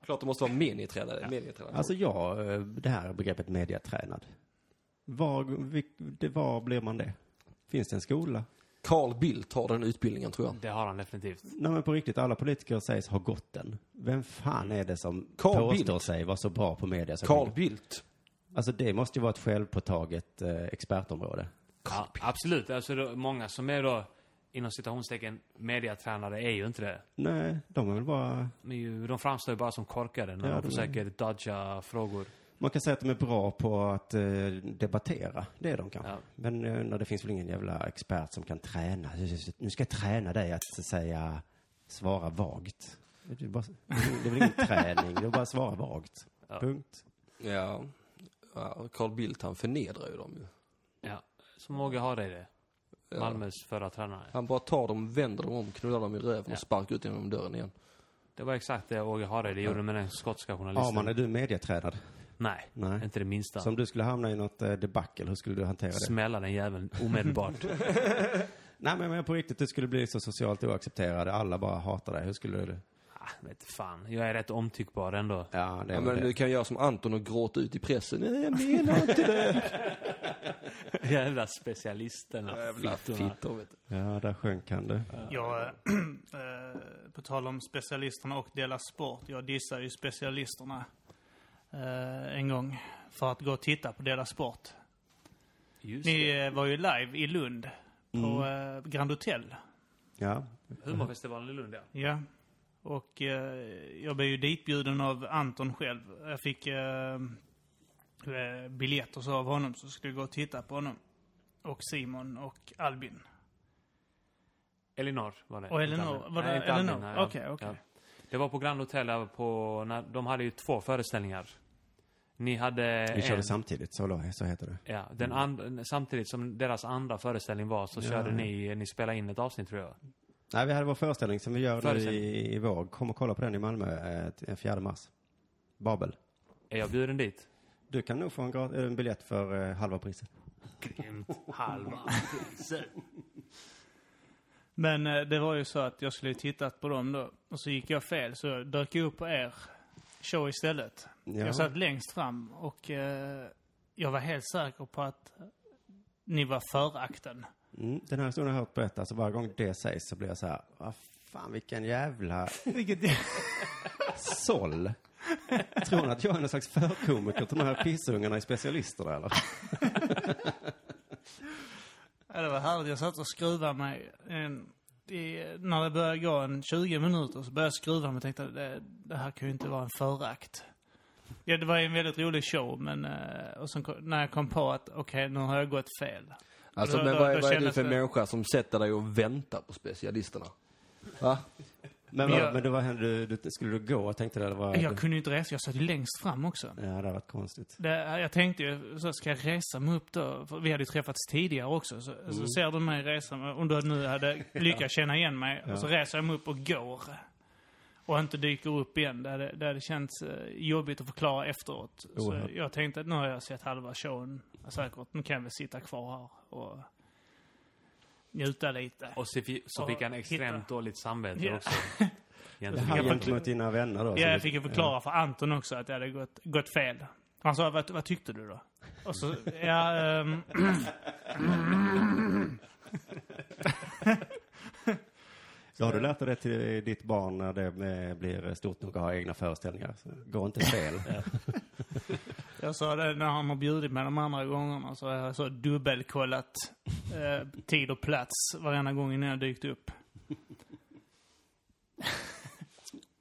Speaker 2: Klart det måste vara medietränade. medietränade.
Speaker 4: Alltså jag, eh, det här begreppet mediatränad. Var, vil- det, var blir man det? Finns det en skola?
Speaker 2: Carl Bildt har den utbildningen tror jag.
Speaker 1: Det har han definitivt.
Speaker 4: Nej men på riktigt, alla politiker sägs ha gått den. Vem fan är det som
Speaker 2: Carl
Speaker 4: påstår
Speaker 2: Bildt.
Speaker 4: sig vara så bra på media? som
Speaker 2: Carl Bildt.
Speaker 4: Alltså det måste ju vara ett självpåtaget eh, expertområde.
Speaker 1: Ja, absolut. Alltså, då, många som är då, inom citationstecken, mediatränare är ju inte det.
Speaker 4: Nej, de är väl bara...
Speaker 1: De, är ju, de framstår ju bara som korkade när de
Speaker 4: Ja, de är-
Speaker 1: försöker dodga frågor.
Speaker 4: Man kan säga att de är bra på att eh, debattera. Det är de kanske.
Speaker 1: Ja.
Speaker 4: Men eh, undrar, det finns väl ingen jävla expert som kan träna. Nu ska jag träna dig att säga svara vagt. Det är, bara, det är väl ingen träning, det är bara att svara vagt.
Speaker 1: Ja.
Speaker 4: Punkt.
Speaker 2: Ja. ja. Carl Bildt han förnedrar ju dem ju.
Speaker 1: Ja. Som vågar ha det i det. Malmös förra tränare.
Speaker 2: Han bara tar dem, vänder dem om, knullar dem i röven
Speaker 1: Ja.
Speaker 2: och sparkar ut genom dörren igen.
Speaker 1: Det var exakt det Åge Hareide gjorde med den skotska journalisten.
Speaker 4: Arman, är du mediatränad?
Speaker 1: Nej,
Speaker 4: Nej.
Speaker 1: inte det minsta.
Speaker 4: Så om du skulle hamna i något eh, debacle, hur skulle du hantera det?
Speaker 1: Smälla den jäveln omedelbart. [laughs]
Speaker 4: Nej, men, men på riktigt, du skulle bli så socialt oaccepterad. Alla bara hatar dig. Hur skulle du...
Speaker 1: ah, vet fan. Jag är rätt omtyckbar
Speaker 4: [laughs]
Speaker 1: ändå.
Speaker 4: Ja, det är
Speaker 2: Ja,
Speaker 4: väl
Speaker 2: men
Speaker 4: det.
Speaker 2: du kan göra som Anton och gråta ut i pressen. Nej, jag menar inte det.
Speaker 1: Jävla specialisterna.
Speaker 2: Jävla
Speaker 1: fittorna.
Speaker 2: fittor vet du.
Speaker 4: Ja, där sjönk han du.
Speaker 3: Jag, [clears throat] eh, eh, på tal om specialisterna och Dela Sport. Jag dissade ju specialisterna eh, en gång för att gå och titta på Dela Sport.
Speaker 1: Just
Speaker 3: Ni
Speaker 1: det. Mm.
Speaker 3: eh, var ju live i Lund på eh, Grand Hotel.
Speaker 4: Ja.
Speaker 1: Humorfestivalen i Lund, ja.
Speaker 3: Ja. Och eh, jag blev ju ditbjuden av Anton själv. Jag fick eh, eh, biljett och så av honom så skulle jag gå och titta på honom. Och Simon och Albin.
Speaker 1: Elinor var det.
Speaker 3: Och Elinor,
Speaker 1: Inte Albin.
Speaker 3: var det
Speaker 1: Nej, inte Albin,
Speaker 3: Elinor?
Speaker 1: nej,
Speaker 3: Okej, okej.
Speaker 1: Det var på Grand Hotel, där på, när, de hade ju två föreställningar. Ni hade
Speaker 4: Vi
Speaker 2: Eh.
Speaker 4: körde
Speaker 1: en,
Speaker 4: samtidigt, så, la- så heter det.
Speaker 1: ja, den
Speaker 2: Mm.
Speaker 1: and, samtidigt som deras andra föreställning var så körde ni, ni spelade in ett avsnitt tror jag.
Speaker 4: Nej, vi hade vår föreställning som vi gör nu
Speaker 1: Föreställning.
Speaker 4: i, i vår. Kom och kolla på den i Malmö eh, t- den 4 mars. Babel.
Speaker 1: Är jag bjuden dit?
Speaker 4: Du kan nog få en, gra- en biljett för eh, halva priset.
Speaker 1: Grymt. Halva priset.
Speaker 3: Men eh, det var ju så att jag skulle tittat på dem då. Och så gick jag fel så jag dök upp på er show istället.
Speaker 4: Ja.
Speaker 3: Jag satt längst fram och eh, jag var helt säker på att ni var förakten.
Speaker 4: Mm, den här historien har jag hört berättas och varje gång det sägs så blir jag så här, vad fan vilken jävla
Speaker 3: Vilket
Speaker 2: [laughs]
Speaker 4: såll. Tror ni att jag är någon slags förkomiker till de här pissungarna i specialisterna eller?
Speaker 3: Ja, det var härligt. Jag satt och skruvade mig. En, i, när det började gå en 20 minuter så började jag skruva mig och tänkte det, det här kan ju inte vara en förakt. Ja, det var ju en väldigt rolig show, men eh, och sen, kom- när jag kom på att okej, nu har jag gått fel.
Speaker 2: Alltså,
Speaker 3: Då-
Speaker 2: men
Speaker 3: då-
Speaker 2: vad är,
Speaker 3: då
Speaker 2: vad är du
Speaker 3: kändes
Speaker 2: för
Speaker 3: det-
Speaker 2: människa som sätter dig och väntar på specialisterna? Va?
Speaker 4: Men,
Speaker 3: Men
Speaker 4: vad,
Speaker 3: jag-
Speaker 4: men det var du, du, skulle du gå? Jag tänkte det var...
Speaker 3: Jag kunde ju inte resa, jag satt ju längst fram också.
Speaker 4: Ja, det hade varit konstigt.
Speaker 3: Det, jag tänkte ju, så ska jag resa mig upp då? För vi hade ju träffats tidigare också. Så, så ser du mig resa mig, om du nu hade lyckats känna igen mig. Och så reser jag mig upp och går. Och inte dyker upp igen. Det hade, det hade känts eh, jobbigt att förklara efteråt. Så
Speaker 4: Oerhört.
Speaker 3: jag tänkte att nu har jag sett halva showen säkert. Nu kan jag väl sitta kvar här och njuta lite.
Speaker 1: Och så, fi- så
Speaker 3: Och
Speaker 1: fick han extremt
Speaker 3: hitta.
Speaker 1: dåligt samvete
Speaker 3: Ja. [laughs]
Speaker 1: också. Gentemot-
Speaker 4: Han gentemot dina vänner då?
Speaker 3: Ja,
Speaker 4: som-
Speaker 3: jag fick ju förklara för Anton också att jag hade gått, gått fel. Han sa, vad, vad tyckte du då? Och så, ja, ehm, [clears throat]
Speaker 4: Så har du lärt dig det till ditt barn när det eh, blir stort nog att ha egna föreställningar. Så Gå inte fel.
Speaker 3: Jag sa det när han har bjudit mig de andra gångerna så har jag så dubbelkollat eh, tid och plats varenda gång innan jag dykt upp.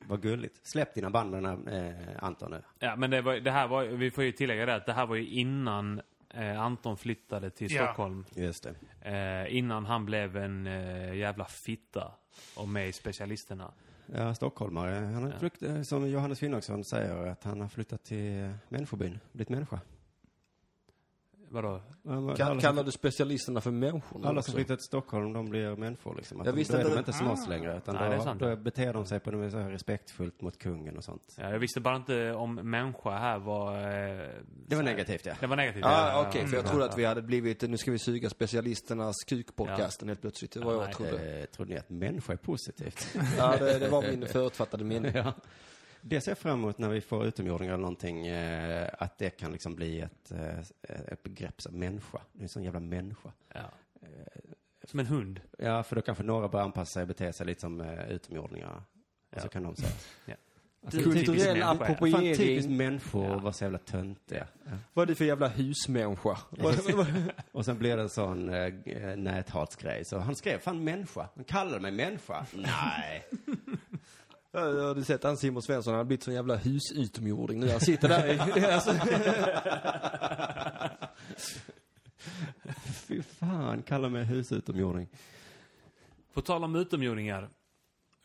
Speaker 4: Vad gulligt. Släpp dina band med den här, eh, Anton nu.
Speaker 1: Ja, men det, var, det här var, vi får ju tillägga det att det här var ju innan Eh, Anton flyttade till
Speaker 3: Ja.
Speaker 1: Stockholm
Speaker 4: Just det.
Speaker 1: eh, innan han blev en eh, jävla fitta och med i specialisterna.
Speaker 4: Ja, stockholmare. Han har flykt, eh, som Johannes Finnångsson säger, att han har flyttat till eh, människobyn, blivit människa.
Speaker 1: Vadå?
Speaker 4: Alla,
Speaker 2: Kall- Kallar
Speaker 4: alla,
Speaker 2: du specialisterna för människorna
Speaker 4: alla
Speaker 2: också?
Speaker 4: som flyttat till Stockholm, de blir människor liksom. Att
Speaker 2: Jag
Speaker 4: de,
Speaker 2: visste
Speaker 4: då är
Speaker 2: inte
Speaker 4: de
Speaker 2: det.
Speaker 4: inte smas längre, utan
Speaker 1: Nej, det är sant.
Speaker 4: då, då beter de sig på det så här respektfullt mot kungen och sånt.
Speaker 1: Ja, jag visste bara inte om människa här var... Eh,
Speaker 4: Det var negativt, ja.
Speaker 1: det Mm. var negativt.
Speaker 2: Ja, Ah, okej, för jag trodde att vi hade blivit, nu ska vi suga specialisternas kukpodcasten helt plötsligt. Det var vad jag
Speaker 1: Nej,
Speaker 2: trodde.
Speaker 4: Eh, tror ni att människa är positivt? [laughs]
Speaker 2: Ja, det, det var min förutfattade mening.
Speaker 4: ja. Det ser jag fram emot när vi får utomjordingar eller någonting, eh, att det kan liksom bli ett, eh, ett begrepp som människa. Det är en sån jävla människa.
Speaker 1: Ja. Eh, Som en hund.
Speaker 4: Ja, för då kanske några börjar anpassa sig och bete sig lite som eh, utomjordingar. Och så kan de säga.
Speaker 1: Du- typisk
Speaker 2: Kulturell
Speaker 1: människa, ja.
Speaker 4: Fan, typiskt
Speaker 2: appropriering.
Speaker 4: människor var så jävla töntiga.
Speaker 2: [laughs] Vad är det för jävla husmänniska?
Speaker 4: Och sen blir det en sån eh, eh, näthatsgrej. Så han skrev fan människa. Han kallade mig [laughs] människa. Nej.
Speaker 2: Jag hade sett han Simon Svensson, han har blivit sån jävla husutomjording nu. Han sitter där i... [laughs] Alltså,
Speaker 4: Fy fan, kallar mig husutomjording.
Speaker 1: På tal om utomjordingar.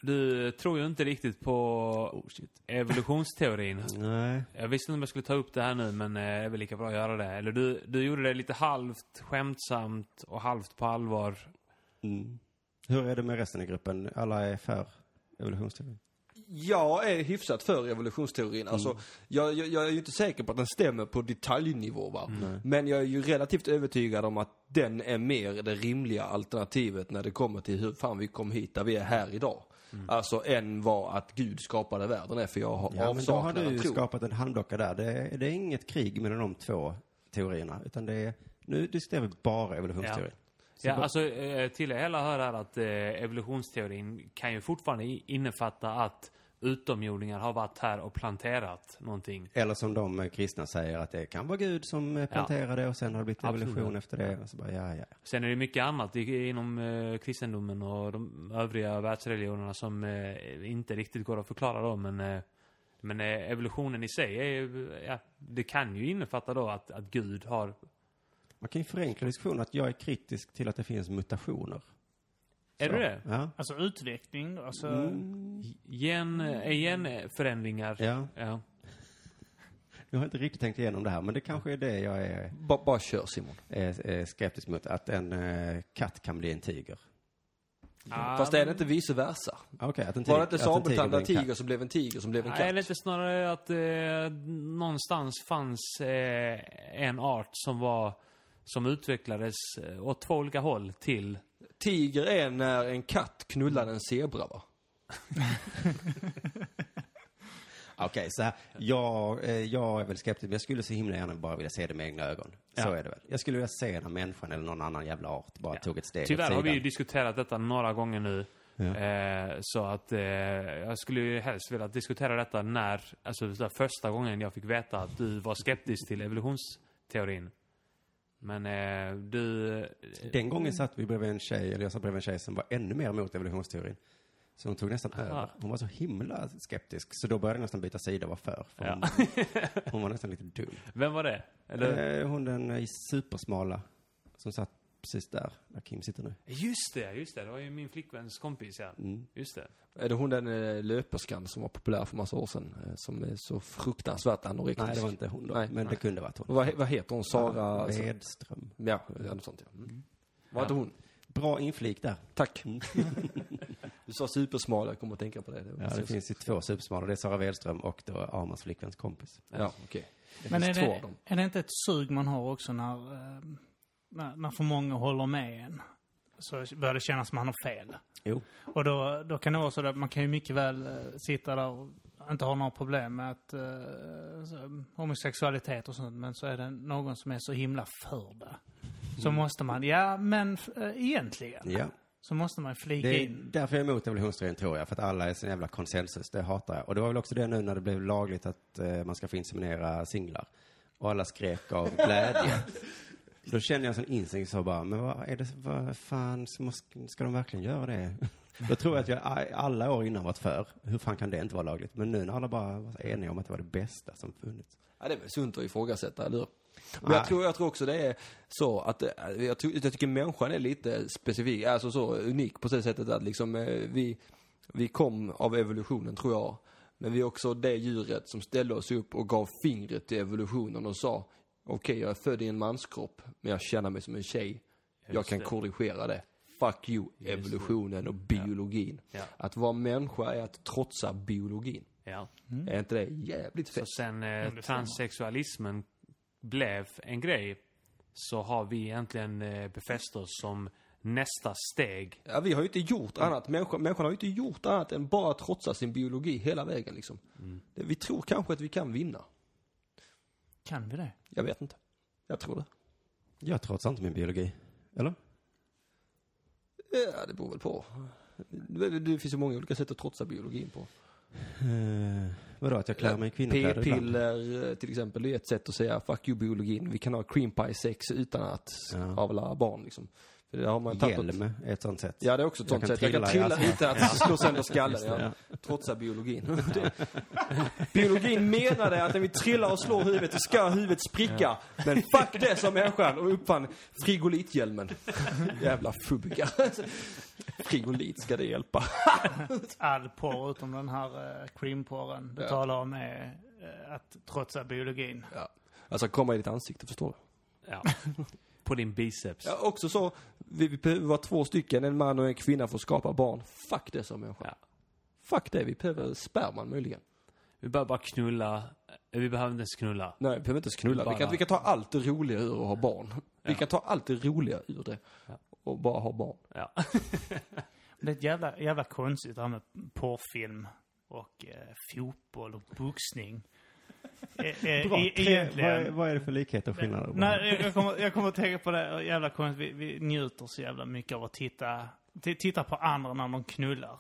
Speaker 1: Du tror ju inte riktigt på evolutionsteorin.
Speaker 4: Nej.
Speaker 1: Jag visste inte om jag skulle ta upp det här nu, men eh, det är väl lika bra att göra det. Eller du, du gjorde det lite halvt skämtsamt och halvt på allvar.
Speaker 4: Mm. Hur är det med resten i gruppen? Alla är för evolutionsteorin?
Speaker 2: jag är hyfsat för evolutionsteorin. Alltså, jag, jag, jag är ju inte säker på att den stämmer på detaljnivå va. Men jag är ju relativt övertygad om att den är mer det rimliga alternativet när det kommer till hur fan vi kom hit där vi är här idag. Alltså än vad att Gud skapade världen är för jag har
Speaker 4: Ja, men då har
Speaker 2: avsaknad
Speaker 4: du
Speaker 2: av
Speaker 4: ju
Speaker 2: tro.
Speaker 4: skapat en halmdocka där. Det är, det är inget krig mellan de två teorierna. Utan det är, nu diskuterar vi bara evolutionsteorin.
Speaker 1: Ja, alltså, eh, till er hela hör här att eh, evolutionsteorin kan ju fortfarande i- innefatta att utomjordingar har varit här och planterat någonting.
Speaker 4: Eller som de eh, kristna säger att det kan vara Gud som eh, planterade och sen har det blivit
Speaker 1: Absolut,
Speaker 4: evolution
Speaker 1: ja.
Speaker 4: efter det. Och så bara, ja, ja.
Speaker 1: Sen är det mycket annat i- inom eh, kristendomen och de övriga världsreligionerna som eh, inte riktigt går att förklara då, men, eh, men eh, evolutionen i sig är ju, ja, det kan ju innefatta då att, att Gud har,
Speaker 4: Man kan ju förenkla diskussionen att jag är kritisk till att det finns mutationer.
Speaker 1: är det det?
Speaker 4: Ja.
Speaker 3: Alltså utveckling då? Alltså,
Speaker 2: Mm,
Speaker 1: Gen, eh, genförändringar.
Speaker 4: ja.
Speaker 1: Ja.
Speaker 4: Jag har inte riktigt tänkt igenom det här, men det kanske är det jag är,
Speaker 2: Ba, bara kör Simon.
Speaker 4: är, är skeptisk mot. Att en eh, katt kan bli en tiger.
Speaker 2: Fast är det inte vice versa?
Speaker 4: Okej, att en tiger,
Speaker 2: Var det inte
Speaker 4: att en
Speaker 2: sabeltandad
Speaker 4: blir en katt.
Speaker 2: tiger som blev en tiger som blev en
Speaker 1: Nej,
Speaker 2: katt?
Speaker 1: Eller inte snarare att eh, någonstans fanns eh, en art som var som utvecklades eh, åt två olika håll till
Speaker 2: Tiger är när en katt knullar en zebra va?
Speaker 4: Okej, så här. Jag, eh, jag är väl skeptisk, men jag skulle så himla gärna bara vilja se det med egna ögon. Så
Speaker 1: Ja.
Speaker 4: är det väl. Jag skulle vilja se när människan eller någon annan jävla art bara tog ett steg
Speaker 1: Tyvärr
Speaker 4: åt
Speaker 1: har vi ju
Speaker 4: sidan.
Speaker 1: diskuterat detta några gånger nu. Eh, så att eh, jag skulle ju helst vilja diskutera detta när, alltså det där första gången jag fick veta att du var skeptisk till evolutionsteorin. Men eh, du,
Speaker 4: Den gången satt vi bredvid en tjej, eller jag satt bredvid en tjej som var ännu mer emot evolutionsteorin. Så hon tog nästan över. Hon var så himla skeptisk, så då började jag nästan byta sida och vara för. för
Speaker 1: Ja. [laughs]
Speaker 4: hon, hon var nästan lite dum.
Speaker 1: vem var det? Eller?
Speaker 4: Eh, Hon den eh, supersmala som satt precis där, där Kim sitter nu.
Speaker 1: Just det, just det. Det var ju min flickväns kompis ja. Just det.
Speaker 2: Är det hon den eh, löperskan som var populär för massa år sedan? eh, Som är så fruktansvärt anorektisk?
Speaker 4: Nej, det var inte hon då,
Speaker 2: Nej,
Speaker 4: men det
Speaker 2: nej.
Speaker 4: kunde varit hon.
Speaker 2: Vad, he- vad heter hon? Sara? alltså-
Speaker 4: Wedström.
Speaker 2: Ja, ja, något sånt ja. Mm. Var inte hon?
Speaker 4: Bra inflik där.
Speaker 2: Tack. [laughs] du sa supersmal, jag kommer att tänka på det. det var
Speaker 4: Mm. Ja, det
Speaker 2: precis-
Speaker 4: finns ju två supersmala. Det är Sara Wedström och då Armans flickväns kompis.
Speaker 2: Ja, okej. Det
Speaker 3: men är
Speaker 2: finns två
Speaker 3: det,
Speaker 2: av dem.
Speaker 3: är det inte ett sug man har också när, eh, när, när för många håller med en? Så börjar det kännas som man har fel.
Speaker 4: Jo.
Speaker 3: Och då, då kan det vara så att man kan ju mycket väl eh, sitta där och inte ha några problem med att eh, så- homosexualitet och sånt, men så är det någon som är så himla för det. Så måste man, ja men eh, egentligen,
Speaker 4: Mm. Ja.
Speaker 3: så måste man flika
Speaker 4: Det är
Speaker 3: in.
Speaker 4: därför jag är emot evolutionsteorin tror jag, för att alla är så jävla konsensus. Det hatar jag. Och det var väl också det nu när det blev lagligt att eh, man ska få inseminera singlar. Och alla skrek [laughs] av glädje. Då kände jag en sån instinkt så bara, men vad är det, vad fan, så måste, ska de verkligen göra det? [laughs] Då tror jag att jag a- alla år innan varit för, hur fan kan det inte vara lagligt? Men nu när alla bara var eniga om att det var det bästa som funnits.
Speaker 2: Ja, det är väl sunt att ifrågasätta, eller hur? Men
Speaker 4: Nej.
Speaker 2: jag tror, jag tror också det är så att, eh, jag, tror, jag tycker människan är lite specifik, alltså så unik på det sättet att liksom eh, vi, vi kom av evolutionen tror jag. Men vi är också det djuret som ställde oss upp och gav fingret till evolutionen och sa okej jag är född i en manskropp men jag känner mig som en tjej. jag
Speaker 1: Just
Speaker 2: kan
Speaker 1: det.
Speaker 2: korrigera det. Fuck you evolutionen och biologin.
Speaker 1: Ja.
Speaker 2: Att vara människa är att trotsa biologin.
Speaker 1: Ja.
Speaker 2: Är inte det jävligt
Speaker 1: Så
Speaker 2: fett?
Speaker 1: sen eh, transsexualismen blev en grej så har vi egentligen eh, befäst oss som nästa steg.
Speaker 2: Ja, vi har ju inte gjort annat. Människan, människan har ju inte gjort annat än bara trotsa sin biologi hela vägen liksom. Det- Vi tror kanske att vi kan vinna.
Speaker 3: Kan vi det?
Speaker 2: Jag vet inte. Jag tror det.
Speaker 4: Jag trotsar inte min biologi. Eller?
Speaker 2: Ja, det beror väl på. Det, det finns ju många olika sätt att trotsa biologin på.
Speaker 4: Eh, vadå, att jag klär mig i kvinnokläder ibland?
Speaker 2: P-piller eh, till exempel, det är ett sätt att säga fuck you biologin. Vi kan ha cream pie sex utan att
Speaker 4: Ja.
Speaker 2: avla barn liksom. För det har man tagit åt-
Speaker 4: Hjälm är ett sånt sätt.
Speaker 2: Ja, det är också ett
Speaker 4: Jag
Speaker 2: sånt
Speaker 4: kan
Speaker 2: sätt. Jag kan
Speaker 4: trilla i
Speaker 2: trilla utan att slå sönder skallen.
Speaker 4: det,
Speaker 2: Ja. Trotsa biologin. [laughs] Det- biologin menade att när vi trillar och slår huvudet så ska huvudet spricka. Men fuck det som människan och uppfann
Speaker 4: [laughs]
Speaker 2: frigolithjälmen. Jävla fubbiga. [laughs] Frigolit ska det hjälpa.
Speaker 3: All porr utom den här eh, creamporren du
Speaker 2: Ja.
Speaker 3: talar om är eh, att trotsa biologin.
Speaker 2: Ja. Alltså komma i ditt ansikte, förstår du? [laughs]
Speaker 1: Ja. På din biceps.
Speaker 2: Ja, också så, vi, vi behöver vara två stycken, en man och en kvinna för att skapa barn. Fuck det som människa.
Speaker 1: Ja.
Speaker 2: Fuck det, vi behöver sperman möjligen.
Speaker 1: Vi behöver bara knulla. Eh, Vi behöver inte ens knulla.
Speaker 2: Nej, vi behöver inte ens knulla. Vi kan,
Speaker 1: Bara-
Speaker 2: vi kan ta allt det roliga ur att ha barn. Vi kan ta allt det roliga ur det. Och bara ha barn.
Speaker 1: Ja.
Speaker 3: Det är ett jävla, jävla konstigt det här med porrfilm och eh, fotboll och
Speaker 4: [laughs]
Speaker 3: boxning. Eh, eh,
Speaker 4: Bra.
Speaker 3: e-
Speaker 4: Tre- vad, är,
Speaker 3: egentligen.
Speaker 4: vad är det för likheter och skillnader?
Speaker 3: Nej, jag- jag kommer, jag kommer att tänka på det. Jävla konstigt. Vi, vi njuter så jävla mycket av att titta, t- titta på andra när de knullar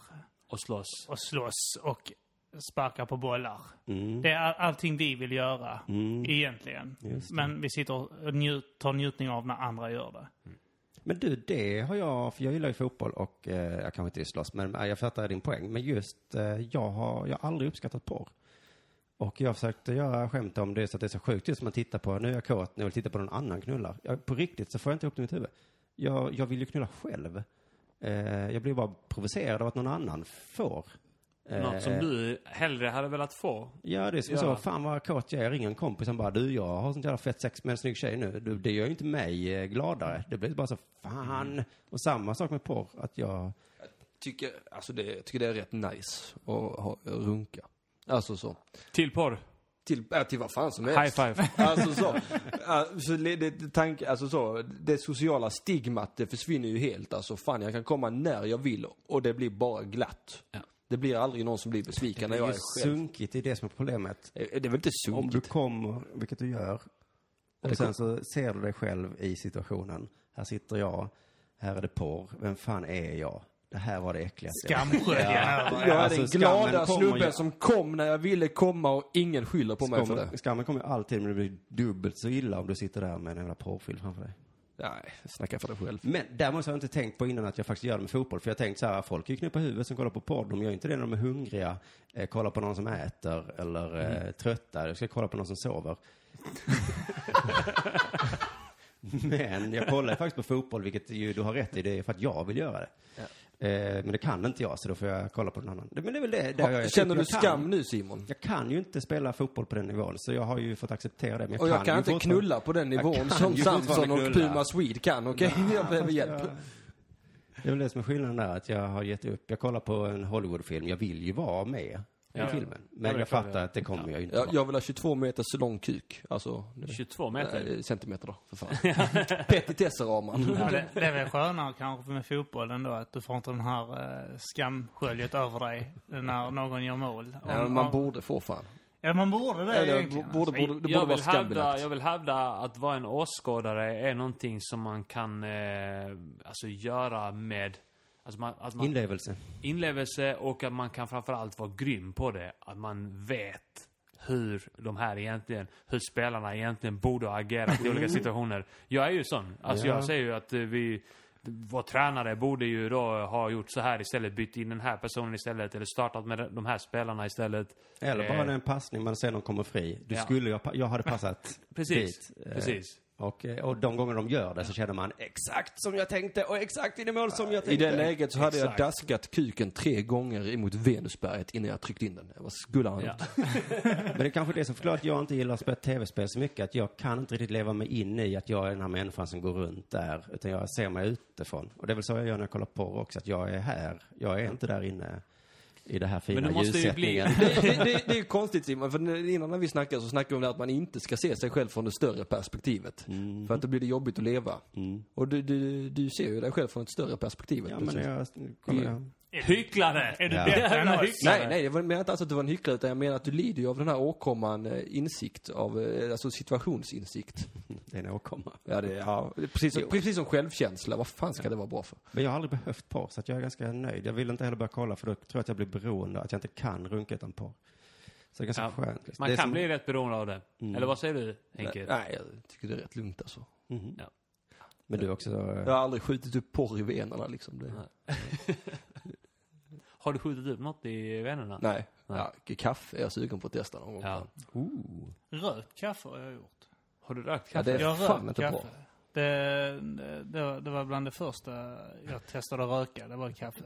Speaker 1: Och slåss.
Speaker 3: och slåss och sparkar på bollar.
Speaker 4: Mm.
Speaker 3: Det är all, allting vi vill göra
Speaker 4: Mm.
Speaker 3: egentligen.
Speaker 4: Just det.
Speaker 3: Men vi sitter och njut, tar njutning av när andra gör det.
Speaker 4: Men du, det har jag, för jag gillar ju fotboll och eh, jag kanske inte slåss, men eh, jag fattar din poäng. Men just, eh, jag har, jag har aldrig uppskattat porr. Och jag försökte göra skämt om det så att det är så sjukt just som man tittar på, nu är jag kåt, nu vill jag titta på någon annan knullar. Jag, på riktigt så får jag inte ihop det i mitt huvud. Jag, jag vill ju knulla själv. Eh, jag blir bara provocerad av att någon annan får. Eh,
Speaker 1: Något som du hellre hade velat få.
Speaker 4: Ja, det är som
Speaker 1: Ja.
Speaker 4: så. Fan vad kåt jag är. Jag ringer en kompis som bara, du jag har sånt jävla fett sex med en snygg tjej nu. Du, det gör ju inte mig eh, gladare. Det blir bara så,
Speaker 2: Mm.
Speaker 4: fan. Och samma sak med porr. Att jag,
Speaker 2: Tycker, alltså det, jag tycker det är rätt nice att ha, runka. Alltså så.
Speaker 1: Till porr.
Speaker 2: Till, äh, till vad fan som helst.
Speaker 1: High
Speaker 2: [laughs]
Speaker 1: five.
Speaker 2: Alltså så. Alltså, det, det, tank, alltså så. Det sociala stigmat, det försvinner ju helt. Alltså fan, jag kan komma när jag vill och det blir bara glatt.
Speaker 1: Ja.
Speaker 2: Det blir aldrig någon som blir besviken
Speaker 4: det
Speaker 2: när jag
Speaker 4: är
Speaker 2: är
Speaker 4: ju
Speaker 2: själv.
Speaker 4: sunkigt, det är det som är problemet.
Speaker 2: Eh, Det är väl inte
Speaker 4: Om du
Speaker 2: sunkigt?
Speaker 4: kommer, vilket du gör,
Speaker 2: det
Speaker 4: och sen så ser du dig själv i situationen. Här sitter jag, här är det porr. Vem fan är jag? Det här var det äckligaste.
Speaker 3: Skamskölja
Speaker 2: Jag är
Speaker 4: Alltså,
Speaker 2: den
Speaker 4: skammen
Speaker 2: glada
Speaker 4: kommer
Speaker 2: snubben
Speaker 4: ju-
Speaker 2: som kom när jag ville komma och ingen skyller på mig för det.
Speaker 4: Skammen, skammen kommer ju alltid, men det blir dubbelt så illa om du sitter där med en jävla porrfilm framför dig.
Speaker 2: Nej, snacka för dig själv.
Speaker 4: Men däremot så har jag inte tänkt på innan att jag faktiskt gör det med fotboll. För jag har tänkt så här, folk är ju knäppa huvudet som kollar på podd. De gör inte det när de är hungriga, eh, kollar på någon som äter eller
Speaker 2: Mm.
Speaker 4: eh, trötta. Jag ska kolla på någon
Speaker 2: [laughs]
Speaker 4: som sover. men jag kollar ju faktiskt på fotboll, vilket ju du har rätt i. Det är för att jag vill göra det. Eh, men det kan inte jag, så då får jag kolla på någon annan. Men det är väl det, det har jag,
Speaker 2: Känner du
Speaker 4: jag
Speaker 2: skam
Speaker 4: kan-
Speaker 2: nu Simon?
Speaker 4: Jag kan ju inte spela fotboll på den nivån, så jag har ju fått acceptera det. Men jag
Speaker 2: Och jag
Speaker 4: ju
Speaker 2: kan inte
Speaker 4: fortfarande-
Speaker 2: knulla på den
Speaker 4: Jag
Speaker 2: nivån
Speaker 4: kan
Speaker 2: som
Speaker 4: ju
Speaker 2: Samson
Speaker 4: fortfarande
Speaker 2: och
Speaker 4: knulla.
Speaker 2: Puma Swede kan, okej? Jag behöver hjälp.
Speaker 4: Det är väl det som är skillnaden där, att jag har gett upp. Jag kollar på en Hollywoodfilm, jag vill ju vara med
Speaker 1: Ja.
Speaker 4: i filmen.
Speaker 1: Ja, det
Speaker 4: Men jag
Speaker 1: kan
Speaker 4: fattar att det kommer jag ju inte
Speaker 2: Jag,
Speaker 4: vara.
Speaker 2: jag vill ha 22 meter så lång kuk. Alltså, det-
Speaker 1: 22 meter.
Speaker 2: nej, centimeter då, för fan. Petitesser har man.
Speaker 3: Det, det är väl skönare kanske med fotbollen då, att du får inte den här eh, skamsköljet över dig när någon gör mål. Om-
Speaker 2: Ja, men
Speaker 3: om-
Speaker 2: man borde få fan.
Speaker 3: ja, man borde det
Speaker 2: Eller,
Speaker 3: egentligen.
Speaker 2: borde, borde, det
Speaker 3: alltså.
Speaker 2: borde
Speaker 1: jag,
Speaker 2: vara
Speaker 1: vill hävda,
Speaker 2: skambelagt.
Speaker 1: jag vill hävda att vara en åskådare är någonting som man kan eh, alltså göra med alltså man, alltså man,
Speaker 4: Inlevelse.
Speaker 1: inlevelse och att man kan framförallt vara grym på det. Att man vet hur de här egentligen, hur spelarna egentligen borde ha agerat i olika situationer. Jag är ju sån. Alltså
Speaker 4: Mm. Ja.
Speaker 1: jag säger ju att eh, vi, vår tränare borde ju då ha gjort så här istället, bytt in den här personen istället eller startat med de här spelarna istället.
Speaker 4: Eller
Speaker 1: Eh,
Speaker 4: bara en passning man ser någon kommer fri. Du
Speaker 1: Ja.
Speaker 4: skulle, jag, jag
Speaker 1: [laughs]
Speaker 4: hade passat
Speaker 1: Precis,
Speaker 4: dit. Eh,
Speaker 1: precis.
Speaker 4: Och, eh, och de gånger de gör det så känner man eh, exakt som jag tänkte och exakt in i mål som jag
Speaker 2: I
Speaker 4: tänkte.
Speaker 2: det läget så hade
Speaker 1: Exakt.
Speaker 2: jag daskat kuken tre gånger emot Venusberget innan jag tryckte in den. Vad skulle han ha
Speaker 1: Ja.
Speaker 2: gjort?
Speaker 4: Men det är kanske det som förklarar att jag inte gillar att spela tv-spel så mycket. Att jag kan inte riktigt leva mig in i att jag är den här människan som går runt där. Utan jag ser mig utifrån. Och det är väl så jag gör när jag kollar på också. Att jag är här. Jag är inte där inne i det här
Speaker 1: Men
Speaker 4: fina
Speaker 1: det måste ju bli- [laughs]
Speaker 4: ljussättningen.
Speaker 2: [laughs] det, det, det, det är ju konstigt Simon, för när- innan när vi snackade så snackade vi om det att man inte ska se sig själv från det större perspektivet.
Speaker 4: Mm.
Speaker 2: För att då blir det jobbigt att leva. Och du, du, du ser ju dig själv från ett större perspektiv.
Speaker 4: Ja, men
Speaker 2: precis.
Speaker 4: jag, kolla,
Speaker 1: Hycklare!
Speaker 3: Är du
Speaker 4: Ja.
Speaker 3: bättre än
Speaker 1: Jävla
Speaker 3: oss?
Speaker 1: hycklare.
Speaker 2: Nej, nej, jag menar inte alls att du var en hycklare utan jag menar att du lider ju av den här åkomman eh, insikt av, eh, alltså situationsinsikt.
Speaker 4: det är en åkomma.
Speaker 2: Ja, det, ja. Precis, som, precis som självkänsla, vad fan ska det vara bra för?
Speaker 4: Men jag har aldrig behövt porr, så att jag är ganska nöjd. Jag vill inte heller börja kolla, för då tror jag att jag blir beroende, att jag inte kan runka utan porr. Så det är ganska
Speaker 1: Ja,
Speaker 4: skönt. liksom.
Speaker 1: Man
Speaker 4: det är
Speaker 1: kan
Speaker 4: som- Mm.
Speaker 1: bli rätt beroende av det. Eller vad säger du, Henke?
Speaker 2: Nej, nej, jag tycker det är rätt lugnt alltså.
Speaker 4: Mhm. Men du också... eh,
Speaker 2: Jag har aldrig skjutit upp porr i venerna liksom. Det, nej.
Speaker 1: Har du skjutit upp något i vännerna?
Speaker 2: Ja, kaffe är jag sugen på att testa någon gång.
Speaker 1: Ja.
Speaker 3: Alltså, Rökt kaffe har jag gjort.
Speaker 1: Har du rökt
Speaker 2: Ja,
Speaker 1: kaffe?
Speaker 2: det är
Speaker 3: Jag har
Speaker 2: fan
Speaker 3: rökt
Speaker 2: inte bra.
Speaker 3: kaffe. Det, det, var- det var bland det första jag testade att röka, det var kaffe.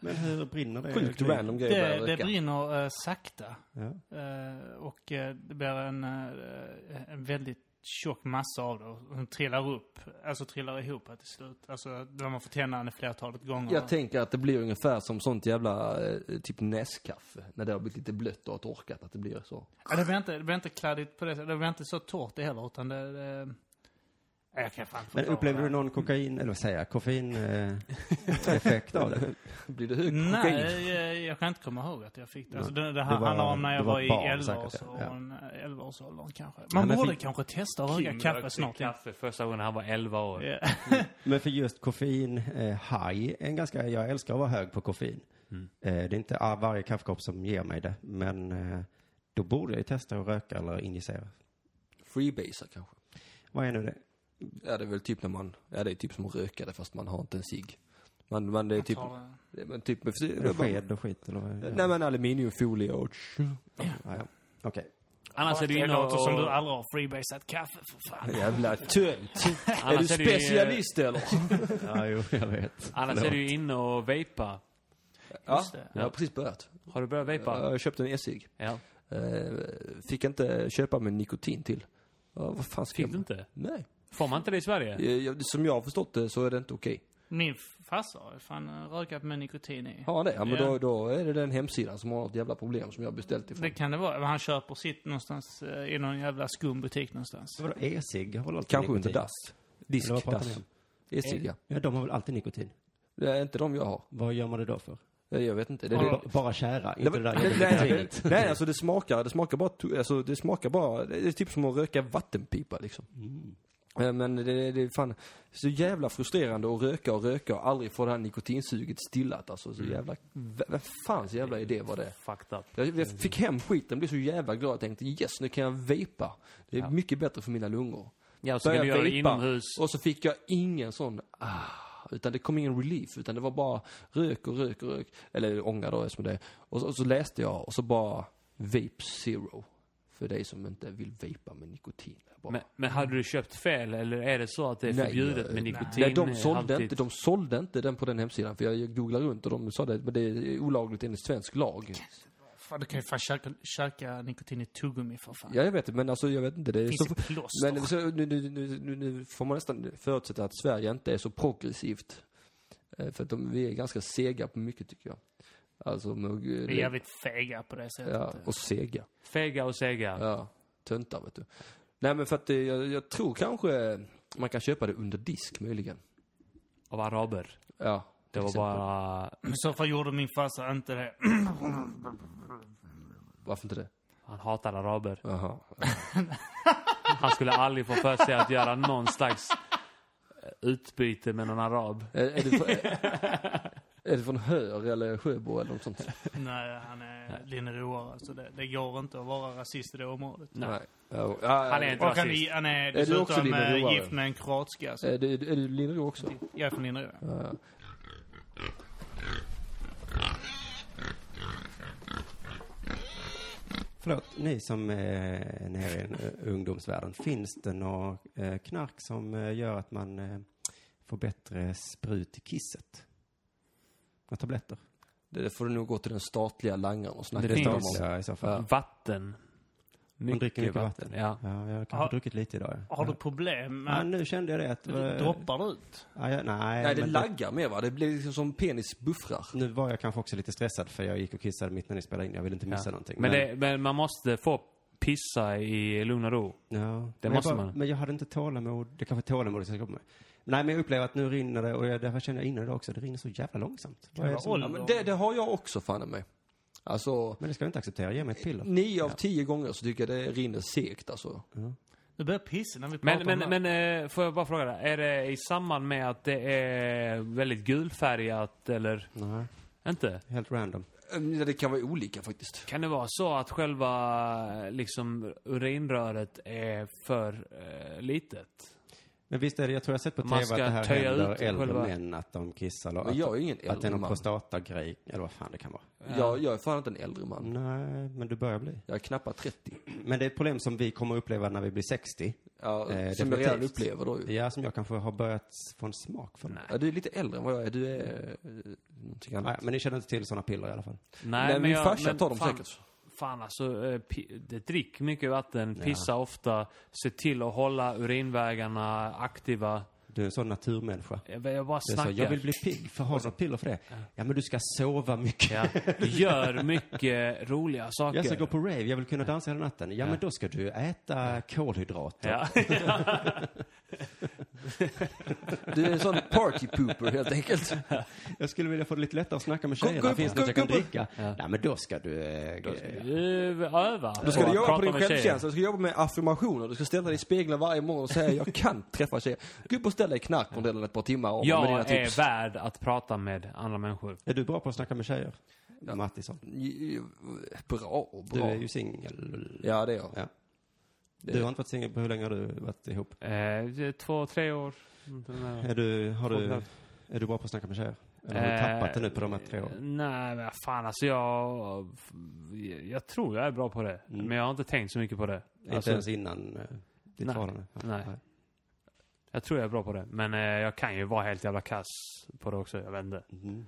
Speaker 4: Men hur brinner det?
Speaker 2: Sjukt
Speaker 4: Kring-
Speaker 2: random grej att
Speaker 3: Det,
Speaker 2: börja
Speaker 3: det
Speaker 2: röka.
Speaker 3: brinner eh, sakta.
Speaker 4: Ja.
Speaker 3: Eh, och eh, det blir en, eh, en väldigt tjock massa av det. Och den trillar upp, alltså trillar ihop här till slut. Alltså där man får tända den flertalet gånger.
Speaker 2: Jag tänker att det blir ungefär som sånt jävla eh, typ näskaffe. När det har blivit lite blött och har torkat, att det blir så. [laughs]
Speaker 3: Ja, det, blir inte, det blir inte kladdigt på det sättet. Det blir inte så torrt det heller, utan det... det Ja, jag kan fan inte
Speaker 4: Men
Speaker 3: förklara
Speaker 4: upplever du
Speaker 3: det.
Speaker 4: någon kokain, eller vad säger jag, koffein-effekt av det?
Speaker 2: Blir det hög kokain?
Speaker 3: Nej, jag, jag kan inte komma ihåg att jag fick det. Alltså, det, det här
Speaker 4: Du var-
Speaker 3: handlar om när
Speaker 4: du
Speaker 3: jag
Speaker 4: var
Speaker 3: var i
Speaker 4: barn
Speaker 3: 11
Speaker 4: säkert, ja.
Speaker 3: ja. 11-årsåldern kanske.
Speaker 4: men
Speaker 3: Man
Speaker 4: jag
Speaker 3: borde
Speaker 4: fick-
Speaker 3: kanske testa att
Speaker 1: Kim
Speaker 3: röka kaffe
Speaker 1: rökte
Speaker 3: snart. igen.
Speaker 1: kaffe första gången han var 11 år.
Speaker 3: Ja.
Speaker 4: Men för just koffein, eh, high, är en ganska, jag älskar att vara hög på koffein. Eh, det är inte ah, varje kaffekopp som ger mig det, men eh, då borde jag ju testa att röka eller injicera.
Speaker 2: Freebasar kanske.
Speaker 4: Vad är nu det?
Speaker 2: Ja, det är väl typ när man, ja det är typ som att röka det fast man har inte en cigg. Man, man, det är typ,
Speaker 3: tar det.
Speaker 2: det är- men typ,
Speaker 4: Är det sked och skit eller vad? är det?
Speaker 2: nej men aluminiumfolie och [laughs]
Speaker 4: Ja, ja. Okej.
Speaker 1: Annars är du
Speaker 3: Det
Speaker 1: inne och...
Speaker 3: låter som du aldrig har freebasat kaffe, för fan.
Speaker 2: jävla tönt. är du
Speaker 1: Annars är det ju-
Speaker 2: specialist eller?
Speaker 4: Ja, jo, jag vet.
Speaker 1: Annars är du ju inne och vejpa.
Speaker 2: Ja,
Speaker 3: Just det.
Speaker 2: jag har precis börjat.
Speaker 1: Har du börjat vejpa?
Speaker 2: Jag köpte en e-cigg.
Speaker 1: Ja.
Speaker 2: Eh, Fick inte köpa med nikotin till. Ja, vad fan ska
Speaker 1: Fick
Speaker 2: jag-
Speaker 1: du inte?
Speaker 2: Nej.
Speaker 1: Får man inte det i Sverige?
Speaker 2: Eh, jag- Som jag har förstått det så är det inte okej.
Speaker 3: Min farsa har ju fan eh, rökat med nikotin i.
Speaker 2: Har han det? Ja, men
Speaker 3: Ja.
Speaker 2: Då, då är det den hemsidan som har något jävla problem som jag har beställt ifrån.
Speaker 3: Det kan det vara. Men Han köper sitt någonstans eh, i någon jävla skum butik någonstans.
Speaker 4: Vadå, e-cigg har väl alltid
Speaker 2: Kanske
Speaker 4: nikotin?
Speaker 2: inte dass.
Speaker 4: Eller vad pratar ni
Speaker 2: Diskdass.
Speaker 4: om?
Speaker 2: E-cigga.
Speaker 4: Ja, de har väl alltid nikotin?
Speaker 2: Det är inte de jag har.
Speaker 4: Vad gör man det då för?
Speaker 2: Eh, Jag vet inte. Det,
Speaker 3: Har
Speaker 2: det,
Speaker 3: du-
Speaker 4: Ba- bara kära,
Speaker 2: Nej,
Speaker 4: inte det
Speaker 2: men-
Speaker 4: där
Speaker 2: nej,
Speaker 4: jobbiga
Speaker 2: nej, nej,
Speaker 4: nikotinet.
Speaker 2: nej, alltså det smakar, det smakar bara, to- alltså det smakar bara, det är typ som att röka vattenpipa liksom. Eh, Men det, det är fan så jävla frustrerande att röka och röka och aldrig få det här nikotinsuget stillat alltså. Så jävla, v- vem fan så jävla idé var det?
Speaker 1: Fucked up.
Speaker 2: Jag, jag fick hem skiten, blev så jävla glad. Jag tänkte yes, nu kan jag vejpa. Det är mycket bättre för mina lungor.
Speaker 1: Ja, och så kan
Speaker 2: Började
Speaker 1: du göra det
Speaker 2: vejpa,
Speaker 1: inomhus.
Speaker 2: Och så fick jag ingen sån, ah, utan det kom ingen relief, utan det var bara rök och rök och rök. Eller ånga då eftersom det är. och så, och så läste jag och så bara vape zero. För dig som inte vill vapa med nikotin. Jag Bara,
Speaker 1: Men, men hade du köpt fel eller är det så att det är
Speaker 2: Nej,
Speaker 1: förbjudet
Speaker 2: jag-
Speaker 1: med
Speaker 2: nej.
Speaker 1: nikotin?
Speaker 2: Nej, de sålde,
Speaker 1: alltid?
Speaker 2: inte, de sålde inte den på den hemsidan. För jag googlade runt och de sa det, men det är olagligt enligt svensk lag.
Speaker 3: Fan, du kan ju fan käka, käka nikotin i tuggummi för fan.
Speaker 2: Ja, jag vet det, men alltså jag vet inte. Det är
Speaker 3: Det finns
Speaker 2: så,
Speaker 3: i plåster.
Speaker 2: Men så, nu, nu, nu, nu, nu får man nästan förutsätta att Sverige inte är så progressivt. Eh, För att de, vi är ganska sega på mycket tycker jag. Alltså, med,
Speaker 3: Vi är jävligt fega på det sättet.
Speaker 2: ja, och sega.
Speaker 1: Fega och sega.
Speaker 2: Ja, töntar vet du. Nej men för att eh, jag, jag tror kanske man kan köpa det under disk möjligen.
Speaker 1: Av araber.
Speaker 2: Ja.
Speaker 1: Det var
Speaker 2: till exempel.
Speaker 1: bara...
Speaker 3: Men I så fall gjorde min farsa inte det.
Speaker 2: Varför inte det?
Speaker 1: Han hatar araber.
Speaker 2: Jaha.
Speaker 1: Han skulle aldrig få för sig att göra någon slags eh, utbyte med någon arab.
Speaker 2: Är, är, du, är, Är det från Höör eller Sjöbo eller
Speaker 1: [laughs]
Speaker 2: något sånt?
Speaker 3: [laughs] Nej, han är linneroare. Så det, det går inte att vara rasist i det området.
Speaker 1: Nej.
Speaker 2: Ja, ja,
Speaker 1: Han är inte
Speaker 3: Och han,
Speaker 1: rasist.
Speaker 3: är- han är
Speaker 2: du också
Speaker 3: dessutom eh,
Speaker 2: linneroare?
Speaker 3: gift med en kroatska. Så
Speaker 2: Är du, eh, är du Linnero också?
Speaker 3: jag är från Linnerö.
Speaker 2: Ja.
Speaker 4: Förlåt, ni som är nere i eh, ungdomsvärlden, finns det något eh, knark som eh, gör att man eh, får bättre sprut i kisset? Några tabletter?
Speaker 2: Det får du nog gå till den statliga langaren och
Speaker 1: Det
Speaker 2: snacka med
Speaker 1: finns.
Speaker 2: dem
Speaker 1: Tabletter.
Speaker 4: Ja, i så fall.
Speaker 1: Vatten.
Speaker 4: Man dricker mycket vatten.
Speaker 1: Ja.
Speaker 4: Ja, jag har
Speaker 3: Har-
Speaker 4: druckit lite idag. ja.
Speaker 3: Har du
Speaker 4: Ja.
Speaker 3: problem
Speaker 4: Ja,
Speaker 3: med
Speaker 4: nu kände jag det att... eh,
Speaker 3: att
Speaker 2: eh,
Speaker 3: det droppar det ut?
Speaker 4: Ja, jag, nej,
Speaker 2: Nej, det
Speaker 4: men
Speaker 2: laggar mer va? Det blir liksom som penis buffrar.
Speaker 4: Nu var jag kanske också lite stressad för jag gick och kissade mitt när ni spelade in. Jag ville inte missa någonting.
Speaker 1: Men, det, men man måste få pissa i lugn och ro.
Speaker 4: Ja,
Speaker 1: Det
Speaker 4: men
Speaker 1: måste
Speaker 4: jag
Speaker 1: man.
Speaker 4: Men jag hade inte tålamod. Det kanske är tålamod som kommer. med. Nej, men jag upplever att nu rinner det och jag, därför känner jag innan idag också. Det rinner så jävla långsamt. Vad är det
Speaker 3: Jävla
Speaker 4: som,
Speaker 2: Ja,
Speaker 3: ålder.
Speaker 2: men det, det har jag också fan i mig. Alltså,
Speaker 4: men det ska jag inte acceptera. Ge mig ett piller.
Speaker 1: Mm.
Speaker 2: nio av tio gånger så tycker jag det rinner segt alltså.
Speaker 4: Mm.
Speaker 3: Du börjar pissa när vi pratar
Speaker 1: Men, men,
Speaker 3: om det.
Speaker 1: men eh, får jag bara fråga dig. Är det i samband med att det är väldigt gulfärgat eller?
Speaker 4: Nej,
Speaker 1: Inte?
Speaker 4: helt random.
Speaker 2: Mm, Det kan vara olika faktiskt.
Speaker 1: Kan det vara så att själva eh, liksom, urinröret är för eh, litet?
Speaker 4: Men visst är det, jag tror jag har sett på
Speaker 1: Man
Speaker 4: tv att
Speaker 1: ska
Speaker 4: det här
Speaker 1: töja
Speaker 4: händer
Speaker 1: ut
Speaker 4: äldre
Speaker 1: själva-
Speaker 4: män att de kissar. eller
Speaker 2: Men
Speaker 4: Att,
Speaker 2: jag är ju ingen
Speaker 4: att det är
Speaker 2: äldre
Speaker 4: någon
Speaker 2: man.
Speaker 4: prostatagrej, eller vad fan det kan vara.
Speaker 2: Jag, jag är fan inte en äldre
Speaker 4: Mm.
Speaker 2: man.
Speaker 4: Nej, men du börjar bli.
Speaker 2: Jag är knappt 30.
Speaker 4: Men det är ett problem som vi kommer uppleva när vi blir 60.
Speaker 2: Ja,
Speaker 4: Eh,
Speaker 2: som jag
Speaker 4: definitivt.
Speaker 2: redan upplever då ju.
Speaker 4: Ja, som jag kanske har börjat få en smak för.
Speaker 2: Ja, du är lite äldre än vad jag är. Du är eh, någonting annat.
Speaker 4: Ah, ja, men ni känner inte till sådana piller i alla fall?
Speaker 1: Nej,
Speaker 2: men min
Speaker 1: jag-
Speaker 2: farsa tar dem
Speaker 1: fan,
Speaker 2: säkert.
Speaker 1: Fan alltså, eh, pi- det drick mycket vatten, pissa ofta, se till att hålla urinvägarna aktiva.
Speaker 4: Du är en sån naturmänniska.
Speaker 1: Jag, jag bara
Speaker 4: Det är så,
Speaker 1: snackar.
Speaker 4: jag vill bli pigg, för har du något piller för det? Ja, men du ska sova mycket.
Speaker 1: ja. Gör mycket roliga saker.
Speaker 4: Jag ska gå på rave, jag vill kunna dansa hela natten. Ja, men då ska du äta kolhydrater.
Speaker 1: Ja.
Speaker 4: [laughs]
Speaker 2: Du är en sån party pooper helt enkelt.
Speaker 4: Jag skulle vilja få det lite lättare att snacka med tjejerna.
Speaker 2: gå upp,
Speaker 4: Finns det något
Speaker 2: gå
Speaker 4: jag kan
Speaker 2: upp, gå upp.
Speaker 4: dricka? Nej, men då ska du... eh, eh,
Speaker 1: Eh, Öva.
Speaker 2: Du ska
Speaker 1: Och
Speaker 2: du jobba
Speaker 1: prata
Speaker 2: på din
Speaker 1: med tjejer.
Speaker 2: självkänsla, du ska jobba med affirmationer, du ska ställa dig i spegeln varje morgon och säga jag kan träffa tjejer. Gå upp och ställ dig i knarkmodellen ett par timmar om med dina
Speaker 1: Jag är
Speaker 2: tips.
Speaker 1: värd att prata med andra människor.
Speaker 4: Är du bra på att snacka med tjejer? Mattisson.
Speaker 2: Bra,
Speaker 4: Du
Speaker 2: bra.
Speaker 4: är ju singel.
Speaker 2: Ja det är jag.
Speaker 4: Ja. Du har inte varit singel på hur länge har du varit ihop?
Speaker 1: Eh, två, tre år.
Speaker 4: Är du, har
Speaker 1: Två och ett
Speaker 4: du,
Speaker 1: halvt.
Speaker 4: är du bra på att snacka med tjejer? Eller har du
Speaker 1: Eh,
Speaker 4: tappat det nu på de här tre åren?
Speaker 1: Nej, men fan alltså jag... Jag tror jag är bra på det. Men jag har inte tänkt så mycket på det.
Speaker 4: Mm. inte
Speaker 1: Alltså,
Speaker 4: ens innan eh, ditt
Speaker 1: Nej.
Speaker 4: förhållande? Ja,
Speaker 1: Nej. jag tror jag är bra på det. Men eh, jag kan ju vara helt jävla kass på det också. Jag vet inte.
Speaker 2: Mm-hmm.
Speaker 4: Mhm.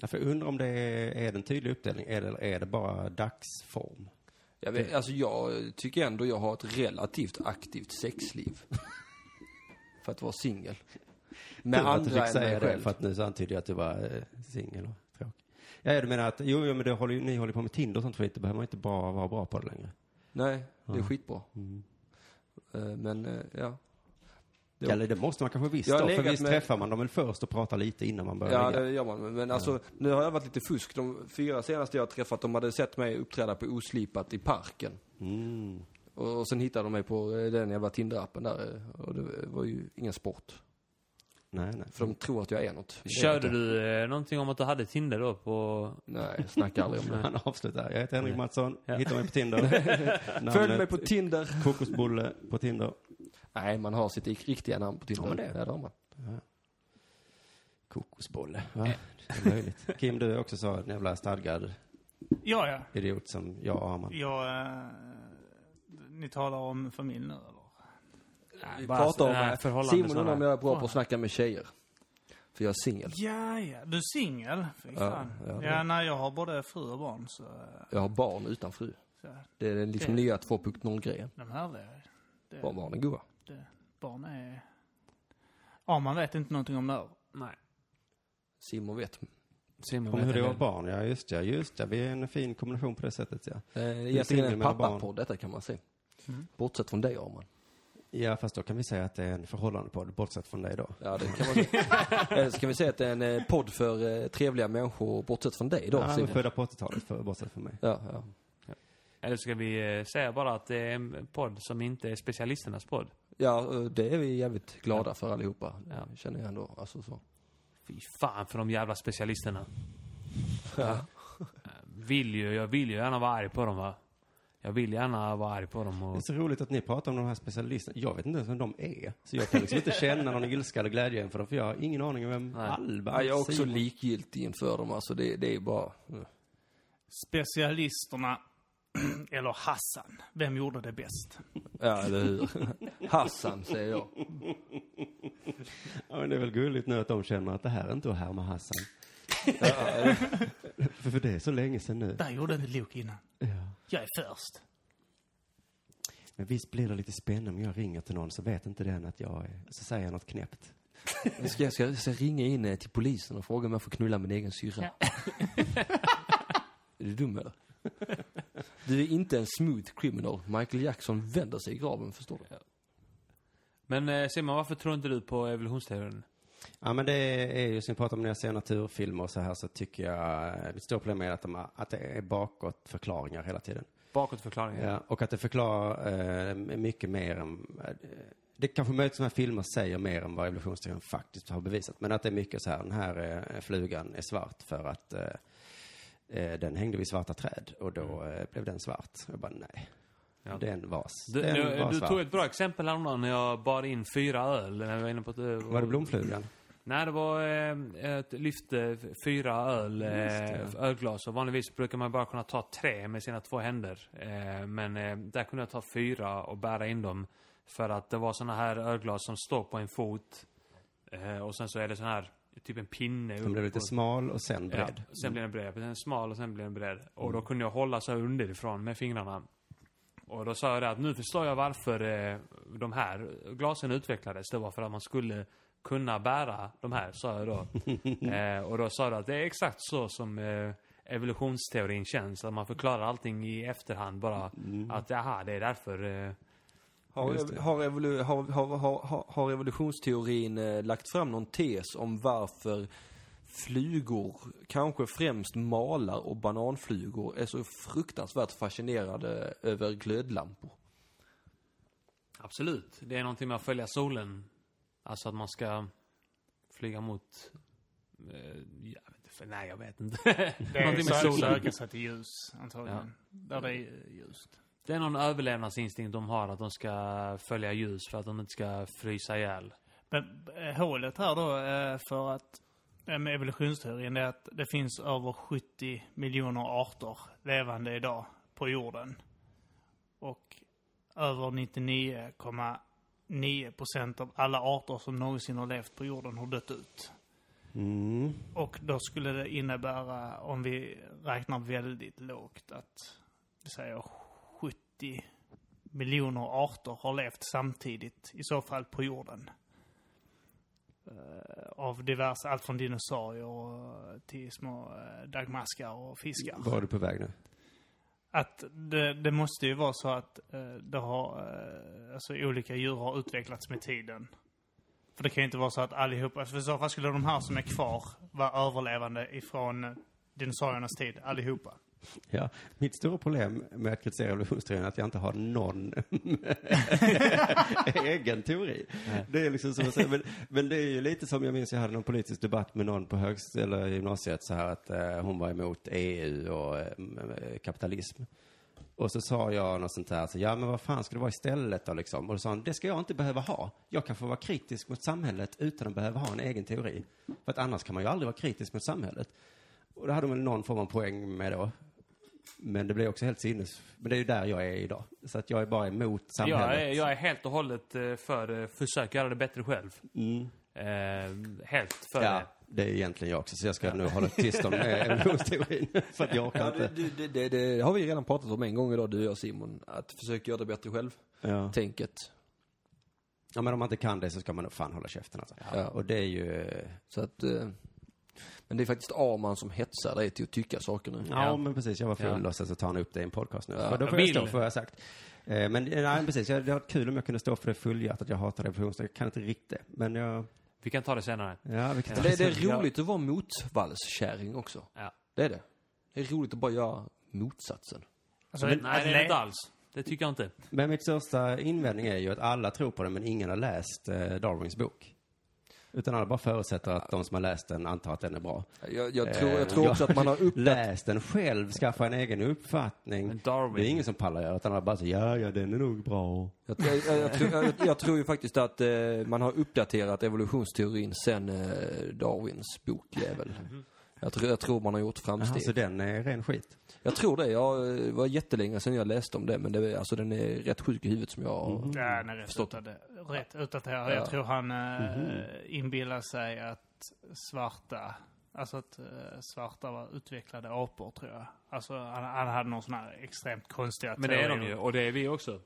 Speaker 4: Ja, för jag undrar om det är, är det en tydlig uppdelning är det, eller är det bara dagsform?
Speaker 2: Jag, vet, alltså, jag tycker ändå jag har ett relativt aktivt sexliv. för att vara singel. Med
Speaker 4: Tur att
Speaker 2: andra
Speaker 4: du fick
Speaker 2: än mig
Speaker 4: säga det,
Speaker 2: själv.
Speaker 4: för att nu så antydde jag att du var eh, singel och tråkig. Ja, ja, du menar att, jo, jo men det håller, ju- ni håller på med Tinder och sånt skit, då behöver man inte bara vara bra på det längre.
Speaker 2: Nej, det är skitbra.
Speaker 4: Mm.
Speaker 2: Eh, Men eh, ja. Jo.
Speaker 4: Eller det måste man kanske visst
Speaker 2: Jag har
Speaker 4: då, för
Speaker 2: legat
Speaker 4: visst
Speaker 2: med-
Speaker 4: träffar man dem väl först och pratar lite innan man börjar
Speaker 2: Ja,
Speaker 4: ligga?
Speaker 2: det gör man. Men- Men alltså, nu har jag varit lite fusk. De fyra senaste jag har träffat, de hade sett mig uppträda på Oslipat i parken.
Speaker 4: Mm.
Speaker 2: Och, och sen hittade de mig på eh, den jävla Tinder-appen där. eh, Och det var ju ingen sport.
Speaker 4: Nej, nej.
Speaker 2: För de tror att jag är något.
Speaker 1: Körde du eh, någonting om att du hade Tinder då på...
Speaker 2: Nej, jag snackar aldrig om det.
Speaker 4: Han avslutar. Jag heter Henrik Mattsson, hittar mig på Tinder.
Speaker 2: [laughs] Följ mig
Speaker 4: [laughs] Namnet
Speaker 2: på Tinder.
Speaker 4: Kokosbulle på Tinder.
Speaker 2: Nej, man har sitt riktiga namn på Tinder.
Speaker 4: Har man det?
Speaker 2: Ja, det har man.
Speaker 4: Kokosbolle. Va? Det är möjligt. Kim, du är också så en jävla stadgad
Speaker 3: Ja, ja.
Speaker 4: idiot som jag och Arman.
Speaker 3: Jag, eh, ni talar om familj nu, eller?
Speaker 2: Vi
Speaker 1: bara
Speaker 2: pratar
Speaker 1: sådana här
Speaker 2: om... eh,
Speaker 1: förhållanden
Speaker 2: Simon undrar
Speaker 1: sådana.
Speaker 2: om jag är bra på att snacka med tjejer. För jag är singel.
Speaker 3: Ja, ja. Du är singel? Fy fan.
Speaker 2: ja,
Speaker 3: Ja,
Speaker 2: det-
Speaker 3: nej, jag har både fru och barn, så... eh,
Speaker 2: Jag har barn utan fru.
Speaker 3: så
Speaker 2: Det är den liksom
Speaker 3: Det-
Speaker 2: nya 2.0-grejen.
Speaker 3: de härliga, det,
Speaker 2: Barn, barn är goa.
Speaker 3: det, barn är... Ja, man vet inte någonting om nörd.
Speaker 1: Nej.
Speaker 2: Simon vet.
Speaker 1: Simon
Speaker 4: Om
Speaker 1: vet
Speaker 4: hur det
Speaker 1: en
Speaker 4: var
Speaker 1: del.
Speaker 4: barn, ja just ja, just ja. Vi är en fin kombination på det sättet ja.
Speaker 2: Eh,
Speaker 4: singel
Speaker 2: Egentligen är det en
Speaker 4: med barn.
Speaker 2: pappapodd detta kan man säga.
Speaker 4: Mm.
Speaker 2: Bortsett från dig Arman.
Speaker 4: Ja, fast då kan vi säga att det är en förhållandepodd, bortsett från dig då.
Speaker 2: Ja, det [laughs] kan man säga. Eller så kan vi säga att det är en eh, podd för eh, trevliga människor bortsett från dig då
Speaker 4: Ja, men
Speaker 2: Simon.
Speaker 4: födda på 80-talet, för, bortsett från mig.
Speaker 2: Ja, ja.
Speaker 1: Eller ska vi eh, säga bara att det är en podd som inte är specialisternas podd?
Speaker 2: ja, eh, det är vi jävligt glada för allihopa.
Speaker 1: Ja.
Speaker 2: Känner jag ändå. Alltså så.
Speaker 1: Fy fan för de jävla specialisterna. Vill ju, jag vill ju gärna vara arg på dem va. Jag vill gärna vara arg på dem.
Speaker 4: Det
Speaker 1: Och,
Speaker 4: är så roligt att ni pratar om de här specialisterna. Jag vet inte ens vem de är. Så jag kan liksom inte känna någon ilska eller glädje inför dem, för jag har ingen aning om vem
Speaker 1: Nej.
Speaker 4: Alban
Speaker 2: Ja, jag är också
Speaker 4: Simon-
Speaker 2: likgiltig inför dem. Alltså det, det är bara...
Speaker 3: Specialisterna, [clears throat] eller Hassan, vem gjorde det bäst?
Speaker 2: Ja, eller [laughs] hur? Hassan, säger jag.
Speaker 4: Ja, men det är väl gulligt nu att de känner att det här är inte att härma Hassan. [laughs] för, för det är så länge sedan nu.
Speaker 3: Där gjorde inte Luke innan.
Speaker 4: Ja.
Speaker 3: Jag är först.
Speaker 4: Men visst blir det lite spännande om jag ringer till någon så vet inte den att jag är... Så säger jag något knäppt.
Speaker 2: Jag ska, jag ska, jag ska ringa in eh, till polisen och fråga om jag får knulla min egen syrra. [laughs] är du dum eller? Du är inte en smooth criminal. Michael Jackson vänder sig i graven, förstår du?
Speaker 1: men eh, Simon, varför tror inte du på evolutionsteorin?
Speaker 4: Ja, men det är ju, som jag pratar om när jag ser naturfilmer och så här, så tycker jag... eh, Mitt stora problem är att, de, har- att det är bakåt förklaringar hela tiden.
Speaker 1: Bakåtförklaringen.
Speaker 4: Ja, och att det förklarar eh, mycket mer än... Eh, det kanske möjligt som här filmer säger mer än vad evolutionsteorin faktiskt har bevisat. Men att det är mycket så här, den här eh, flugan är svart för att eh, eh, den hängde vid svarta träd och då eh, blev den svart. Jag bara nej.
Speaker 1: Mm. Ja.
Speaker 4: Den var, s-
Speaker 1: Du,
Speaker 4: den
Speaker 1: du,
Speaker 4: var
Speaker 1: du
Speaker 4: svart.
Speaker 1: tog ett bra exempel häromdagen när jag bar in fyra öl. När vi var, inne på ett,
Speaker 4: Var det blomflugan?
Speaker 1: Nej, det var eh, ett lyft eh, f- fyra öl, eh, ölglas. Och vanligtvis brukar man bara kunna ta tre med sina två händer. Eh, men eh, där kunde jag ta fyra och bära in dem. För att det var såna här ölglas som står på en fot. Eh, och sen så är det sån här, typ en pinne.
Speaker 4: Den blev lite
Speaker 1: upp-
Speaker 4: smal och sen
Speaker 1: Ja,
Speaker 4: bred.
Speaker 1: sen blev den bred. Sen smal och sen blev den bred. Och då kunde jag hålla så här underifrån med fingrarna. Och då sa jag det att nu förstår jag varför eh, de här glasen utvecklades. Det var för att man skulle kunna bära de här, sa jag då. eh, och då sa du att det är exakt så som eh, evolutionsteorin känns. Att man förklarar allting i efterhand bara. Att jaha, det är därför. Eh,
Speaker 2: Har, ev- har, evolu- har, har, har, har- har evolutionsteorin eh, lagt fram någon tes om varför flugor, kanske främst malar och bananflugor, är så fruktansvärt fascinerade över glödlampor?
Speaker 1: absolut, det är någonting med att följa solen. Alltså att man ska flyga mot... Eh, jag vet inte, för, nej, jag vet inte.
Speaker 3: [laughs] Det är
Speaker 1: Någonting med
Speaker 3: så-
Speaker 1: solen.
Speaker 3: söka sig till ljus, antagligen. Där det är ljust.
Speaker 1: Det är någon överlevnadsinstinkt de har, att de ska följa ljus för att de inte ska frysa ihjäl.
Speaker 3: Men eh, hålet här då, eh, för att eh, med evolutionsteorin, det är att det finns över 70 miljoner arter levande idag på jorden. Och över 99,9 procent av alla arter som någonsin har levt på jorden har dött ut.
Speaker 4: Mm.
Speaker 3: Och då skulle det innebära, om vi räknar väldigt lågt, att vi säger 70 miljoner arter har levt samtidigt, i så fall på jorden. Eh, av diverse, allt från dinosaurier och till små eh, dagmaskar och fiskar.
Speaker 4: Var är du på väg nu?
Speaker 3: Att det, det måste ju vara så att eh, det har, eh, alltså olika djur har utvecklats med tiden. För det kan ju inte vara så att allihopa, för i så fall skulle de här som är kvar vara överlevande ifrån eh, dinosauriernas tid, allihopa.
Speaker 4: Ja, mitt stora problem med att kritisera evolutionsteorin är att jag inte har någon [laughs] egen teori. Det är liksom som jag säger, men, men det är ju lite som jag minns, jag hade någon politisk debatt med någon på högst, eller gymnasiet så här att eh, hon var emot EU och eh, m- m- kapitalism. Och så sa jag något sånt här, så, ja men vad fan ska det vara istället då liksom? Och då sa han, det ska jag inte behöva ha. Jag kan få vara kritisk mot samhället utan att behöva ha en egen teori. För att annars kan man ju aldrig vara kritisk mot samhället. Och det hade hon väl någon form av poäng med då. Men det blir också helt sinnes... Men det är ju där jag är idag. Så att jag är bara emot samhället.
Speaker 1: Jag är, jag är helt och hållet eh, för eh, försök göra det bättre själv. Eh, helt för
Speaker 4: Mm. ja,
Speaker 1: det.
Speaker 4: det är egentligen jag också. Så jag ska nu hålla tyst om eh, evolutionsteorin. För att jag orkar
Speaker 2: Ja,
Speaker 4: inte.
Speaker 2: det, det, det, det har vi redan pratat om en gång idag, du och jag Simon. Att försöka göra det bättre själv,
Speaker 4: Ja.
Speaker 2: tänket.
Speaker 4: ja, men om man inte kan det så ska man nog fan hålla käften alltså.
Speaker 2: Ja.
Speaker 4: Och det är ju... eh,
Speaker 2: Så att, eh, men det är faktiskt Arman som hetsar dig till att tycka saker nu.
Speaker 4: Ja,
Speaker 1: Ja.
Speaker 4: men precis. Jag var full
Speaker 1: Ja.
Speaker 4: och sen så tar han upp det i en podcast nu.
Speaker 2: Ja.
Speaker 4: Men då
Speaker 1: Jag
Speaker 4: får jag,
Speaker 1: vill.
Speaker 4: stå för vad jag har sagt. Eh, Men eh, nej, men precis. Jag- Det hade varit kul om jag kunde stå för det fullhjärtat. Jag hatar evolutionsteorin. Jag kan inte riktigt det. Men jag...
Speaker 1: Vi kan ta det senare.
Speaker 4: Ja, vi kan ta
Speaker 2: Det, det [laughs]
Speaker 4: sen.
Speaker 2: är roligt att vara motvallskärring också.
Speaker 1: Ja.
Speaker 2: Det är det. Det är roligt att bara göra motsatsen.
Speaker 3: Alltså,
Speaker 1: Nej,
Speaker 3: att
Speaker 1: det är det
Speaker 3: le-
Speaker 1: inte alls. Det tycker jag
Speaker 4: Mm.
Speaker 1: inte.
Speaker 4: Men mitt största invändning är ju att alla tror på det men ingen har läst eh, Darwins bok. Utan alla bara förutsätter att de som har läst den antar att den är bra.
Speaker 2: Jag, jag, tror, jag
Speaker 4: Eh,
Speaker 2: tror också att man har upp...
Speaker 4: Läs den själv, skaffa en egen
Speaker 1: Men
Speaker 4: uppfattning.
Speaker 1: Darwin.
Speaker 4: Det är ingen som pallar göra utan alla bara säger ja, ja, den är nog bra.
Speaker 2: [laughs] Jag, jag, jag, jag, tror, jag, jag tror ju faktiskt att eh, man har uppdaterat evolutionsteorin sen eh, Darwins bokjävel. Jag tror, jag tror man har gjort
Speaker 4: Jaha,
Speaker 2: framsteg.
Speaker 4: så Alltså, den är ren skit.
Speaker 2: Jag tror det. Jag eh, var jättelänge sedan jag läste om det men det, är- alltså, den är rätt sjuk i huvudet som jag...
Speaker 1: Mm.
Speaker 3: Ja, nej, rätt
Speaker 2: Förstått.
Speaker 3: utade, rätt utdaterad. Jag tror han
Speaker 1: Mhm.
Speaker 3: eh, inbillar sig att svarta, alltså att eh, svarta var utvecklade apor tror jag. Alltså han, han hade någon sån här extremt konstiga
Speaker 1: Men det är de
Speaker 3: teorier.
Speaker 1: ju, och det är vi också.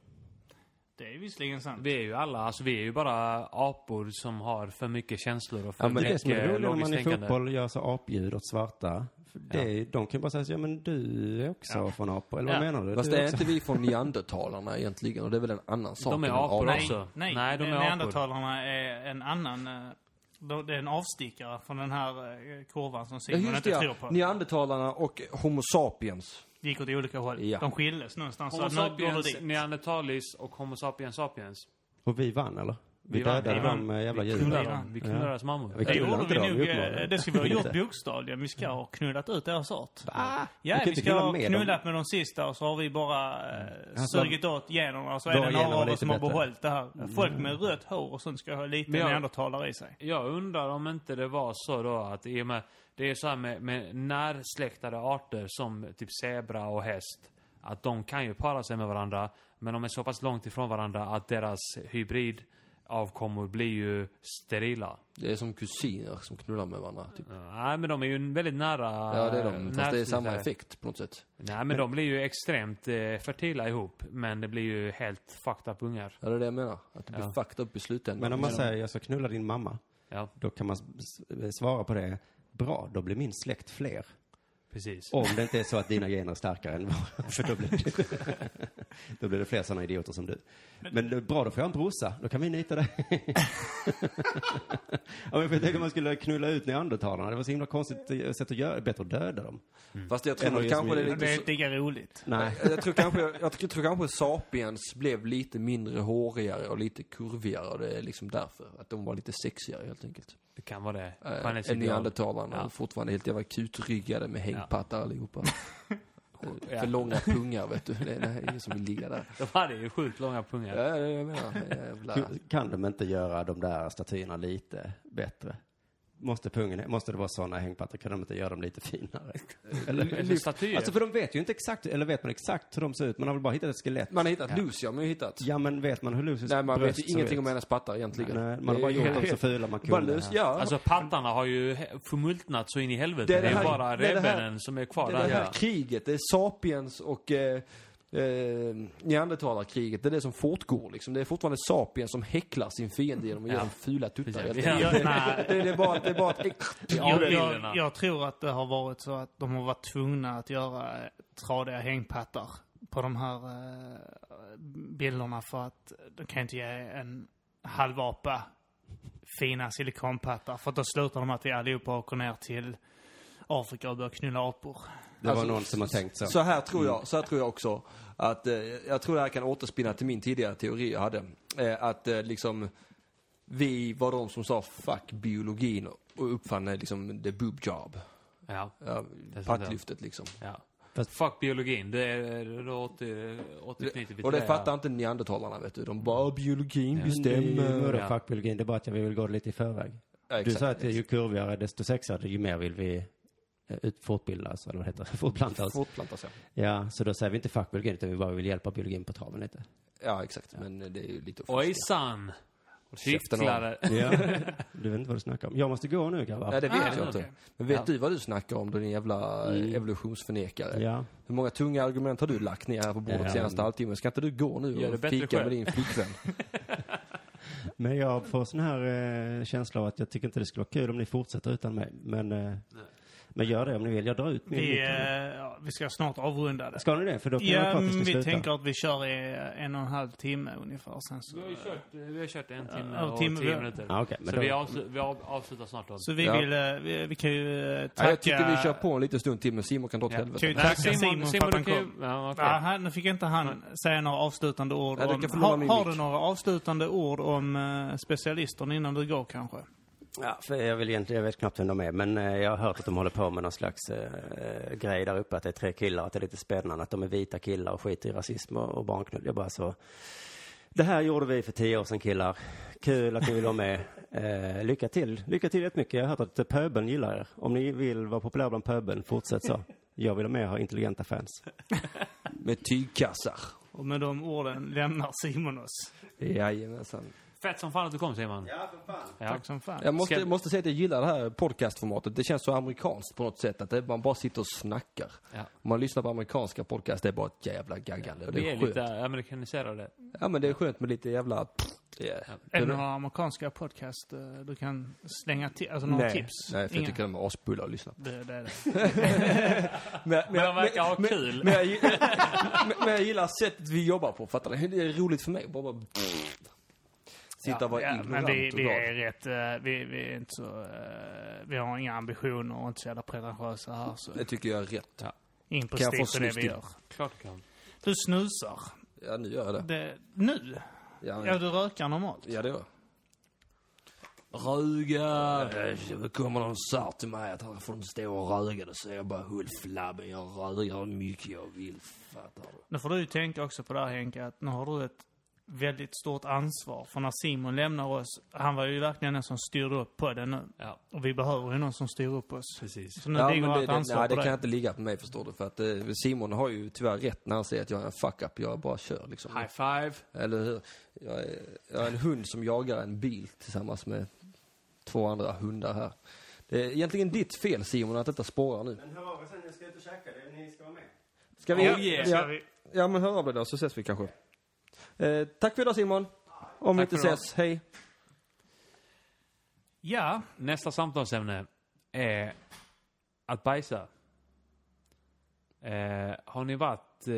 Speaker 3: Det är visserligen sant.
Speaker 1: Vi är ju alla, alltså vi är ju bara apor som har för mycket känslor och för
Speaker 2: Ja, men
Speaker 4: Men det är det
Speaker 1: mycket
Speaker 4: som är roligt när
Speaker 1: logiskt
Speaker 4: man i
Speaker 1: tänkande.
Speaker 4: fotboll gör så apljud åt svarta. För Det, De kan ju bara säga så, ja men du är också från apor, eller vad
Speaker 3: Ja.
Speaker 4: menar du?
Speaker 2: Fast det
Speaker 4: du är
Speaker 2: är
Speaker 4: också.
Speaker 2: inte vi från neandertalarna egentligen och det är väl en annan sak.
Speaker 1: är
Speaker 2: än
Speaker 1: apor
Speaker 2: apan.
Speaker 1: också.
Speaker 3: Nej,
Speaker 1: Nej, de är apor.
Speaker 3: neandertalarna är en annan... eh, de- Det är en avstickare från den här eh, kurvan som
Speaker 2: Ja,
Speaker 3: Simon
Speaker 2: just
Speaker 3: inte
Speaker 2: det,
Speaker 3: tror
Speaker 2: ja.
Speaker 3: på.
Speaker 2: Neandertalarna och Homo sapiens.
Speaker 3: Det gick åt olika håll.
Speaker 2: Ja.
Speaker 3: De skildes någonstans.
Speaker 1: Homo
Speaker 3: så nu går det
Speaker 1: sapiens,
Speaker 3: dit.
Speaker 1: neandertalis och Homo sapiens sapiens.
Speaker 4: Och vi vann eller? Vi,
Speaker 1: Vi vann,
Speaker 4: dödade
Speaker 1: vi
Speaker 4: de eh, jävla
Speaker 1: Vi
Speaker 4: djuren.
Speaker 1: knullar
Speaker 3: Vi
Speaker 1: dem.
Speaker 3: vann.
Speaker 1: Vi knullar deras mammor.
Speaker 4: Vi
Speaker 3: Det
Speaker 4: knullar
Speaker 3: gjorde
Speaker 4: inte
Speaker 3: vi
Speaker 4: dem,
Speaker 3: nog,
Speaker 4: uppmanade
Speaker 3: eh,
Speaker 4: dem.
Speaker 3: det ska vi ha gjort
Speaker 4: Inte.
Speaker 3: bokstavligen. Vi ska ha knullat ut deras art. Ja,
Speaker 4: kan
Speaker 3: vi
Speaker 4: inte
Speaker 3: ska
Speaker 4: knulla
Speaker 3: ha
Speaker 4: med
Speaker 3: knullat med de sista och så har vi bara eh,
Speaker 4: Alltså,
Speaker 3: sugit åt generna och så är
Speaker 4: våra
Speaker 3: det
Speaker 4: gener
Speaker 3: några
Speaker 4: var
Speaker 3: av oss
Speaker 4: lite
Speaker 3: som har
Speaker 4: bättre.
Speaker 3: behållit det här. Folk med rött hår och sånt ska ha lite
Speaker 1: Men jag-
Speaker 3: neandertalare i sig.
Speaker 1: Jag undrar om inte det var så då att i och med, det är så här med, med närsläktade arter som typ zebra och häst. Att de kan ju para sig med varandra. Men de är så pass långt ifrån varandra att deras hybridavkommor blir ju sterila.
Speaker 2: Det är som kusiner som knullar med varandra. Typ.
Speaker 1: Nej men de är ju väldigt nära.
Speaker 2: Ja, det är de. Fast det är samma
Speaker 1: närsläktade.
Speaker 2: effekt på något sätt.
Speaker 1: Nej men de blir ju extremt eh, fertila ihop. Men det blir ju helt fucked up ungar.
Speaker 2: Ja, det är det jag menar. Att det blir
Speaker 1: Ja.
Speaker 2: fucked up i slutändan.
Speaker 4: Men om man säger jag ska knulla din mamma,
Speaker 1: Ja,
Speaker 4: då kan man s- s- svara på det, bra, då blir min släkt fler.
Speaker 1: precis.
Speaker 4: Om det inte är så att dina gener är starkare än våra, [laughs] för då blir det, [laughs] då blir det fler sådana idioter som du. Men det är bra, då får jag en brorsa, då kan vi nita dig. [laughs] ja, men för jag tänker om man skulle knulla ut neandertalarna, det var så himla konstigt eh, sätt att göra, bättre att döda dem.
Speaker 2: Mm. Fast jag
Speaker 4: Eller
Speaker 2: tror
Speaker 4: just
Speaker 2: kanske det är
Speaker 4: min-
Speaker 2: lite...
Speaker 3: Det
Speaker 2: så-
Speaker 3: är lika roligt.
Speaker 4: Nej.
Speaker 2: Jag tror, kanske, jag tror tror kanske Sapiens blev lite mindre hårigare och lite kurvigare. Och det är liksom därför. Att de var lite sexigare helt enkelt.
Speaker 1: Det kan vara det.
Speaker 2: Äh, än
Speaker 1: Skönhetsideal. [laughs]
Speaker 2: neandertalarna.
Speaker 1: Ja.
Speaker 2: och Fortfarande helt jävla kutryggade med
Speaker 1: [laughs]
Speaker 2: hängpattar allihopa. Eh,
Speaker 1: Ja.
Speaker 2: För långa pungar vet du. Det är det är ingen som vill ligga där.
Speaker 1: De hade ju sjukt långa pungar.
Speaker 2: Ja, det är det jag menar. Jävla...
Speaker 4: Kan de inte göra de där statyerna lite bättre? Måste, pungen, måste det vara sådana hängpattar? Kan de inte göra dem
Speaker 2: [laughs]
Speaker 4: lite finare?
Speaker 1: Eller
Speaker 4: lyft-
Speaker 1: statyer.
Speaker 4: Alltså för de vet ju inte exakt, eller vet man exakt hur de ser ut? Man har väl bara hittat ett skelett?
Speaker 2: Man har hittat Lucy har man ju hittat.
Speaker 4: Ja men vet man hur Lucis
Speaker 2: Nej, man vet
Speaker 4: bröst
Speaker 2: ju
Speaker 4: ser
Speaker 2: ingenting
Speaker 4: ut?
Speaker 2: om hennes pattar egentligen.
Speaker 4: Nej, man har bara
Speaker 2: Det är
Speaker 4: gjort dem
Speaker 2: helt-
Speaker 4: så fula man
Speaker 2: [laughs] Bara
Speaker 4: kunde.
Speaker 2: lös, ja.
Speaker 1: Alltså pattarna har ju he- förmultnat så in i helvete.
Speaker 2: Det
Speaker 1: Det är,
Speaker 2: är det här-
Speaker 1: bara
Speaker 2: det är det här-
Speaker 1: revbenen som är kvar
Speaker 2: det är
Speaker 1: där.
Speaker 2: det här kriget, det är sapiens och eh, eh, neandertalarkriget. Det är det som fortgår liksom. Det är fortfarande sapiens som häcklar sin fiende genom att ge
Speaker 1: Ja.
Speaker 2: dem fula tuttar.
Speaker 1: Precis.
Speaker 2: Ja.
Speaker 1: Ja.
Speaker 3: Jag, nej,
Speaker 2: Det, det är bara, det är bara ett äck-
Speaker 1: Ja,
Speaker 3: jag,
Speaker 1: bilderna.
Speaker 3: jag, jag tror att det har varit så att de har varit tvungna att göra eh, tradiga hängpattar på de här eh, bilderna för att de kan inte ge en halvapa fina silikonpattar för att då slutar de med att vi allihopa åker ner till Afrika och börjar knulla apor.
Speaker 4: Det var någon som har tänkt så.
Speaker 2: Alltså, Så här tror jag, så här tror jag också. Att, eh, jag tror det här kan återspinna till min tidigare teori jag hade. Eh, att eh, liksom, vi var de som sa fuck biologin och uppfann eh, liksom the boob job.
Speaker 1: Ja.
Speaker 2: Ja,
Speaker 1: sant, ja.
Speaker 2: pattlyftet liksom.
Speaker 1: ja.
Speaker 4: Fast-
Speaker 1: Fuck biologin. Det är, då åter, återknyter vi
Speaker 2: Och det
Speaker 1: här.
Speaker 2: fattar inte neandertalarna vet du. De bara, biologin
Speaker 4: Det är ju
Speaker 2: bestämmer.
Speaker 4: motherfuck-biologin, det är bara att jag vill gå lite i förväg.
Speaker 2: Ja,
Speaker 4: Du
Speaker 2: exakt.
Speaker 4: sa att ju kurvigare desto sexigare, ju mer vill vi eh, ut, fortbildas, eller vad heter [laughs] det? Fortplanta oss.
Speaker 2: Fortplanta sig.
Speaker 4: Ja, så då säger vi inte fuck biologin, utan vi bara vill hjälpa biologin på traven lite.
Speaker 2: Ja, exakt. Men eh, det är ju lite
Speaker 1: Ojsan!
Speaker 2: käften av.
Speaker 1: Hycklare.
Speaker 4: [laughs] Ja. Du vet inte vad du snackar om. Jag måste gå nu grabbar.
Speaker 2: Nej, det vet
Speaker 3: Ah,
Speaker 2: jag inte.
Speaker 3: okej.
Speaker 2: Men vet
Speaker 1: Ja.
Speaker 2: du vad du snackar om, din jävla eh, evolutionsförnekare?
Speaker 4: Ja.
Speaker 2: Hur många tunga argument har du lagt ner här på bordet
Speaker 4: Ja.
Speaker 2: senaste halvtimmen? Ska inte du gå nu
Speaker 1: Gör det
Speaker 2: och
Speaker 1: bättre
Speaker 2: fika
Speaker 1: själv.
Speaker 2: med din
Speaker 1: [laughs]
Speaker 2: flickvän?
Speaker 4: Men jag får sån här eh, känsla av att jag tycker inte det skulle vara kul om ni fortsätter utan mig. Men, eh, men gör det om ni vill. Jag drar ut min
Speaker 3: Vi,
Speaker 4: mick.
Speaker 3: eh, ja, vi ska snart avrunda det.
Speaker 4: Ska ni det? För då kan jag vara
Speaker 3: Ja,
Speaker 4: kvar tills
Speaker 3: men
Speaker 4: ni
Speaker 3: vi
Speaker 4: slutar.
Speaker 3: tänker att vi kör i eh, en och en halv timme ungefär. Sen så,
Speaker 1: Vi har ju kört, eh, vi har kört en timme
Speaker 3: Ja,
Speaker 1: och
Speaker 3: timme.
Speaker 1: tio minuter.
Speaker 4: Ja, okej, men
Speaker 1: så
Speaker 4: då-
Speaker 1: vi, avslu- vi av- avslutar snart då.
Speaker 3: så vi,
Speaker 2: Ja.
Speaker 3: vill, eh, vi, vi kan ju eh,
Speaker 2: Nej,
Speaker 3: tacka...
Speaker 2: jag tycker vi kör på en liten stund till, men Simon kan dra åt
Speaker 1: Ja.
Speaker 2: helvete.
Speaker 3: Kan vi
Speaker 1: Nej,
Speaker 3: tacka Simon, för att
Speaker 1: du
Speaker 3: han
Speaker 1: kan ju-
Speaker 3: kom.
Speaker 1: Ja, okej.
Speaker 3: Ja, han, nu fick inte han säga några avslutande ord.
Speaker 2: Ja, du
Speaker 3: om,
Speaker 2: kan få låna
Speaker 3: har
Speaker 2: min
Speaker 3: har
Speaker 2: mick.
Speaker 3: du några avslutande ord om eh, specialisten innan du går kanske?
Speaker 5: Ja, för jag, vill egentligen, jag vet knappt vem de är, men eh, jag har hört att de håller på med någon slags eh, grej där uppe, att det är tre killar, att det är lite spännande, att de är vita killar och skiter i rasism och, och barnknull. Jag bara så, det här gjorde vi för tio år sedan killar. Kul att ni vill vara med. Eh, lycka till, lycka till jättemycket. Jag har hört att eh, pöbeln gillar er. Om ni vill vara populär bland pöbeln, fortsätt så. Jag vill ha med och ha intelligenta fans.
Speaker 2: Med tygkassar.
Speaker 3: Och med de orden lämnar Simon oss.
Speaker 2: Jajamensan.
Speaker 1: Fett som fan att du kom Simon. Ja, för fan.
Speaker 3: Tack som fan.
Speaker 2: Jag måste,
Speaker 1: Ska-
Speaker 2: måste säga att jag gillar det här podcastformatet. Det känns så amerikanskt på något sätt. Att det, man bara sitter och snackar.
Speaker 1: Ja.
Speaker 2: Om man lyssnar på amerikanska podcast, det är bara ett jävla gaggande.
Speaker 1: Vi
Speaker 2: Det
Speaker 1: är
Speaker 2: är skönt.
Speaker 1: lite eh, amerikaniserade.
Speaker 2: Ja men det är skönt med lite jävla... Det är-
Speaker 3: Är det några amerikanska podcast eh, du kan slänga till? Alltså några
Speaker 2: Nej.
Speaker 3: tips?
Speaker 2: Nej, för
Speaker 3: Inga?
Speaker 2: jag tycker de är asbulla att lyssna på.
Speaker 3: det, det är
Speaker 2: [laughs]
Speaker 3: det.
Speaker 1: Men de verkar ha kul.
Speaker 2: Men jag, gi- [laughs] men- men jag gillar sättet vi jobbar på, fattar du? Det är roligt för mig. Bara, bara sitta och vara
Speaker 3: Ja,
Speaker 2: ignorant
Speaker 3: men vi,
Speaker 2: och
Speaker 3: vi
Speaker 2: glad.
Speaker 3: är rätt, eh, vi, vi är inte så, eh, vi har inga ambitioner och inte så jävla pretentiösa här så.
Speaker 2: Det tycker jag är rätt.
Speaker 3: In på
Speaker 2: Kan jag få
Speaker 3: stick på det
Speaker 2: snus
Speaker 3: vi
Speaker 2: till?
Speaker 3: gör.
Speaker 1: Klart du kan.
Speaker 3: Du snusar.
Speaker 2: Ja, nu gör jag det.
Speaker 3: Det, nu?
Speaker 2: Ja,
Speaker 3: Ja, du rökar normalt?
Speaker 2: ja det gör jag. Ruga! Det kommer någon sa till mig att han får de stå och röga. Då säger jag bara håll flabben, jag röger hur mycket jag vill. Fattar du?
Speaker 3: Nu får du ju tänka också på det här Henke, att nu har du ett väldigt stort ansvar. För när Simon lämnar oss, han var ju verkligen den som styrde upp på det nu.
Speaker 1: Ja,
Speaker 3: Och vi behöver ju någon som styr upp oss.
Speaker 1: precis.
Speaker 3: Så nu
Speaker 2: Ja,
Speaker 3: ligger
Speaker 2: men
Speaker 3: allt
Speaker 2: det, det,
Speaker 3: ansvar
Speaker 2: nej,
Speaker 3: på
Speaker 2: det kan
Speaker 3: dig.
Speaker 2: inte ligga på mig förstår du. För att eh, Simon har ju tyvärr rätt när han säger att jag är en fuck-up. Jag bara kör liksom.
Speaker 1: High five.
Speaker 2: Eller hur? Jag är, jag är en hund som jagar en bil tillsammans med två andra hundar här. Det är egentligen ditt fel Simon att detta spårar nu.
Speaker 5: Men hör av er sen, jag ska ut och käka. Ni ska vara med.
Speaker 2: Ska vi...
Speaker 1: Oh, yeah.
Speaker 3: Ska
Speaker 2: ja,
Speaker 3: vi-
Speaker 2: ja men hör av dig då så ses vi kanske. Eh, tack för idag Simon. Om vi
Speaker 3: Tack
Speaker 2: inte
Speaker 3: för idag.
Speaker 2: ses, hej.
Speaker 3: Ja,
Speaker 1: Nästa samtalsämne är att bajsa. Eh, har ni varit... Eh,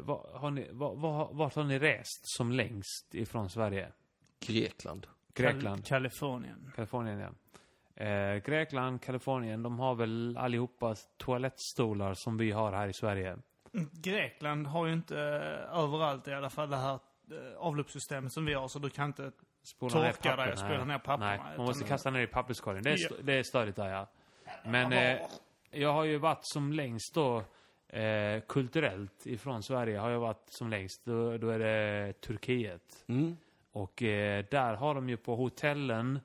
Speaker 1: var, har ni, var, var, vart har ni rest som längst ifrån Sverige?
Speaker 2: Grekland.
Speaker 1: Grekland,
Speaker 3: Kal- Kalifornien.
Speaker 1: Kalifornien ja. Eh, Grekland, Kalifornien, de har väl allihopa toalettstolar som vi har här i Sverige.
Speaker 3: Grekland har ju inte eh, överallt i alla fall det här eh, avloppssystemet som vi har, så du kan inte...
Speaker 1: Spola
Speaker 3: Torka
Speaker 1: ner papper,
Speaker 3: dig och spola
Speaker 1: nej.
Speaker 3: ner papperna,
Speaker 1: Nej, man
Speaker 3: utan
Speaker 1: måste
Speaker 3: det-
Speaker 1: kasta ner i papperskorgen. Det är,
Speaker 3: Ja.
Speaker 1: st- det är störigt där ja. Men eh, jag har ju varit som längst då eh, kulturellt ifrån Sverige har jag varit som längst. Då, då är det Turkiet.
Speaker 2: Mm.
Speaker 1: Och eh, där har de ju på hotellen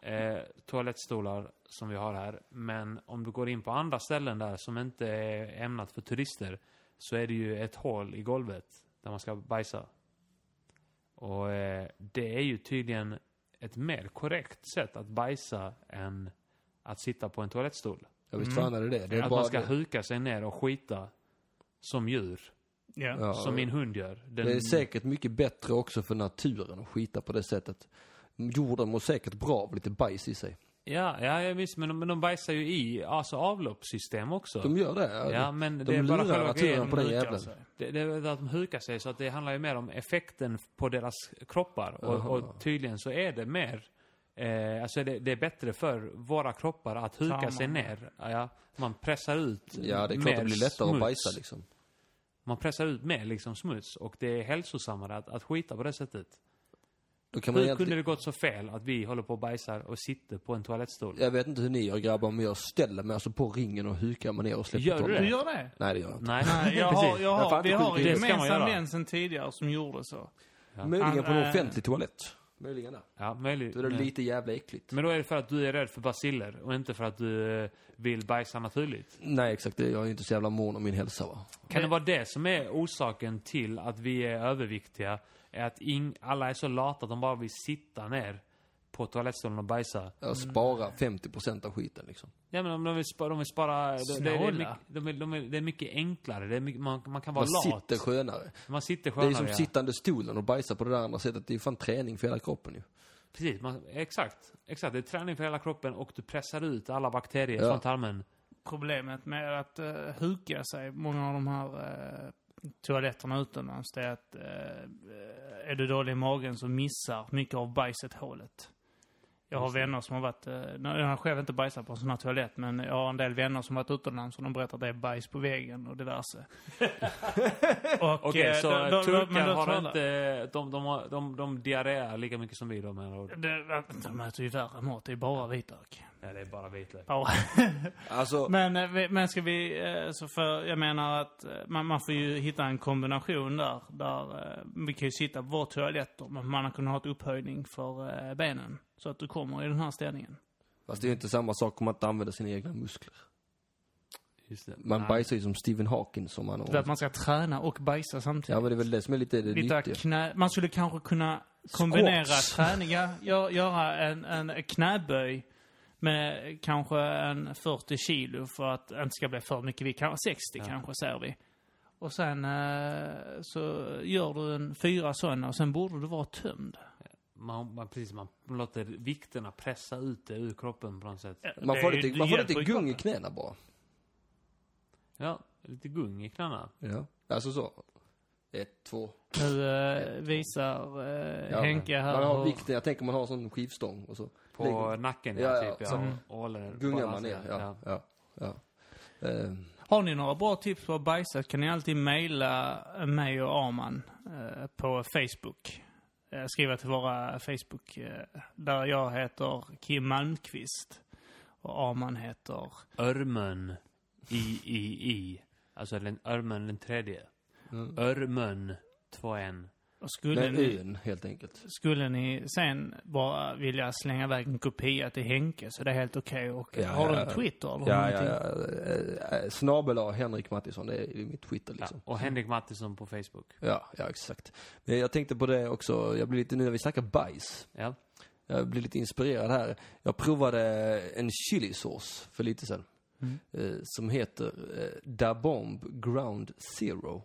Speaker 1: eh, toalettstolar som vi har här. Men om du går in på andra ställen där som inte är ämnat för turister så är det ju ett hål i golvet där man ska bajsa. Och eh, det är ju tydligen ett mer korrekt sätt att bajsa än att sitta på en toalettstol.
Speaker 2: Jag visst fan är det det. det är
Speaker 1: att
Speaker 2: bara
Speaker 1: man ska
Speaker 2: det.
Speaker 1: huka sig ner och skita som djur.
Speaker 3: Ja.
Speaker 2: Ja,
Speaker 1: Som min hund gör. Den,
Speaker 2: Det är säkert mycket bättre också för naturen att skita på det sättet. Jorden mår säkert bra av lite bajs i sig.
Speaker 1: ja, ja, ja, visst. Men de, men de bajsar ju i alltså avloppssystem också.
Speaker 2: De gör det.
Speaker 1: ja, men det
Speaker 2: de
Speaker 1: är bara
Speaker 2: lurar
Speaker 1: själva
Speaker 2: naturen
Speaker 1: grejen. alltså.
Speaker 2: på den
Speaker 3: hukar
Speaker 2: jäveln.
Speaker 3: sig.
Speaker 1: Det, det är väl att de hukar sig, så att det handlar ju mer om effekten på deras kroppar.
Speaker 2: Aha.
Speaker 1: Och, och tydligen så är det mer, eh, alltså det, det är bättre för våra kroppar att huka
Speaker 3: Tarmarna.
Speaker 1: sig ner. Ja, man pressar ut
Speaker 2: Ja, det är klart
Speaker 1: mer
Speaker 2: det blir lättare
Speaker 1: smuts.
Speaker 2: att bajsa liksom.
Speaker 1: Man pressar ut mer liksom smuts och det är hälsosammare att, att skita på det sättet.
Speaker 2: Då kan man
Speaker 1: Hur
Speaker 2: egentligen...
Speaker 1: kunde det gått så fel att vi håller på och bajsar och sitter på en toalettstol?
Speaker 2: Jag vet inte hur ni gör grabbar, men jag ställer mig alltså på ringen och hukar mig ner och släpper
Speaker 1: Gör du
Speaker 2: tolvan.
Speaker 1: det?
Speaker 3: Du gör det?
Speaker 2: Nej, det gör jag inte.
Speaker 1: Nej,
Speaker 3: Nej,
Speaker 1: [laughs]
Speaker 2: [laughs]
Speaker 3: jag har, jag
Speaker 2: Jag
Speaker 3: har,
Speaker 2: fattar
Speaker 3: vi har en
Speaker 1: inte. Det ska man
Speaker 3: gemensam
Speaker 1: göra.
Speaker 3: vän sen tidigare som gjorde så.
Speaker 2: Möjligen på en
Speaker 3: Han, eh,
Speaker 2: offentlig toalett. Möjligen där.
Speaker 1: Ja, möjligt.
Speaker 2: Då är det lite jävla äckligt.
Speaker 1: Men då är det för att du är rädd för basiller och inte för att du eh, vill bajsa naturligt.
Speaker 2: Nej, exakt. det- Jag är ju inte så jävla mån om min hälsa va.
Speaker 1: Kan det vara det som är orsaken till att vi är överviktiga? Är att ing- alla är så lata att de bara vill sitta ner på toalettstolen och bajsa.
Speaker 2: Jag sparar 50% av skiten liksom.
Speaker 1: Ja men om de vill spara... De vill spara det, det, det, är
Speaker 3: Snåla.
Speaker 1: mycket, de vill, de vill, det är mycket enklare. Det är mycket, man, man kan vara
Speaker 2: Man
Speaker 1: lat.
Speaker 2: sitter skönare.
Speaker 1: Man sitter
Speaker 2: Det är
Speaker 1: skönare.
Speaker 2: ju som
Speaker 1: ja.
Speaker 2: sittande stolen och bajsa på det där andra sättet. Det är ju fan träning för hela kroppen ju.
Speaker 1: Precis, man, exakt. Exakt, det är träning för hela kroppen och du pressar ut alla bakterier
Speaker 2: Ja.
Speaker 1: från tarmen.
Speaker 3: Problemet med att uh, huka sig, många av de här eh, toaletterna utomlands, det är att eh, är du dålig i magen så missar mycket av bajset hålet. Jag har vänner som har varit, eh, när- jag har själv inte bajsat på en sån här toalett, men jag har en del vänner som varit utomlands och de berättar att det är bajs på väggen
Speaker 1: [laughs]
Speaker 3: och diverse. och,
Speaker 1: Okej,
Speaker 3: eh,
Speaker 1: så
Speaker 3: då- då-
Speaker 1: turkar
Speaker 3: men då
Speaker 1: har
Speaker 3: talar-
Speaker 1: inte... eh, De, de, har- de, de diarréar lika mycket som vi de här. Och,
Speaker 3: Det, de äter ju värre mat, det är bara vitlök.
Speaker 1: ja, det är bara vitlök.
Speaker 3: Ja.
Speaker 1: [laughs]
Speaker 2: Alltså,
Speaker 3: men, eh, vi- men ska vi, eh, så för, jag menar att eh, man, man får ju hitta en kombination där, där eh, vi kan ju sitta på vår toalett då, men man har kunnat ha ett upphöjning för eh, benen. Så att du kommer i den här ställningen.
Speaker 2: fast det är ju inte samma sak om man inte använder sina egna muskler.
Speaker 1: Just det.
Speaker 2: Man
Speaker 1: Nej.
Speaker 2: bajsar ju som Stephen Hawking som han
Speaker 3: För att man ska träna och bajsa samtidigt.
Speaker 2: Ja men det är väl det som är lite det
Speaker 3: Lite
Speaker 2: nyttiga.
Speaker 3: knä, man skulle kanske kunna kombinera
Speaker 2: Squats.
Speaker 3: träning, ja, gö- göra en, en knäböj med kanske en 40 kilo för att det inte ska bli för mycket. Vi kan 60 kanske säger vi. Och sen eh, så gör du en fyra sådana och sen borde du vara tömd.
Speaker 1: Man, man, precis, man låter vikterna pressa ut det ur kroppen på något sätt.
Speaker 2: Man får
Speaker 3: Det är ju-
Speaker 2: lite, man får
Speaker 3: det
Speaker 2: lite
Speaker 3: hjälper ju
Speaker 2: gung i
Speaker 3: kroppen.
Speaker 2: knäna bara.
Speaker 1: Ja, lite gung i knäna.
Speaker 2: Ja. Alltså så. Ett, två.
Speaker 3: Nu eh, visar eh,
Speaker 2: Ja,
Speaker 3: Henke här
Speaker 2: Man har
Speaker 3: hur-
Speaker 2: vikten, jag tänker man har en sån skivstång och så.
Speaker 1: På
Speaker 2: Lägger-
Speaker 1: nacken,
Speaker 2: Ja,
Speaker 1: ja,
Speaker 2: ja,
Speaker 1: typ. Ja.
Speaker 2: så
Speaker 1: Och håller
Speaker 2: Gungar man
Speaker 1: balansen.
Speaker 2: ner, ja. ja. ja. Eh,
Speaker 3: Har ni några bra tips på att bajsa kan ni alltid mejla mig och Arman eh, på Facebook. Eh, skriva till våra Facebook eh, där jag heter Kim Malmqvist och Arman heter...
Speaker 1: Örmen i, i, i. Alltså den, örmen den tredje.
Speaker 2: Mm.
Speaker 1: Örmen 2N.
Speaker 3: Och
Speaker 2: det
Speaker 3: skulle,
Speaker 2: är
Speaker 3: ni,
Speaker 2: ön helt enkelt.
Speaker 3: skulle ni sen bara vilja slänga iväg en kopia till Henke så det är helt okej. Och,
Speaker 2: Ja,
Speaker 3: har du
Speaker 2: ja,
Speaker 3: en
Speaker 2: ja.
Speaker 3: Twitter eller
Speaker 2: Ja, ja,
Speaker 3: någonting?
Speaker 2: ja. Eh, eh, Snabel A. Henrik Mattisson, det är ju mitt Twitter
Speaker 1: Ja.
Speaker 2: liksom.
Speaker 1: Och Henrik Mattisson på Facebook.
Speaker 2: Ja, ja exakt. Men jag tänkte på det också, jag blir lite nu när vi snackar bajs.
Speaker 1: Ja.
Speaker 2: Jag blir lite inspirerad här. Jag provade en chilisås för lite sedan.
Speaker 3: Mm.
Speaker 2: Eh, som heter eh, Da Bomb Ground Zero.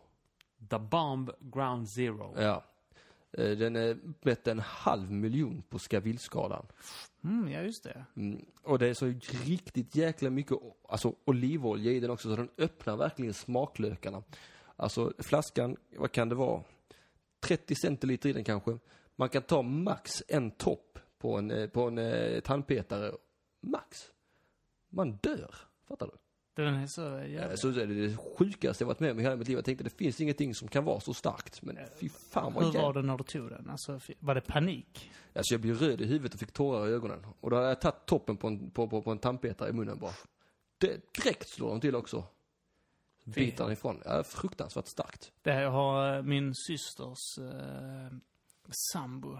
Speaker 1: The Bomb Ground Zero.
Speaker 2: Ja. Eh, den är bättre än en halv miljon på Scaville-skalan.
Speaker 3: Mm, ja, just det.
Speaker 2: Mm. Och det är så riktigt jäkla mycket o- alltså, olivolja i den också, så den öppnar verkligen smaklökarna. Alltså flaskan, vad kan det vara? 30 centiliter i den kanske. Man kan ta max en topp på en, eh, på en eh, tandpetare. Max. Man dör. Fattar du?
Speaker 3: Den är så jävla...
Speaker 2: Så det är det sjukaste jag varit med om i hela mitt liv. Jag tänkte det finns ingenting som kan vara så starkt. Men fy fan vad
Speaker 3: Hur
Speaker 2: jävla...
Speaker 3: var det när du tog den? Alltså, fy- var det panik?
Speaker 2: Alltså jag blev röd i huvudet och fick tårar i ögonen. Och då hade jag tagit toppen på en, på, på, på en tandpetare i munnen bara. Det, direkt slår de till också. Biter den ifrån. Ja, fruktansvärt starkt.
Speaker 3: Det här har eh, min systers eh, sambo.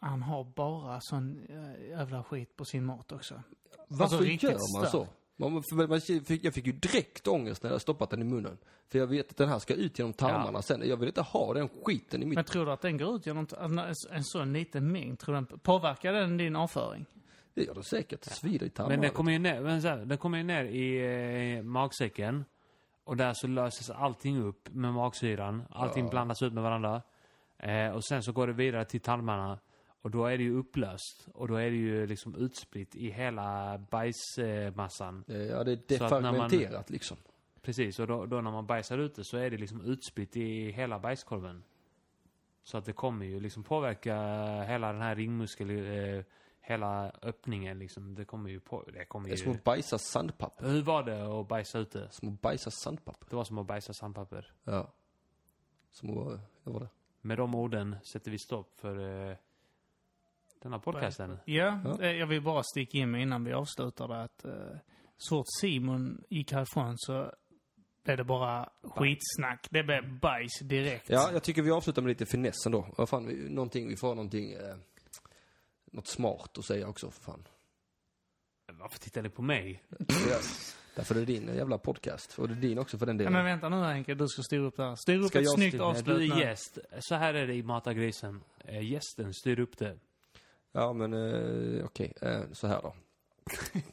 Speaker 3: Han har bara sån eh, jävla skit på sin mat också.
Speaker 2: Varför
Speaker 3: Alltså, riktigt
Speaker 2: gör man så?
Speaker 3: starkt.
Speaker 2: Man, för, man fick, jag fick ju direkt ångest när jag stoppat den i munnen. För jag vet att den här ska ut genom tarmarna sen. Jag vill inte ha den skiten i mitt...
Speaker 3: Men tror du att den går ut genom att en, en sån liten mängd? Tror du den, påverkar den din avföring?
Speaker 2: Det gör det säkert. Det svider i tarmarna.
Speaker 1: Men den kommer ju ner, men så här, den kommer ju ner i eh, magsäcken. Och där så löses allting upp med magsyran. Allting blandas ut med varandra. Eh, och sen så går det vidare till tarmarna. Och då är det ju upplöst. Och då är det ju liksom utspritt i hela bajsmassan.
Speaker 2: Eh, Ja, det är
Speaker 1: Så att när man-
Speaker 2: defragmenterat liksom.
Speaker 1: Precis, och då, då när man bajsar ute så är det liksom utspritt i hela bajskorven. Så att det kommer ju liksom påverka hela den här ringmuskel... Eh, hela öppningen liksom. Det kommer ju på... Det kommer
Speaker 2: Det är
Speaker 1: ju...
Speaker 2: som att bajsa sandpapper.
Speaker 1: Hur var det att bajsa ute?
Speaker 2: Som att bajsa sandpapper.
Speaker 1: Det var som att bajsa sandpapper.
Speaker 2: Ja. Som att... Vad var det?
Speaker 1: Med de orden sätter vi stopp för eh, denna podcasten.
Speaker 3: Ja,
Speaker 2: Ja.
Speaker 3: eh, jag vill bara sticka in med innan vi avslutar det att eh, så fort Simon gick härifrån så blev det bara skitsnack. Det blev bajs direkt.
Speaker 2: Ja, jag tycker vi avslutar med lite finess ändå. Vad fan, vi, någonting, vi får ha någonting, eh, något smart att säga också för fan.
Speaker 1: Varför tittar ni på mig?
Speaker 2: Ja. Därför är det din jävla podcast. Och det är din också för den
Speaker 3: Ja,
Speaker 2: delen.
Speaker 3: men vänta nu Henke, du ska styra upp det här. Styr upp
Speaker 2: Ska
Speaker 3: ett
Speaker 2: jag
Speaker 3: snyggt
Speaker 2: styra?
Speaker 3: avslut
Speaker 1: Typ, eh, Du är
Speaker 3: nu.
Speaker 1: gäst. Så här är det i Mata grisen. Eh, gästen styr upp det.
Speaker 2: Ja, men eh, okej, eh, så här då.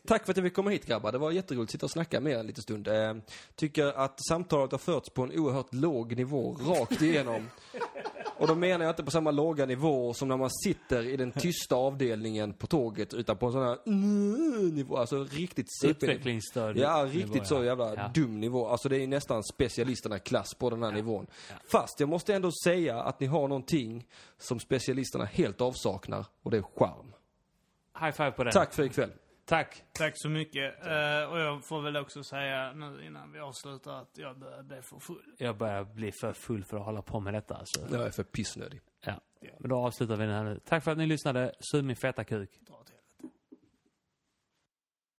Speaker 2: Tack för att jag fick komma hit grabbar. Det var jätteroligt att sitta och snacka med er en liten stund. Eh, tycker att samtalet har förts på en oerhört låg nivå, rakt igenom. Och då menar jag inte på samma låga nivå som när man sitter i den tysta avdelningen på tåget, utan på en sån här nivå, alltså riktigt CP.
Speaker 1: Utvecklingsstörd.
Speaker 2: Ja,
Speaker 1: nivå,
Speaker 2: riktigt så jävla
Speaker 1: Ja.
Speaker 2: dum nivå. Alltså det är ju nästan specialisterna klass på den här nivån. Fast jag måste ändå säga att ni har någonting som specialisterna helt avsaknar och det är charm.
Speaker 1: High five på den.
Speaker 2: Tack för ikväll.
Speaker 1: Tack.
Speaker 3: Tack så mycket. Eh, och jag får väl också säga nu innan vi avslutar att jag börjar bli för full.
Speaker 1: Jag börjar bli för full för att hålla på med detta. Alltså.
Speaker 2: Jag är för pissnödig.
Speaker 1: Ja. Men då avslutar vi den här nu. Tack för att ni lyssnade. Sug min feta kuk.
Speaker 3: Dra